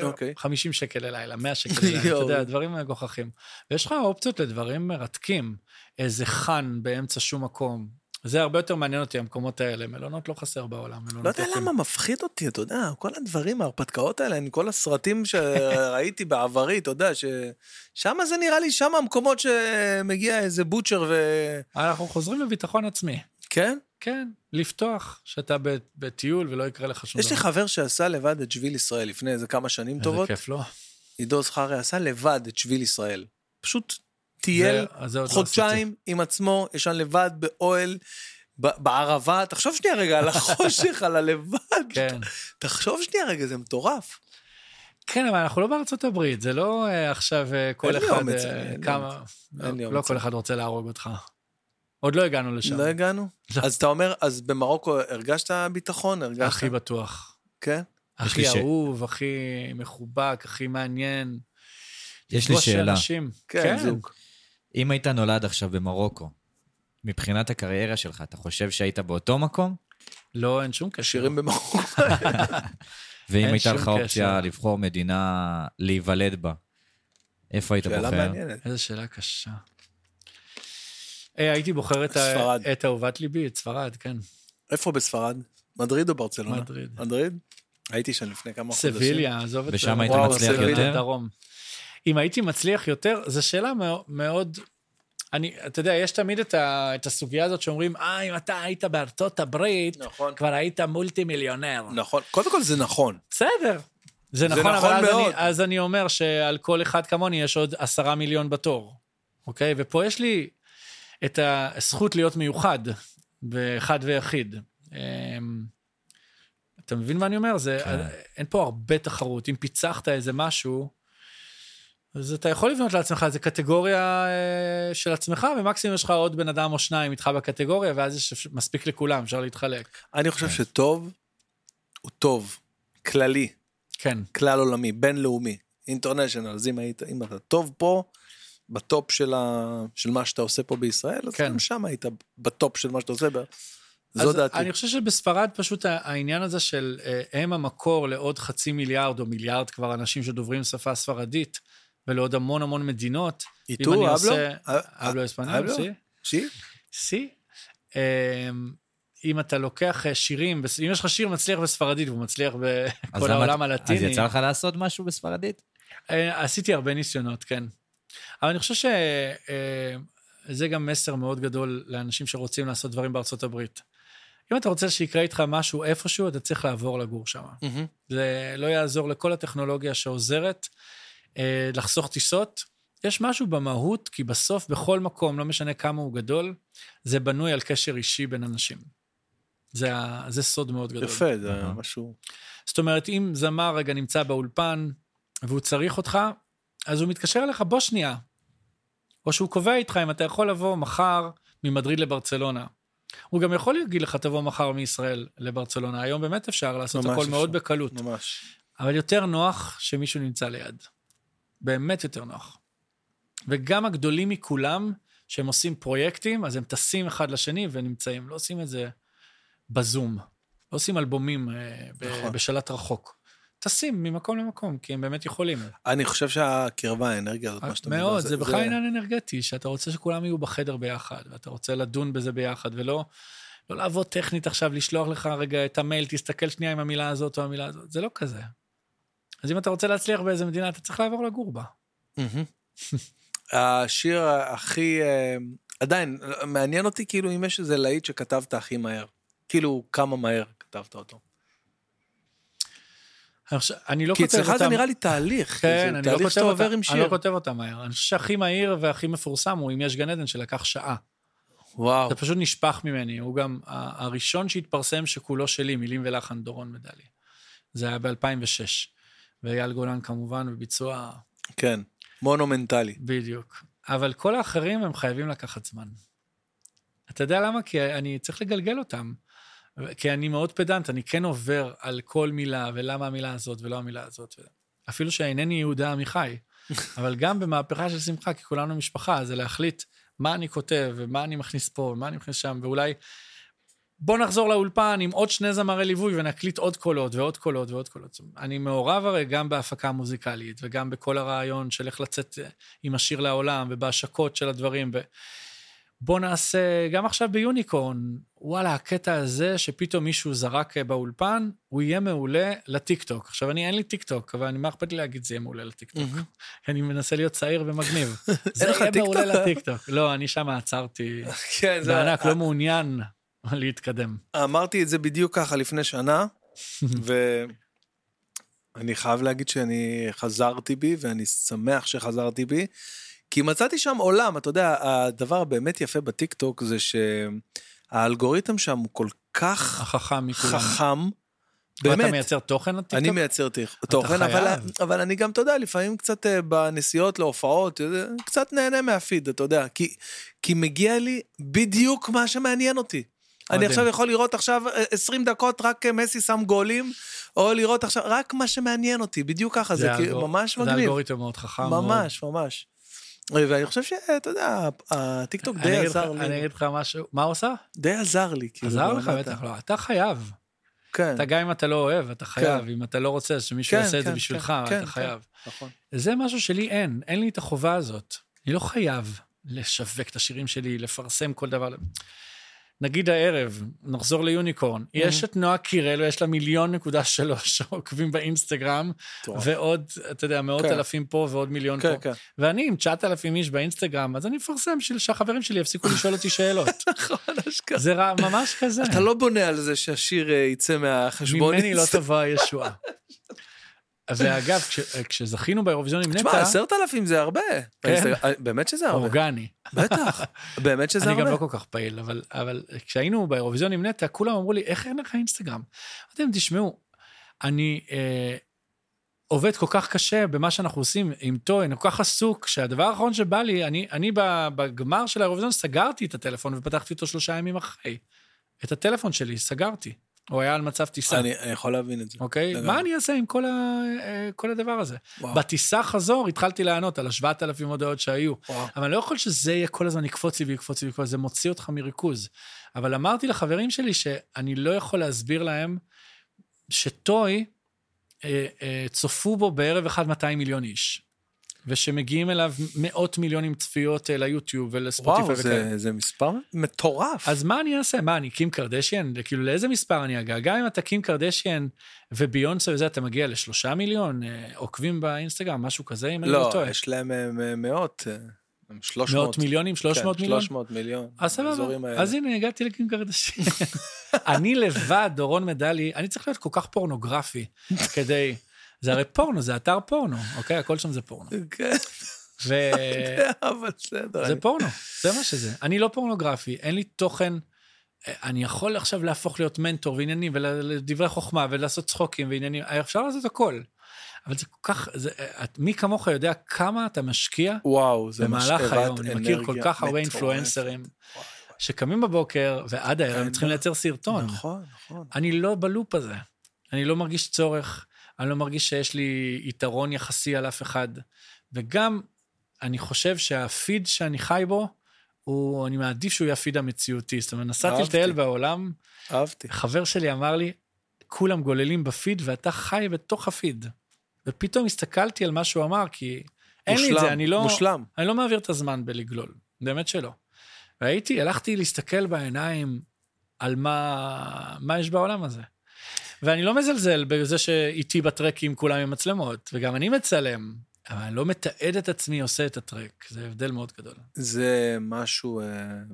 [SPEAKER 1] אוקיי.
[SPEAKER 2] ב-50 שקל ללילה, 100 שקל ללילה, אתה
[SPEAKER 1] יואו.
[SPEAKER 2] יודע, דברים מגוחכים. ויש לך אופציות לדברים מרתקים, איזה חאן באמצע שום מקום. זה הרבה יותר מעניין אותי, המקומות האלה. מלונות לא חסר בעולם, מלונות
[SPEAKER 1] לא יודע
[SPEAKER 2] יפים.
[SPEAKER 1] למה מפחיד אותי, אתה יודע, כל הדברים, ההרפתקאות האלה, אני- כל הסרטים שראיתי בעברי, אתה יודע, ששם זה נראה לי, שם המקומות שמגיע איזה בוטשר ו...
[SPEAKER 2] אנחנו חוזרים לביטחון עצמי.
[SPEAKER 1] כן?
[SPEAKER 2] כן, לפתוח, שאתה ב- בטיול ולא יקרה לך שום דבר.
[SPEAKER 1] יש לי חבר שעשה לבד את שביל ישראל לפני איזה כמה שנים טובות.
[SPEAKER 2] איזה כיף, לא?
[SPEAKER 1] עידו זכריה עשה לבד את שביל ישראל. פשוט טייל
[SPEAKER 2] זה- אז זה עוד לא
[SPEAKER 1] חודשיים עם עצמו, ישן לבד באוהל, ב- בערבה. תחשוב שנייה רגע על החושך, על הלבד.
[SPEAKER 2] עשיתי. כן.
[SPEAKER 1] תחשוב שנייה רגע, זה מטורף.
[SPEAKER 2] כן, אבל אנחנו לא בארצות הברית, זה לא אה, עכשיו אה, כל
[SPEAKER 1] אין לי
[SPEAKER 2] אחד
[SPEAKER 1] אומץ,
[SPEAKER 2] אה,
[SPEAKER 1] אין לי
[SPEAKER 2] כמה...
[SPEAKER 1] אין לי
[SPEAKER 2] לא, לא
[SPEAKER 1] אומץ.
[SPEAKER 2] כל אחד רוצה להרוג אותך. עוד לא הגענו לשם.
[SPEAKER 1] לא הגענו?
[SPEAKER 2] לא.
[SPEAKER 1] אז אתה אומר, אז במרוקו הרגשת ביטחון? הרגשת?
[SPEAKER 2] הכי בטוח.
[SPEAKER 1] כן?
[SPEAKER 3] יש לי
[SPEAKER 2] הכי
[SPEAKER 3] ש-
[SPEAKER 2] אהוב, הכי מחובק, הכי מעניין.
[SPEAKER 3] יש לי
[SPEAKER 2] לפגוש
[SPEAKER 3] שאלה.
[SPEAKER 2] אנשים.
[SPEAKER 1] כן,
[SPEAKER 2] כן,
[SPEAKER 1] זוג.
[SPEAKER 3] אם היית נולד עכשיו במרוקו, מבחינת הקריירה שלך, אתה חושב שהיית באותו מקום?
[SPEAKER 2] לא, אין שום קשר.
[SPEAKER 1] שירים במרוקו.
[SPEAKER 3] ואם
[SPEAKER 2] אין
[SPEAKER 3] הייתה
[SPEAKER 2] שום
[SPEAKER 3] לך אופציה
[SPEAKER 2] קשר.
[SPEAKER 3] לבחור מדינה להיוולד בה, איפה היית
[SPEAKER 1] שאלה
[SPEAKER 3] בוחר?
[SPEAKER 1] מעניינת.
[SPEAKER 2] איזו שאלה קשה. אה, הייתי בוחר את, ה-
[SPEAKER 1] ספרד.
[SPEAKER 2] את אהובת ליבי, את ספרד, כן,
[SPEAKER 1] איפה בספרד? מדריד או ברצלונה?
[SPEAKER 2] מדריד.
[SPEAKER 1] מדריד? הייתי שם לפני כמה חודשים.
[SPEAKER 2] סביליה, עזוב את
[SPEAKER 3] ושם היית
[SPEAKER 1] וואו,
[SPEAKER 3] מצליח
[SPEAKER 1] סביליה.
[SPEAKER 3] יותר?
[SPEAKER 2] דרום. אם הייתי מצליח יותר, זו שאלה מאו- מאוד... אני, אתה יודע, יש תמיד את, ה, את הסוגיה הזאת שאומרים, אה, אם אתה היית בארצות הברית,
[SPEAKER 1] נכון.
[SPEAKER 2] כבר היית מולטי מיליונר.
[SPEAKER 1] נכון. קודם כל זה נכון.
[SPEAKER 2] בסדר. זה נכון,
[SPEAKER 1] נכון
[SPEAKER 2] אבל אז
[SPEAKER 1] מאוד.
[SPEAKER 2] אני, אז אני אומר שעל כל אחד כמוני יש עוד עשרה מיליון בתור, אוקיי? ופה יש לי את הזכות להיות מיוחד, ואחד ויחיד. אמ, אתה מבין מה אני אומר? זה,
[SPEAKER 3] כן.
[SPEAKER 2] אין פה הרבה תחרות. אם פיצחת איזה משהו, אז אתה יכול לבנות לעצמך איזה קטגוריה אה, של עצמך, ומקסימום יש לך עוד בן אדם או שניים איתך בקטגוריה, ואז יש אפ- מספיק לכולם, אפשר להתחלק.
[SPEAKER 1] אני חושב
[SPEAKER 3] כן.
[SPEAKER 1] שטוב הוא טוב, כללי,
[SPEAKER 2] כן.
[SPEAKER 1] כלל עולמי, בינלאומי, אינטרנשיונל, אז אם, היית, אם אתה טוב פה, בטופ של, ה, של מה שאתה עושה פה בישראל, אז
[SPEAKER 2] כן.
[SPEAKER 1] גם שם היית בטופ של מה שאתה עושה, ב- זו
[SPEAKER 2] אז
[SPEAKER 1] דעתי.
[SPEAKER 2] אני חושב שבספרד פשוט ה- העניין הזה של אה, הם המקור לעוד חצי מיליארד או מיליארד כבר אנשים שדוברים שפה ספרדית, ולעוד המון המון מדינות.
[SPEAKER 1] איתו,
[SPEAKER 2] אם אני
[SPEAKER 1] אבלו?
[SPEAKER 2] עושה-
[SPEAKER 1] אה,
[SPEAKER 2] אבלו
[SPEAKER 1] אבלו?
[SPEAKER 2] אספניול, סי.
[SPEAKER 1] שי?
[SPEAKER 2] סי. אמ, אם אתה לוקח אה, שירים, בס- אם יש לך שיר מצליח בספרדית והוא מצליח
[SPEAKER 3] אז
[SPEAKER 2] בכל
[SPEAKER 3] למה-
[SPEAKER 2] העולם הלטיני...
[SPEAKER 3] אז יצא לך לעשות משהו בספרדית?
[SPEAKER 2] אה, עשיתי הרבה ניסיונות, כן. אבל אני חושב שזה גם מסר מאוד גדול לאנשים שרוצים לעשות דברים בארצות הברית. אם אתה רוצה שיקרה איתך משהו איפשהו, אתה צריך לעבור לגור שם.
[SPEAKER 1] מהמם.
[SPEAKER 2] זה לא יעזור לכל הטכנולוגיה שעוזרת אה, לחסוך טיסות. יש משהו במהות, כי בסוף בכל מקום, לא משנה כמה הוא גדול, זה בנוי על קשר אישי בין אנשים. זה, ה- זה סוד מאוד גדול.
[SPEAKER 1] יפה, זה
[SPEAKER 3] אהה.
[SPEAKER 1] משהו...
[SPEAKER 2] זאת אומרת, אם זמר רגע נמצא באולפן והוא צריך אותך, אז הוא מתקשר אליך, בוא שנייה. או שהוא קובע איתך אם אתה יכול לבוא מחר ממדריד לברצלונה. הוא גם יכול להגיד לך, תבוא מחר מישראל לברצלונה. היום באמת אפשר לעשות
[SPEAKER 1] ממש
[SPEAKER 2] הכל
[SPEAKER 1] אפשר.
[SPEAKER 2] מאוד בקלות.
[SPEAKER 1] ממש.
[SPEAKER 2] אבל יותר נוח שמישהו נמצא ליד. באמת יותר נוח. וגם הגדולים מכולם, שהם עושים פרויקטים, אז הם טסים אחד לשני ונמצאים. לא עושים את זה בזום. לא עושים אלבומים אה, ב-
[SPEAKER 1] נכון.
[SPEAKER 2] בשלט רחוק. טסים ממקום למקום, כי הם באמת יכולים.
[SPEAKER 1] אני חושב שהקרבה, האנרגיה הזאת, מה שאתה מדבר,
[SPEAKER 2] אה, מאוד, זה בכלל עניין אנרגטי, שאתה רוצה שכולם יהיו בחדר ביחד, ואתה רוצה לדון בזה ביחד, ולא לא לעבוד טכנית עכשיו, לשלוח לך רגע את המייל, תסתכל שנייה אם המילה הזאת או המילה הזאת, זה לא כזה. אז אם אתה רוצה להצליח באיזה מדינה, אתה צריך לעבור לגור בה.
[SPEAKER 1] מהמם. השיר הכי... אה, עדיין, מעניין אותי כאילו אם יש איזה להיט שכתבת הכי מהר. כאילו, כמה מהר כתבת אותו.
[SPEAKER 2] אני חושב- אני לא
[SPEAKER 1] כי
[SPEAKER 2] כותב אותם...
[SPEAKER 1] אצלך זה נראה לי תהליך. כאילו,
[SPEAKER 2] כן,
[SPEAKER 1] זה
[SPEAKER 2] אני לא
[SPEAKER 1] תהליך
[SPEAKER 2] כותב
[SPEAKER 1] שאתה
[SPEAKER 2] אותם,
[SPEAKER 1] עובר עם
[SPEAKER 2] אני לא
[SPEAKER 1] שיר.
[SPEAKER 2] כותב אותם מהר. אני חושב שהכי מהיר והכי מפורסם הוא אם יש גן עדן שלקח שעה.
[SPEAKER 1] וואו.
[SPEAKER 2] זה פשוט נשפך ממני. הוא גם ה- הראשון שהתפרסם שכולו שלי, מילים ולחן, דורון מדלי. זה היה ב-2006. ואייל גולן כמובן בביצוע,
[SPEAKER 1] כן. מונומנטלי.
[SPEAKER 2] בדיוק. אבל כל האחרים הם חייבים לקחת זמן. אתה יודע למה? כי אני צריך לגלגל אותם. ו- כי אני מאוד פדנט, אני כן עובר על כל מילה, ולמה המילה הזאת ולא המילה הזאת. ו- אפילו שאינני יהודה עמיחי. אבל גם במהפכה של שמחה, כי כולנו משפחה, זה להחליט מה אני כותב, ומה אני מכניס פה, ומה אני מכניס שם, ואולי... בוא נחזור לאולפן עם עוד שני זמרי ליווי ונקליט עוד קולות ועוד קולות ועוד קולות. אני מעורב הרי גם בהפקה המוזיקלית, וגם בכל הרעיון של איך לצאת אה, עם השיר לעולם, ובהשקות של הדברים. ו... בוא נעשה, גם עכשיו ביוניקורן, וואלה, הקטע הזה שפתאום מישהו זרק אה, באולפן, הוא יהיה מעולה לטיקטוק. עכשיו, אני, אין לי טיקטוק, אבל אני, מה אכפת לי להגיד זה יהיה מעולה לטיקטוק?
[SPEAKER 1] מהמם.
[SPEAKER 2] אני מנסה להיות צעיר ומגניב. זה
[SPEAKER 1] אין לך
[SPEAKER 2] יהיה מעולה
[SPEAKER 1] טיקטוק?
[SPEAKER 2] לטיקטוק. לא, אני שם עצרתי
[SPEAKER 1] כן, זה...
[SPEAKER 2] בענק, לא מעוניין להתקדם.
[SPEAKER 1] אמרתי את זה בדיוק ככה לפני שנה, ואני חייב להגיד שאני חזרתי בי, ואני שמח שחזרתי בי, כי מצאתי שם עולם, אתה יודע, הדבר הבאמת יפה בטיקטוק זה שהאלגוריתם שם הוא כל כך
[SPEAKER 2] החכם מכולם.
[SPEAKER 1] חכם,
[SPEAKER 2] ואתה
[SPEAKER 1] באמת.
[SPEAKER 2] מייצר תוכן לטיקטוק?
[SPEAKER 1] אני מייצר תיך- תוכן,
[SPEAKER 2] חייב.
[SPEAKER 1] אבל, אבל אני גם, אתה יודע, לפעמים קצת אה, בנסיעות להופעות, אה, קצת נהנה מהפיד, אתה יודע, כי, כי מגיע לי בדיוק מה שמעניין אותי. אני
[SPEAKER 2] מדהים.
[SPEAKER 1] עכשיו יכול לראות עכשיו אה, 20 דקות רק אה, מסי שם גולים, או לראות עכשיו רק מה שמעניין אותי, בדיוק ככה, זה, כאילו
[SPEAKER 2] אלגור-
[SPEAKER 1] ממש
[SPEAKER 2] זה
[SPEAKER 1] מגניב.
[SPEAKER 2] אלגוריתם מאוד חכם. מאוד.
[SPEAKER 1] ממש, ממש. אה, ואני חושב שאתה יודע, הטיקטוק
[SPEAKER 2] אני
[SPEAKER 1] די
[SPEAKER 2] אגיד לך-
[SPEAKER 1] עזר
[SPEAKER 2] אני
[SPEAKER 1] לי,
[SPEAKER 2] אגיד לך משהו, מה הוא עשה?
[SPEAKER 1] די עזר לי, כאילו.
[SPEAKER 2] עזר לך
[SPEAKER 1] ברמת ה-
[SPEAKER 2] בטח, לא, אתה חייב.
[SPEAKER 1] כן,
[SPEAKER 2] אתה גם אם אתה לא אוהב, אתה חייב. אם אתה לא רוצה שמישהו
[SPEAKER 1] כן,
[SPEAKER 2] יעשה את זה
[SPEAKER 1] כן,
[SPEAKER 2] בשבילך,
[SPEAKER 1] כן,
[SPEAKER 2] אבל
[SPEAKER 1] כן,
[SPEAKER 2] אתה חייב.
[SPEAKER 1] נכון.
[SPEAKER 2] זה משהו שלי אין, אין לי את החובה הזאת. אני לא חייב לשווק את השירים שלי, לפרסם כל דבר. נגיד הערב, נחזור ליוניקורן,
[SPEAKER 1] Mm-hmm.
[SPEAKER 2] יש את נועה קירל, ויש לה מיליון נקודה שלוש עוקבים באינסטגרם,
[SPEAKER 1] מטורף.
[SPEAKER 2] ועוד, אתה יודע, מאות
[SPEAKER 1] כן.
[SPEAKER 2] אלפים פה ועוד מיליון
[SPEAKER 1] כן,
[SPEAKER 2] פה.
[SPEAKER 1] כן.
[SPEAKER 2] ואני עם 9,000 איש באינסטגרם, אז אני מפרסם בשביל שהחברים שלי יפסיקו לשאול אותי שאלות. זה רע- ממש כזה.
[SPEAKER 1] אתה לא בונה על זה שהשיר אה, יצא מהחשבונית.
[SPEAKER 2] ממני לא תבוא הישועה. ואגב, כש- כשזכינו באירוויזיון עם
[SPEAKER 1] תשמע,
[SPEAKER 2] נטע,
[SPEAKER 1] עשרת אלפים זה הרבה.
[SPEAKER 2] כן.
[SPEAKER 1] באינסטגרם- באמת שזה הרבה.
[SPEAKER 2] אורגני.
[SPEAKER 1] בטח. באמת שזה
[SPEAKER 2] אני
[SPEAKER 1] הרבה.
[SPEAKER 2] גם לא כל כך פעיל, אבל, אבל כשהיינו באירוויזיון עם נטע, כולם אמרו לי, איך אין לך אינסטגרם? אמרתי להם, תשמעו, אני אה, עובד כל כך קשה במה שאנחנו עושים עם טוי, אני כל כך עסוק, שהדבר האחרון שבא לי, אני, אני ב- בגמר של האירוויזיון סגרתי את הטלפון ופתחתי אותו שלושה ימים אחרי. את הטלפון שלי סגרתי. הוא היה על מצב טיסה,
[SPEAKER 1] אני אני יכול להבין את זה.
[SPEAKER 2] אוקיי?
[SPEAKER 1] לגמרי. אה.
[SPEAKER 2] מה אני אעשה עם כל, ה, אה, כל הדבר הזה?
[SPEAKER 1] וואו.
[SPEAKER 2] בטיסה חזור התחלתי לענות על ה-7,000 הודעות שהיו.
[SPEAKER 1] וואו.
[SPEAKER 2] אבל אני לא יכול שזה יהיה כל הזמן יקפוץ לי ויקפוץ לי ויקפוץ, זה מוציא אותך מריכוז. אבל אמרתי לחברים שלי שאני לא יכול להסביר להם שטוי, אה, אה, צופו בו בערב אחד 200 מיליון איש. ושמגיעים אליו מאות מיליונים צפיות אה, ליוטיוב ולספוטיפיי
[SPEAKER 1] וואו, זה, זה מספר מטורף.
[SPEAKER 2] אז מה אני אעשה? מה, אני קים קרדשיאן? כאילו, לאיזה מספר אני אגע? גם אם אתה קים קרדשיאן וביונסה וזה, אתה מגיע לשלושה מיליון אה, עוקבים באינסטגרם, משהו כזה, אם אני לא
[SPEAKER 1] לא,
[SPEAKER 2] טועה.
[SPEAKER 1] יש להם אה, מ- מאות, אה, הם 300.
[SPEAKER 2] מאות מיליונים? 300
[SPEAKER 1] כן,
[SPEAKER 2] מיליון?
[SPEAKER 1] 300 מיליון.
[SPEAKER 2] אז
[SPEAKER 1] האזורים
[SPEAKER 2] אה, סבבה,
[SPEAKER 1] האלה.
[SPEAKER 2] אז הנה, הגעתי לקים קרדשיאן. אני לבד, דורון מדלי, אני צריך להיות כל כך פורנוגרפי כדי... זה הרי פורנו, זה אתר פורנו, אוקיי? הכל שם זה פורנו.
[SPEAKER 1] כן,
[SPEAKER 2] ו...
[SPEAKER 1] אבל בסדר.
[SPEAKER 2] אה, זה
[SPEAKER 1] אני-
[SPEAKER 2] פורנו, זה מה שזה. אני לא פורנוגרפי, אין לי תוכן. אה, אני יכול עכשיו להפוך להיות מנטור ועניינים ולדברי חוכמה ולעשות צחוקים ועניינים, אה, אפשר לעשות הכל. אבל זה כל כך, זה, אה, את- מי כמוך יודע כמה אתה משקיע
[SPEAKER 1] וואו, זה
[SPEAKER 2] במהלך
[SPEAKER 1] משאבת
[SPEAKER 2] היום. אני מכיר כל
[SPEAKER 1] אנרגיה
[SPEAKER 2] כך הרבה
[SPEAKER 1] מטורפת.
[SPEAKER 2] אינפלואנסרים
[SPEAKER 1] וואי,
[SPEAKER 2] שקמים בבוקר ועד הערב הם צריכים לייצר סרטון.
[SPEAKER 1] כן, נכון, נכון.
[SPEAKER 2] אני לא בלופ הזה. אני לא מרגיש צורך, אני לא מרגיש שיש לי יתרון יחסי על אף אחד. וגם, אני חושב שהפיד שאני חי בו, הוא, אני מעדיף שהוא יהיה הפיד המציאותי. זאת אומרת, נסעתי
[SPEAKER 1] אהבתי.
[SPEAKER 2] לטייל בעולם,
[SPEAKER 1] אהבתי.
[SPEAKER 2] חבר שלי אמר לי, כולם גוללים בפיד ואתה חי בתוך הפיד. ופתאום הסתכלתי על מה שהוא אמר, כי אין לי את
[SPEAKER 1] מושלם,
[SPEAKER 2] זה, אני לא...
[SPEAKER 1] מושלם.
[SPEAKER 2] אני לא מעביר את הזמן בלגלול, באמת שלא. והייתי, הלכתי להסתכל בעיניים על מה, מה יש בעולם הזה. ואני לא מזלזל בזה שאיתי בטרקים כולם עם מצלמות, וגם אני מצלם, אבל אני לא מתעד את עצמי עושה את הטרק, זה הבדל מאוד גדול.
[SPEAKER 1] זה משהו אה,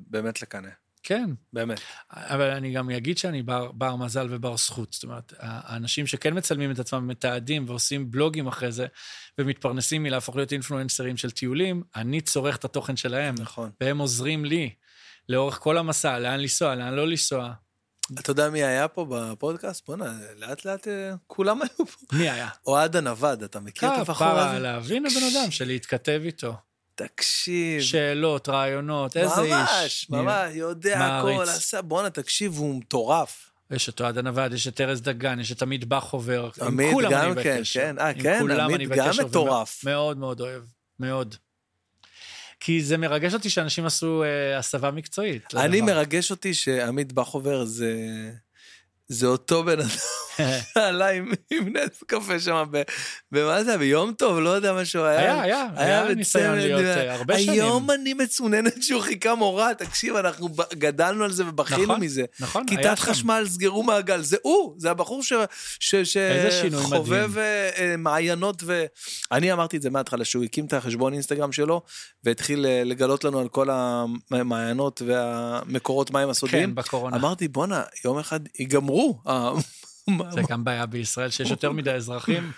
[SPEAKER 1] באמת לקנא,
[SPEAKER 2] כן,
[SPEAKER 1] באמת.
[SPEAKER 2] אבל אני גם אגיד שאני בר, בר מזל ובר זכות. זאת אומרת, ה- האנשים שכן מצלמים את עצמם, מתעדים ועושים בלוגים אחרי זה, ומתפרנסים מלהפוך להיות אינפלואנסרים של טיולים, אני צורך את התוכן שלהם.
[SPEAKER 1] נכון.
[SPEAKER 2] והם עוזרים לי לאורך כל המסע, לאן לנסוע, לאן לא לנסוע.
[SPEAKER 1] אתה יודע מי היה פה בפודקאסט? בוא'נה, לאט לאט אה, כולם היו פה.
[SPEAKER 2] מי היה?
[SPEAKER 1] אוהד הנווד, אתה מכיר
[SPEAKER 2] אה,
[SPEAKER 1] את הבחור
[SPEAKER 2] כפרה
[SPEAKER 1] הזה?
[SPEAKER 2] עליו, הנה בן אדם שלהתכתב איתו.
[SPEAKER 1] תקשיב.
[SPEAKER 2] שאלות, רעיונות, איזה איש.
[SPEAKER 1] כן. ממש, ממש, יודע
[SPEAKER 2] מעריץ.
[SPEAKER 1] הכל, עשה, בואנה, תקשיב, הוא מטורף.
[SPEAKER 2] יש את אוהד הנווד, יש את ארז דגן, יש את עמית בחובר. עם
[SPEAKER 1] עמית
[SPEAKER 2] כולם
[SPEAKER 1] גם
[SPEAKER 2] אני
[SPEAKER 1] כן,
[SPEAKER 2] בקשר.
[SPEAKER 1] כן. אה,
[SPEAKER 2] עם
[SPEAKER 1] כן,
[SPEAKER 2] כולם
[SPEAKER 1] עמית
[SPEAKER 2] אני
[SPEAKER 1] גם
[SPEAKER 2] בקשר,
[SPEAKER 1] מטורף.
[SPEAKER 2] ומאוד מאוד אוהב, מאוד. כי זה מרגש אותי שאנשים עשו אה, הסבה מקצועית.
[SPEAKER 1] אני
[SPEAKER 2] לדבר.
[SPEAKER 1] מרגש אותי שעמית בחובר זה... זה אותו בן אדם שעלה עם עם נס קפה שם, ב- במה זה, היה? ביום טוב, לא יודע מה שהוא היה.
[SPEAKER 2] היה, היה, היה
[SPEAKER 1] בצמד,
[SPEAKER 2] ניסיון להיות אה, הרבה שנים.
[SPEAKER 1] היום אני מצוננת שהוא חיכה מורה, תקשיב, אנחנו ב- גדלנו על זה ובכינו
[SPEAKER 2] נכון,
[SPEAKER 1] מזה.
[SPEAKER 2] נכון, היה
[SPEAKER 1] כיתת
[SPEAKER 2] שם.
[SPEAKER 1] חשמל, סגרו מעגל, זה הוא, זה הבחור ש- ש-
[SPEAKER 2] איזה שינוי
[SPEAKER 1] שחובב אה, אה, מעיינות ו... אני אמרתי את זה מההתחלה, שהוא הקים את החשבון אינסטגרם שלו, והתחיל אה, לגלות לנו על כל המעיינות והמקורות מים הסודיים.
[SPEAKER 2] כן, בקורונה.
[SPEAKER 1] אמרתי, בואנה, יום אחד ייגמרו. ה-
[SPEAKER 2] זה גם בעיה בישראל, שיש יותר מדי אזרחים,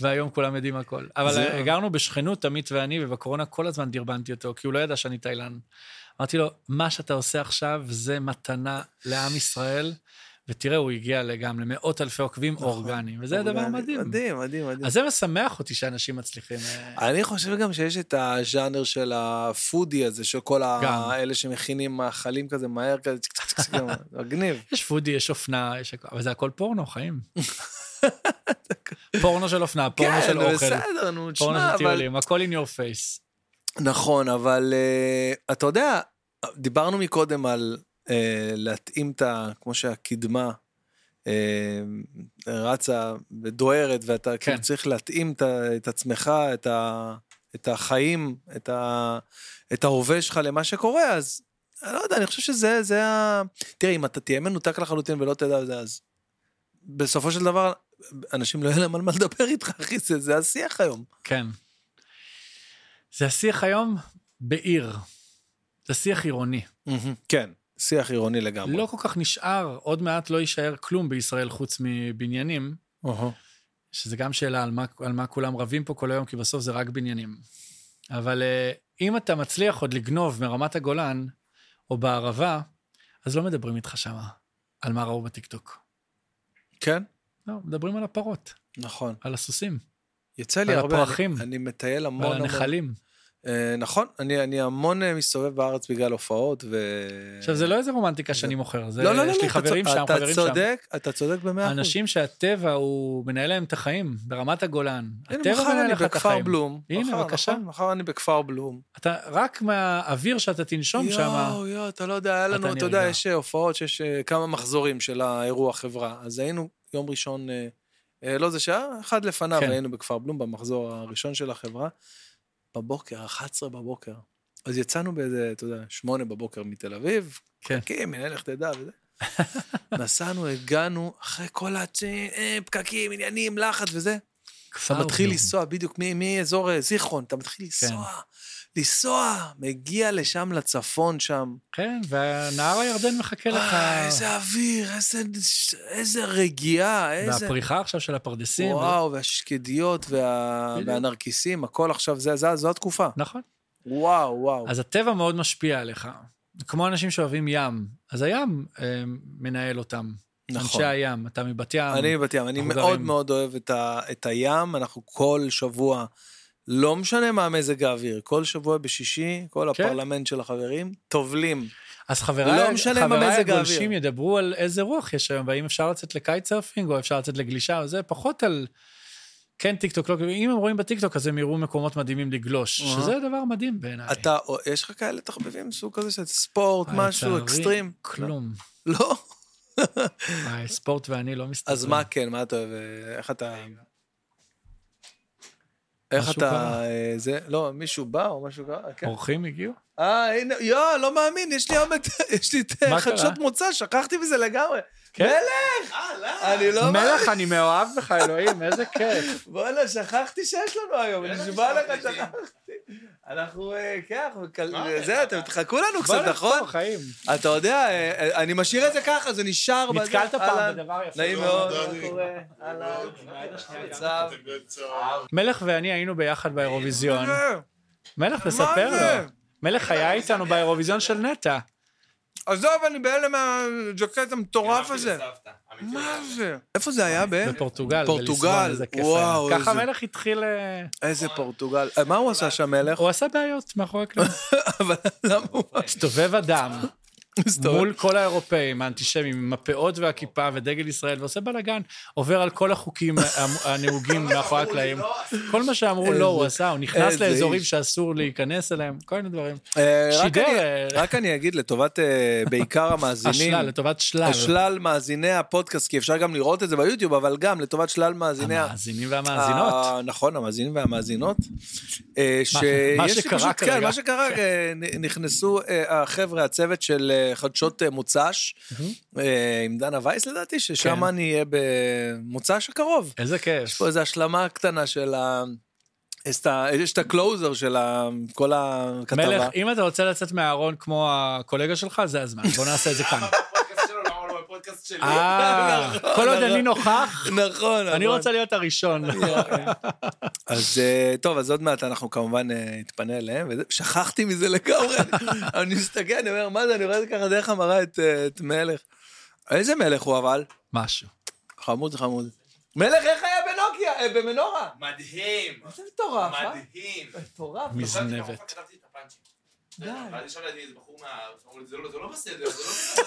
[SPEAKER 2] והיום כולם יודעים הכל. אבל
[SPEAKER 1] זהו.
[SPEAKER 2] גרנו בשכנות, עמית ואני, ובקורונה כל הזמן דרבנתי אותו, כי הוא לא ידע שאני תאילן. אמרתי לו, מה שאתה עושה עכשיו זה מתנה לעם ישראל, ותראה, הוא הגיע גם למאות אלפי עוקבים אורגניים, וזה דבר מדהים.
[SPEAKER 1] נכון. מדהים, מדהים, מדהים.
[SPEAKER 2] אז זה משמח אותי שאנשים מצליחים. אה,
[SPEAKER 1] אני חושב גם שיש את הז'אנר של הפודי הזה, של כל
[SPEAKER 2] גם.
[SPEAKER 1] האלה שמכינים מאכלים כזה מהר, כזה צ'ק צ'ק צ'ק, גם, מגניב.
[SPEAKER 2] יש פודי, יש אופנה, יש הכול, אבל זה הכל פורנו, חיים. פורנו של אופנה, פורנו של
[SPEAKER 1] כן,
[SPEAKER 2] אוכל,
[SPEAKER 1] בסדר, נו, תשמע,
[SPEAKER 2] פורנו של
[SPEAKER 1] אבל...
[SPEAKER 2] טיולים, הכל in your face.
[SPEAKER 1] נכון, אבל אה, אתה יודע, דיברנו מקודם על אה, להתאים את ה... כמו שהקדמה אה, רצה ודוהרת, ואתה כאילו צריך להתאים את ה- את עצמך, את ה- את החיים, את ה- את ההווה שלך למה שקורה, אז אני לא יודע, אני חושב שזה זה ה... תראה, אם אתה תהיה מנותק לחלוטין ולא תדע את זה, אז בסופו של דבר, אנשים לא יהיה להם על מה לדבר איתך, אחי, זה, זה השיח היום.
[SPEAKER 2] כן. זה השיח היום בעיר. זה שיח עירוני.
[SPEAKER 1] כן, שיח עירוני לגמרי.
[SPEAKER 2] לא כל כך נשאר, עוד מעט לא יישאר כלום בישראל חוץ מבניינים,
[SPEAKER 1] אהה.
[SPEAKER 2] שזה גם שאלה על מה, על מה כולם רבים פה כל היום, כי בסוף זה רק בניינים. אבל אה, אם אתה מצליח עוד לגנוב מרמת הגולן או בערבה, אז לא מדברים איתך שמה על מה ראו בטיקטוק.
[SPEAKER 1] כן,
[SPEAKER 2] לא, מדברים על הפרות,
[SPEAKER 1] נכון.
[SPEAKER 2] על הסוסים,
[SPEAKER 1] יצא לי
[SPEAKER 2] על
[SPEAKER 1] הרבה...
[SPEAKER 2] הפרחים.
[SPEAKER 1] אני, אני מטייל המון
[SPEAKER 2] על
[SPEAKER 1] המון.
[SPEAKER 2] הנחלים.
[SPEAKER 1] אה, נכון, אני, אני המון אה, מסתובב בארץ בגלל הופעות, ו...
[SPEAKER 2] עכשיו, זה לא איזה רומנטיקה שאני מוכר, זה,
[SPEAKER 1] לא, לא, לא,
[SPEAKER 2] יש לי
[SPEAKER 1] אתה צ-
[SPEAKER 2] חברים שם,
[SPEAKER 1] אתה
[SPEAKER 2] חברים שם.
[SPEAKER 1] צודק, אתה צודק במאה אחוז.
[SPEAKER 2] אנשים שהטבע הוא מנהל להם את החיים, ברמת הגולן.
[SPEAKER 1] הנה,
[SPEAKER 2] הטבע
[SPEAKER 1] מחר
[SPEAKER 2] מנהל
[SPEAKER 1] אני
[SPEAKER 2] לך את
[SPEAKER 1] בכפר
[SPEAKER 2] החיים.
[SPEAKER 1] בלום.
[SPEAKER 2] הנה,
[SPEAKER 1] מחר,
[SPEAKER 2] בבקשה.
[SPEAKER 1] נכון, מחר אני בכפר בלום.
[SPEAKER 2] אתה, רק מהאוויר שאתה תנשום שם,
[SPEAKER 1] יואו, יואו, אתה לא יודע, היה
[SPEAKER 2] אתה
[SPEAKER 1] לנו, אתה
[SPEAKER 2] נרגע.
[SPEAKER 1] יודע, יש אה, הופעות שיש אה, כמה מחזורים של האירוע חברה. אז היינו יום ראשון, אה, אה, לא זה שעה, אחד לפניו
[SPEAKER 2] כן.
[SPEAKER 1] היינו בכפר בלום, במחזור הראשון של החברה, בבוקר, 11 בבוקר. אז יצאנו באיזה, אתה יודע, 8 בבוקר מתל אביב,
[SPEAKER 2] כן.
[SPEAKER 1] פקקים, הנה לך תדע וזה. נסענו, הגענו, אחרי כל הצ'י, אה, פקקים, עניינים, לחץ וזה.
[SPEAKER 2] כפר
[SPEAKER 1] אתה מתחיל
[SPEAKER 2] בלום.
[SPEAKER 1] לנסוע, בדיוק, מ- מאזור אה, זיכרון, אתה מתחיל
[SPEAKER 2] כן.
[SPEAKER 1] לנסוע, לנסוע, מגיע לשם, לצפון שם.
[SPEAKER 2] כן, והנהר הירדן מחכה לך.
[SPEAKER 1] אה, איזה אוויר, איזה- איזה רגיעה, איזה...
[SPEAKER 2] והפריחה עכשיו של הפרדסים.
[SPEAKER 1] וואו, והשקדיות וה...
[SPEAKER 2] לא? בדיוק.
[SPEAKER 1] והנרקיסים, הכל עכשיו, זה, זה, זו התקופה.
[SPEAKER 2] נכון.
[SPEAKER 1] וואו, וואו.
[SPEAKER 2] אז הטבע מאוד משפיע עליך. כמו אנשים שאוהבים ים, אז הים אה, מנהל אותם.
[SPEAKER 1] נכון.
[SPEAKER 2] אנשי הים, אתה מבת ים.
[SPEAKER 1] אני מבת ים, אני
[SPEAKER 2] אנחנו
[SPEAKER 1] מאוד
[SPEAKER 2] גרים-
[SPEAKER 1] מאוד אוהב את, ה... את הים, אנחנו כל שבוע, לא משנה מה מזג האוויר, כל שבוע בשישי, כל
[SPEAKER 2] כן.
[SPEAKER 1] הפרלמנט של החברים, טובלים.
[SPEAKER 2] אז חבריי,
[SPEAKER 1] לא משנה מה
[SPEAKER 2] חבריי
[SPEAKER 1] מזג
[SPEAKER 2] הגולשים
[SPEAKER 1] האוויר.
[SPEAKER 2] ידברו על איזה רוח יש היום, והאם אפשר לצאת לקייט סרפינג, או אפשר לצאת לגלישה, או זה, פחות על... כן, טיקטוק, לא... אם הם רואים בטיקטוק, אז הם יראו מקומות מדהימים לגלוש,
[SPEAKER 1] אהה.
[SPEAKER 2] שזה דבר מדהים בעיניי.
[SPEAKER 1] אתה, או- יש לך כאלה תחביבים, סוג כזה של ספורט,
[SPEAKER 2] אה,
[SPEAKER 1] משהו,
[SPEAKER 2] לצערי,
[SPEAKER 1] אקסטרים?
[SPEAKER 2] כלום.
[SPEAKER 1] לא.
[SPEAKER 2] אה, ספורט ואני לא מסתדרים.
[SPEAKER 1] אז מה כן, מה אתה אוהב? אה, איך אתה... איך
[SPEAKER 2] משהו
[SPEAKER 1] אתה...
[SPEAKER 2] קרה.
[SPEAKER 1] אה, זה, לא, מישהו בא או משהו ככה? כן.
[SPEAKER 2] אורחים הגיעו?
[SPEAKER 1] אה, הנה, יואו, לא מאמין, יש לי עומק, יש לי את
[SPEAKER 2] מה
[SPEAKER 1] חדשות
[SPEAKER 2] קרה?
[SPEAKER 1] מוצא, שכחתי מזה לגמרי.
[SPEAKER 2] כן.
[SPEAKER 1] מלך! אני לא מאמין.
[SPEAKER 2] מלך, אני מאוהב בך, אלוהים, איזה כיף.
[SPEAKER 1] וואלה, שכחתי שיש לנו היום, אני נשבע לך, שכחתי. אנחנו, אה, כן, אנחנו... מקל- זה, אתם תחכו לנו קצת, נכון?
[SPEAKER 2] חיים.
[SPEAKER 1] אתה יודע, אה, אה, אני משאיר את זה ככה, זה נשאר. בזה.
[SPEAKER 2] נתקלת פעם
[SPEAKER 1] אהלן.
[SPEAKER 2] בדבר יפה.
[SPEAKER 1] נעים
[SPEAKER 4] שלום,
[SPEAKER 1] מאוד,
[SPEAKER 4] דני.
[SPEAKER 1] מה קורה? אהלן. מצב.
[SPEAKER 2] מלך ואני היינו ביחד באירוויזיון.
[SPEAKER 1] אה,
[SPEAKER 2] מלך, תספר
[SPEAKER 1] זה?
[SPEAKER 2] לו. מלך היה איתנו באירוויזיון של נטע.
[SPEAKER 1] עזוב, אני בהלם מהג'קט המטורף הזה. מה זה? איפה זה היה, ב...
[SPEAKER 2] בפורטוגל.
[SPEAKER 1] כן. פורטוגל,
[SPEAKER 2] בליסבון, איזה כיף
[SPEAKER 1] וואו,
[SPEAKER 2] היה. ככה
[SPEAKER 1] איזה-
[SPEAKER 2] המלך התחיל... אה,
[SPEAKER 1] איזה פורטוגל. אה, מה הוא עשה שם, מלך?
[SPEAKER 2] הוא עשה בעיות מאחורי הכלום.
[SPEAKER 1] אבל למה הוא
[SPEAKER 2] הסתובב אדם
[SPEAKER 1] מסתובב?
[SPEAKER 2] מול כל האירופאים, האנטישמים, עם הפאות והכיפה ודגל ישראל, ועושה בלאגן, עובר על כל החוקים המ- הנהוגים מאחורי הקלעים. כל מה שאמרו
[SPEAKER 1] איזה-
[SPEAKER 2] לא, הוא עשה, הוא נכנס
[SPEAKER 1] לא. איזה
[SPEAKER 2] לאזורים
[SPEAKER 1] איש.
[SPEAKER 2] שאסור להיכנס אליהם, כל מיני דברים.
[SPEAKER 1] אה, רק
[SPEAKER 2] שידר,
[SPEAKER 1] אני-
[SPEAKER 2] אה,
[SPEAKER 1] רק אני אגיד לטובת אה, בעיקר המאזינים,
[SPEAKER 2] השלל, לטובת שלל.
[SPEAKER 1] השלל מאזיני הפודקאסט, כי אפשר גם לראות את זה ביוטיוב, אבל גם לטובת שלל מאזיני... ה-
[SPEAKER 2] המאזינים והמאזינות.
[SPEAKER 1] ה- נכון, המאזינים והמאזינות. אה, ש-
[SPEAKER 2] מה
[SPEAKER 1] יש לי
[SPEAKER 2] שקרה
[SPEAKER 1] פשוט- כן,
[SPEAKER 2] כרגע.
[SPEAKER 1] מה שקרה, אה, נ- נכנסו אה, החבר'ה, הצוות של אה, חדשות אה, מוצ"ש, אה, עם דנה וייס לדעתי, ששם
[SPEAKER 2] כן.
[SPEAKER 1] אני אהיה במוצ"ש הקרוב.
[SPEAKER 2] איזה
[SPEAKER 1] יש
[SPEAKER 2] כיף.
[SPEAKER 1] פה איזו השלמה קטנה של ה... יש את ה- יש את הקלוזר של ה- כל הכתבה.
[SPEAKER 2] מלך, אם אתה רוצה לצאת מהארון כמו הקולגה שלך, זה הזמן, בוא נעשה את זה כאן. אה, כל עוד אני נוכח,
[SPEAKER 1] נכון,
[SPEAKER 2] אני
[SPEAKER 1] נכון.
[SPEAKER 2] רוצה להיות הראשון.
[SPEAKER 1] אז אה, טוב, אז עוד מעט אנחנו כמובן אה, נתפנה אליהם, וזה- שכחתי מזה לגמרי. אני מסתכל, אני אומר, מה זה, אני רואה את זה ככה דרך המראה את, אה, את מלך. איזה מלך הוא אבל?
[SPEAKER 2] משהו.
[SPEAKER 1] חמוד, חמוד. מלך, איך היה בנוקיה? אה, במנורה?
[SPEAKER 4] מדהים,
[SPEAKER 1] זה מטורף, אה?
[SPEAKER 4] מדהים.
[SPEAKER 1] מטורף.
[SPEAKER 2] מזנבת.
[SPEAKER 4] כתבתי את הפאנצ'ים.
[SPEAKER 1] די.
[SPEAKER 4] ואז ישב לידי איזה בחור מה... אמרו לי, "זה לא- זה לא בסדר, זה לא בסדר."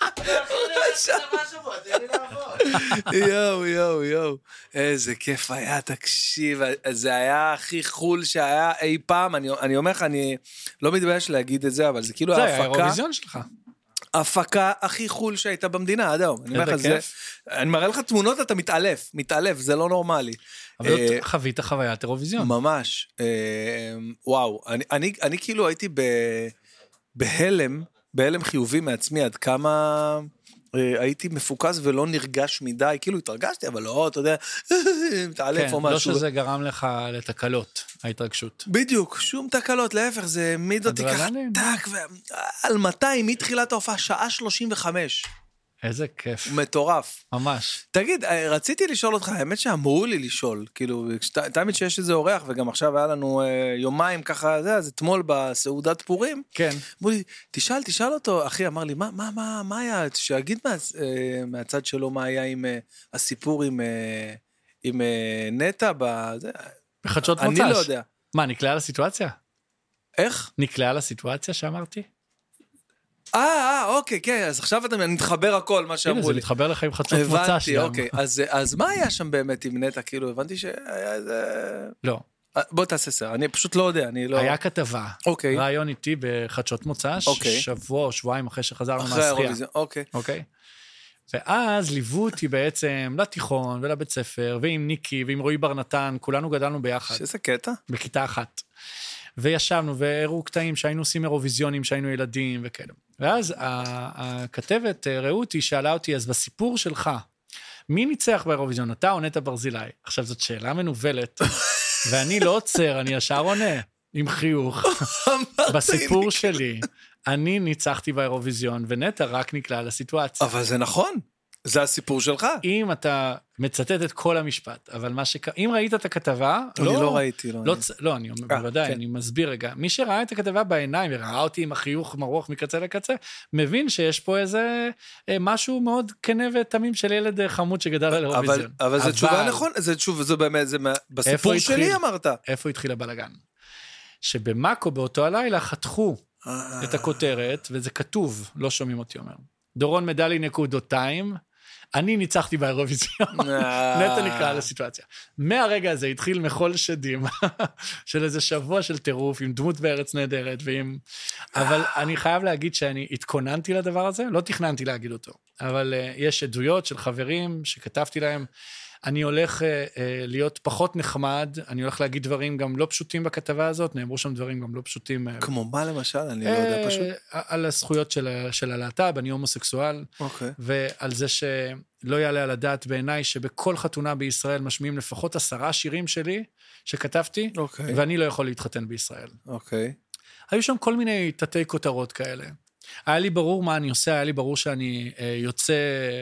[SPEAKER 4] אבל אחי, אני עשיתי צבא השבוע, תן לי לעבוד.
[SPEAKER 1] יואו, יואו, יואו. איזה כיף היה, תקשיב, אה, זה היה הכי חול שהיה אי פעם. אני, אני אומר לך, אני לא מתבייש להגיד את זה, אבל זה כאילו
[SPEAKER 2] זה היה
[SPEAKER 1] ההפקה,
[SPEAKER 2] האירוויזיון שלך.
[SPEAKER 1] ההפקה הכי חול שהייתה במדינה עד היום. אני אומר לך,
[SPEAKER 2] איזה
[SPEAKER 1] זה...
[SPEAKER 2] כיף.
[SPEAKER 1] אני מראה לך תמונות, אתה מתעלף, מתעלף, זה לא נורמלי.
[SPEAKER 2] אבל
[SPEAKER 1] אה,
[SPEAKER 2] זאת חווית חוויית אירוויזיון.
[SPEAKER 1] ממש. אה, וואו, אני, אני, אני כאילו הייתי ב, בהלם, בהלם חיובי מעצמי, עד כמה אה, הייתי מפוקס ולא נרגש מדי, כאילו התרגשתי, אבל לא, אתה יודע, מתעלף
[SPEAKER 2] כן,
[SPEAKER 1] או
[SPEAKER 2] לא
[SPEAKER 1] משהו.
[SPEAKER 2] שזה גרם לך לתקלות, ההתרגשות.
[SPEAKER 1] בדיוק, שום תקלות, להפך, זה העמיד אותי ככה,
[SPEAKER 2] אדרנלין.
[SPEAKER 1] טאק, ו- על 200 מתחילת ההופעה, שעה 35,
[SPEAKER 2] איזה כיף,
[SPEAKER 1] מטורף.
[SPEAKER 2] ממש.
[SPEAKER 1] תגיד, אה, רציתי לשאול אותך, האמת שאמרו לי לשאול, כאילו, כשת- תמיד שיש איזה אורח, וגם עכשיו היה לנו אה, יומיים ככה, זה, אז אתמול בסעודת פורים,
[SPEAKER 2] כן.
[SPEAKER 1] אמרו לי, תשאל, תשאל אותו, אחי, אמר לי, מה, מה, מה, מה היה, שיגיד מה, אה, מהצד שלו מה היה עם אה, הסיפור עם, אה, עם אה, נטע, בזה,
[SPEAKER 2] בחדשות
[SPEAKER 1] אני
[SPEAKER 2] מוצ"ש.
[SPEAKER 1] לא יודע.
[SPEAKER 2] מה, נקלעה לסיטואציה?
[SPEAKER 1] איך?
[SPEAKER 2] נקלעה לסיטואציה שאמרתי?
[SPEAKER 1] אה, אה, אוקיי, כן, אז עכשיו אתה נתחבר הכל, מה
[SPEAKER 2] הנה,
[SPEAKER 1] שאמרו
[SPEAKER 2] זה
[SPEAKER 1] לי.
[SPEAKER 2] מתחבר לך עם חדשות מוצ"ש.
[SPEAKER 1] הבנתי,
[SPEAKER 2] גם.
[SPEAKER 1] אוקיי. אז, אז מה היה שם באמת עם נטע? כאילו, הבנתי שהיה איזה...
[SPEAKER 2] לא,
[SPEAKER 1] אה, בוא תעשה סדר, אני פשוט לא יודע, אני לא...
[SPEAKER 2] היה כתבה.
[SPEAKER 1] אוקיי,
[SPEAKER 2] רעיון איתי בחדשות מוצ"ש,
[SPEAKER 1] אוקיי.
[SPEAKER 2] שבוע או שבועיים אחרי שחזרנו
[SPEAKER 1] אחרי
[SPEAKER 2] מהשחייה.
[SPEAKER 1] האירוויזיון, אוקיי.
[SPEAKER 2] אוקיי? ואז ליוו אותי בעצם לתיכון ולבית ספר, ועם ניקי ועם רועי בר נתן, כולנו גדלנו ביחד.
[SPEAKER 1] שזה קטע.
[SPEAKER 2] בכיתה אחת. וישבנו והראו קטעים שהיינו עושים אירוויזיונים כשהיינו ילדים וכאלה. ואז ה- הכתבת אה, רעות היא שאלה אותי, אז בסיפור שלך, מי ניצח באירוויזיון, אתה או נטע ברזילי? עכשיו, זאת שאלה מנוולת, ואני לא עוצר, אני ישר עונה, עם חיוך. בסיפור שלי, אני ניצחתי באירוויזיון, ונטע רק נקלע לסיטואציה.
[SPEAKER 1] אבל זה נכון, זה הסיפור שלך.
[SPEAKER 2] אם אתה מצטט את כל המשפט, אבל מה שק... אם ראית את הכתבה,
[SPEAKER 1] אני לא ראיתי, לא.
[SPEAKER 2] לא,
[SPEAKER 1] אני-
[SPEAKER 2] צ... לא, אני אומר,
[SPEAKER 1] אה,
[SPEAKER 2] בוודאי,
[SPEAKER 1] כן.
[SPEAKER 2] אני מסביר רגע. מי שראה את הכתבה בעיניים וראה אותי עם החיוך מרוח מקצה לקצה, מבין שיש פה איזה אה, משהו מאוד כנה ותמים של ילד אה, חמוד שגדל על
[SPEAKER 1] אבל,
[SPEAKER 2] האירוויזיון.
[SPEAKER 1] אבל זו תשובה נכונה, זו תשובה, זו באמת, זה מה... בסיפור
[SPEAKER 2] התחיל?
[SPEAKER 1] שלי אמרת.
[SPEAKER 2] איפה התחיל הבלגן? שבמאקו באותו הלילה חתכו
[SPEAKER 1] אה.
[SPEAKER 2] את הכותרת, וזה כתוב, לא שומעים אותי אומר. דורון מדלי נקודותיים, אני ניצחתי באירוויזיון.
[SPEAKER 1] אה.
[SPEAKER 2] נטע נקרא לסיטואציה. מהרגע הזה התחיל מחול שדים של איזה שבוע של טירוף עם דמות בארץ נהדרת ועם... אבל אני חייב להגיד שאני התכוננתי לדבר הזה, לא תכננתי להגיד אותו, אבל אה, יש עדויות של חברים שכתבתי להם, אני הולך אה, אה, להיות פחות נחמד, אני הולך להגיד דברים גם לא פשוטים בכתבה הזאת, נאמרו שם דברים גם לא פשוטים. אה,
[SPEAKER 1] כמו מה למשל? אני לא יודע,
[SPEAKER 2] אה,
[SPEAKER 1] פשוט.
[SPEAKER 2] על הזכויות של ה- של הלהט"ב, אני הומוסקסואל.
[SPEAKER 1] אוקיי.
[SPEAKER 2] ועל זה שלא יעלה על הדעת בעיניי שבכל חתונה בישראל משמיעים לפחות עשרה שירים שלי שכתבתי,
[SPEAKER 1] אוקיי.
[SPEAKER 2] ואני לא יכול להתחתן בישראל.
[SPEAKER 1] אוקיי.
[SPEAKER 2] היו שם כל מיני תתי כותרות כאלה. היה לי ברור מה אני עושה, היה לי ברור שאני אה, יוצא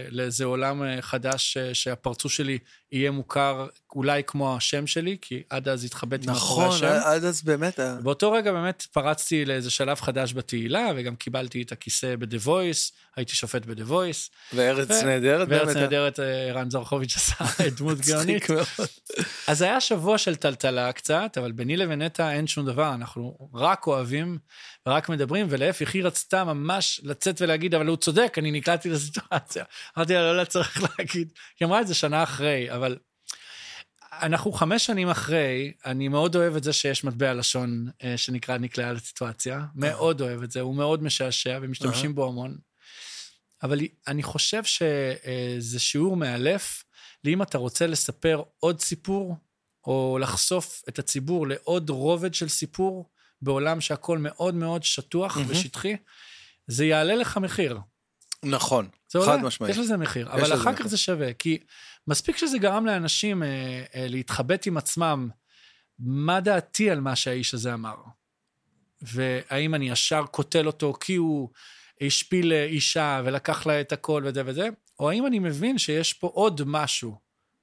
[SPEAKER 2] לאיזה עולם אה, חדש, אה, שהפרצוף שלי יהיה מוכר אולי כמו השם שלי, כי עד אז התחבאתי מאחורי
[SPEAKER 1] נכון,
[SPEAKER 2] השם.
[SPEAKER 1] עד אז באמת... אה, ה-
[SPEAKER 2] באותו רגע באמת פרצתי לאיזה שלב חדש בתהילה, וגם קיבלתי את הכיסא ב-The Voice, הייתי שופט ב-The Voice.
[SPEAKER 1] וארץ
[SPEAKER 2] ו-
[SPEAKER 1] נהדרת באמת.
[SPEAKER 2] וארץ
[SPEAKER 1] ה-
[SPEAKER 2] נהדרת, אה, ערן זרחוביץ' עשה דמות
[SPEAKER 1] מצחיק
[SPEAKER 2] גאונית.
[SPEAKER 1] מאוד.
[SPEAKER 2] אז היה שבוע של טלטלה קצת, אבל ביני לבין נטע אין שום דבר, אנחנו רק אוהבים ורק מדברים, ולהפך, היא רצתה ממש לצאת ולהגיד, אבל הוא צודק, אני נקלעתי לסיטואציה. אמרתי לה, לא, לא צריך להגיד. היא אמרה את זה שנה אחרי, אבל אנחנו חמש שנים אחרי, אני מאוד אוהב את זה שיש מטבע לשון אה, שנקרא נקלעה לסיטואציה. מאוד אוהב את זה, הוא מאוד משעשע ומשתמשים בו המון. אבל אני חושב שזה שיעור מאלף, לאם אתה רוצה לספר עוד סיפור, או לחשוף את הציבור לעוד רובד של סיפור, בעולם שהכל מאוד מאוד שטוח
[SPEAKER 1] מהמם.
[SPEAKER 2] ושטחי, זה יעלה לך מחיר.
[SPEAKER 1] נכון,
[SPEAKER 2] זה עולה,
[SPEAKER 1] חד משמעית.
[SPEAKER 2] יש לזה מחיר, אבל
[SPEAKER 1] לזה
[SPEAKER 2] אחר כך
[SPEAKER 1] מחיר.
[SPEAKER 2] זה שווה, כי מספיק שזה גרם לאנשים אה, אה, להתחבט עם עצמם, מה דעתי על מה שהאיש הזה אמר? והאם אני ישר קוטל אותו כי הוא השפיל אה, אישה ולקח לה את הכל וזה וזה, או האם אני מבין שיש פה עוד משהו,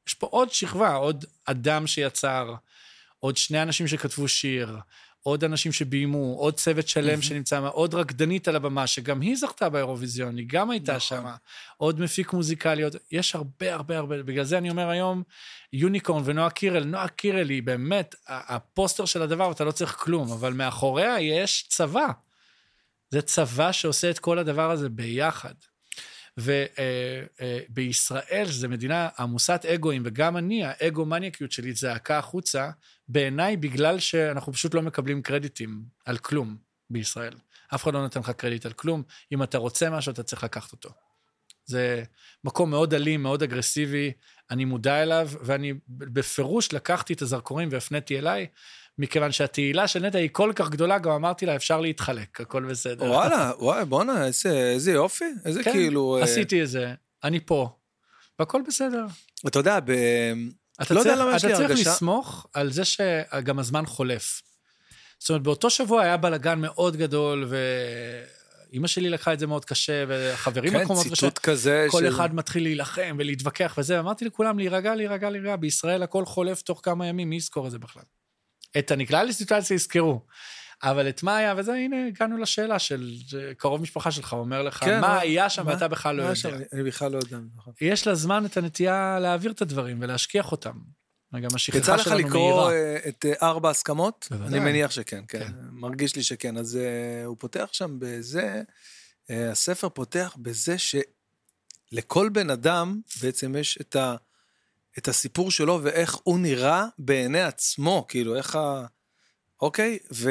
[SPEAKER 2] יש פה עוד שכבה, עוד אדם שיצר, עוד שני אנשים שכתבו שיר, עוד אנשים שביימו, עוד צוות שלם
[SPEAKER 1] מהמם.
[SPEAKER 2] שנמצא, שם, עוד רקדנית על הבמה, שגם היא זכתה באירוויזיון, היא גם הייתה
[SPEAKER 1] נכון.
[SPEAKER 2] שם, עוד מפיק מוזיקלי, עוד... יש הרבה הרבה הרבה, בגלל זה אני אומר היום, יוניקורן ונועה קירל, נועה קירל היא באמת ה- הפוסטר של הדבר, ואתה לא צריך כלום, אבל מאחוריה יש צבא. זה צבא שעושה את כל הדבר הזה ביחד. ובישראל, שזו מדינה עמוסת אגואים, וגם אני, האגו-מניאקיות שלי זעקה החוצה, בעיניי בגלל שאנחנו פשוט לא מקבלים קרדיטים על כלום בישראל. אף אחד לא נותן לך קרדיט על כלום. אם אתה רוצה משהו, אתה צריך לקחת אותו. זה מקום מאוד אלים, מאוד אגרסיבי, אני מודע אליו, ואני בפירוש לקחתי את הזרקורים והפניתי אליי, מכיוון שהתהילה של נטע היא כל כך גדולה, גם אמרתי לה, אפשר להתחלק, הכל בסדר.
[SPEAKER 1] וואלה, וואי, בואנה, איזה איזה יופי. איזה
[SPEAKER 2] כן,
[SPEAKER 1] כאילו... אה,
[SPEAKER 2] עשיתי את זה, אני פה, והכל בסדר.
[SPEAKER 1] אתה יודע, ב...
[SPEAKER 2] אתה
[SPEAKER 1] לא יודע
[SPEAKER 2] צריך,
[SPEAKER 1] למה יש לי
[SPEAKER 2] אתה צריך
[SPEAKER 1] הרגשה-
[SPEAKER 2] לסמוך על זה שגם הזמן חולף. זאת אומרת, באותו שבוע היה בלאגן מאוד גדול, ואימא שלי לקחה את זה מאוד קשה, והחברים
[SPEAKER 1] כן,
[SPEAKER 2] לקחו מאוד קשה.
[SPEAKER 1] ציטוט כזה
[SPEAKER 2] כל
[SPEAKER 1] של-
[SPEAKER 2] אחד מתחיל להילחם ולהתווכח וזה, אמרתי לכולם, להירגע, להירגע, להירגע, בישראל הכל חולף תוך כמה ימים, מי יזכור את זה בכלל? את הנקלע לסיטואציה יזכרו. אבל את מה היה, וזה, הנה, הגענו לשאלה של אה, קרוב משפחה שלך, אומר לך,
[SPEAKER 1] כן,
[SPEAKER 2] מה
[SPEAKER 1] מה-
[SPEAKER 2] היה שם
[SPEAKER 1] מה-
[SPEAKER 2] ואתה בכלל לא
[SPEAKER 1] מה שם?
[SPEAKER 2] יודע.
[SPEAKER 1] אני בכלל לא יודע. נכון.
[SPEAKER 2] יש לה זמן את הנטייה להעביר את הדברים ולהשכיח אותם. וגם
[SPEAKER 1] יצא
[SPEAKER 2] השכחה
[SPEAKER 1] לך
[SPEAKER 2] שלנו מהירה.
[SPEAKER 1] לקרוא אה, את אה, ארבע הסכמות?
[SPEAKER 2] בוודאי.
[SPEAKER 1] אני מניח שכן, כן.
[SPEAKER 2] כן.
[SPEAKER 1] מרגיש לי שכן. אז אה, הוא פותח שם בזה, אה, הספר פותח בזה שלכל בן אדם בעצם יש את, ה, את הסיפור שלו ואיך הוא נראה בעיני עצמו, כאילו, איך ה... אוקיי? ו...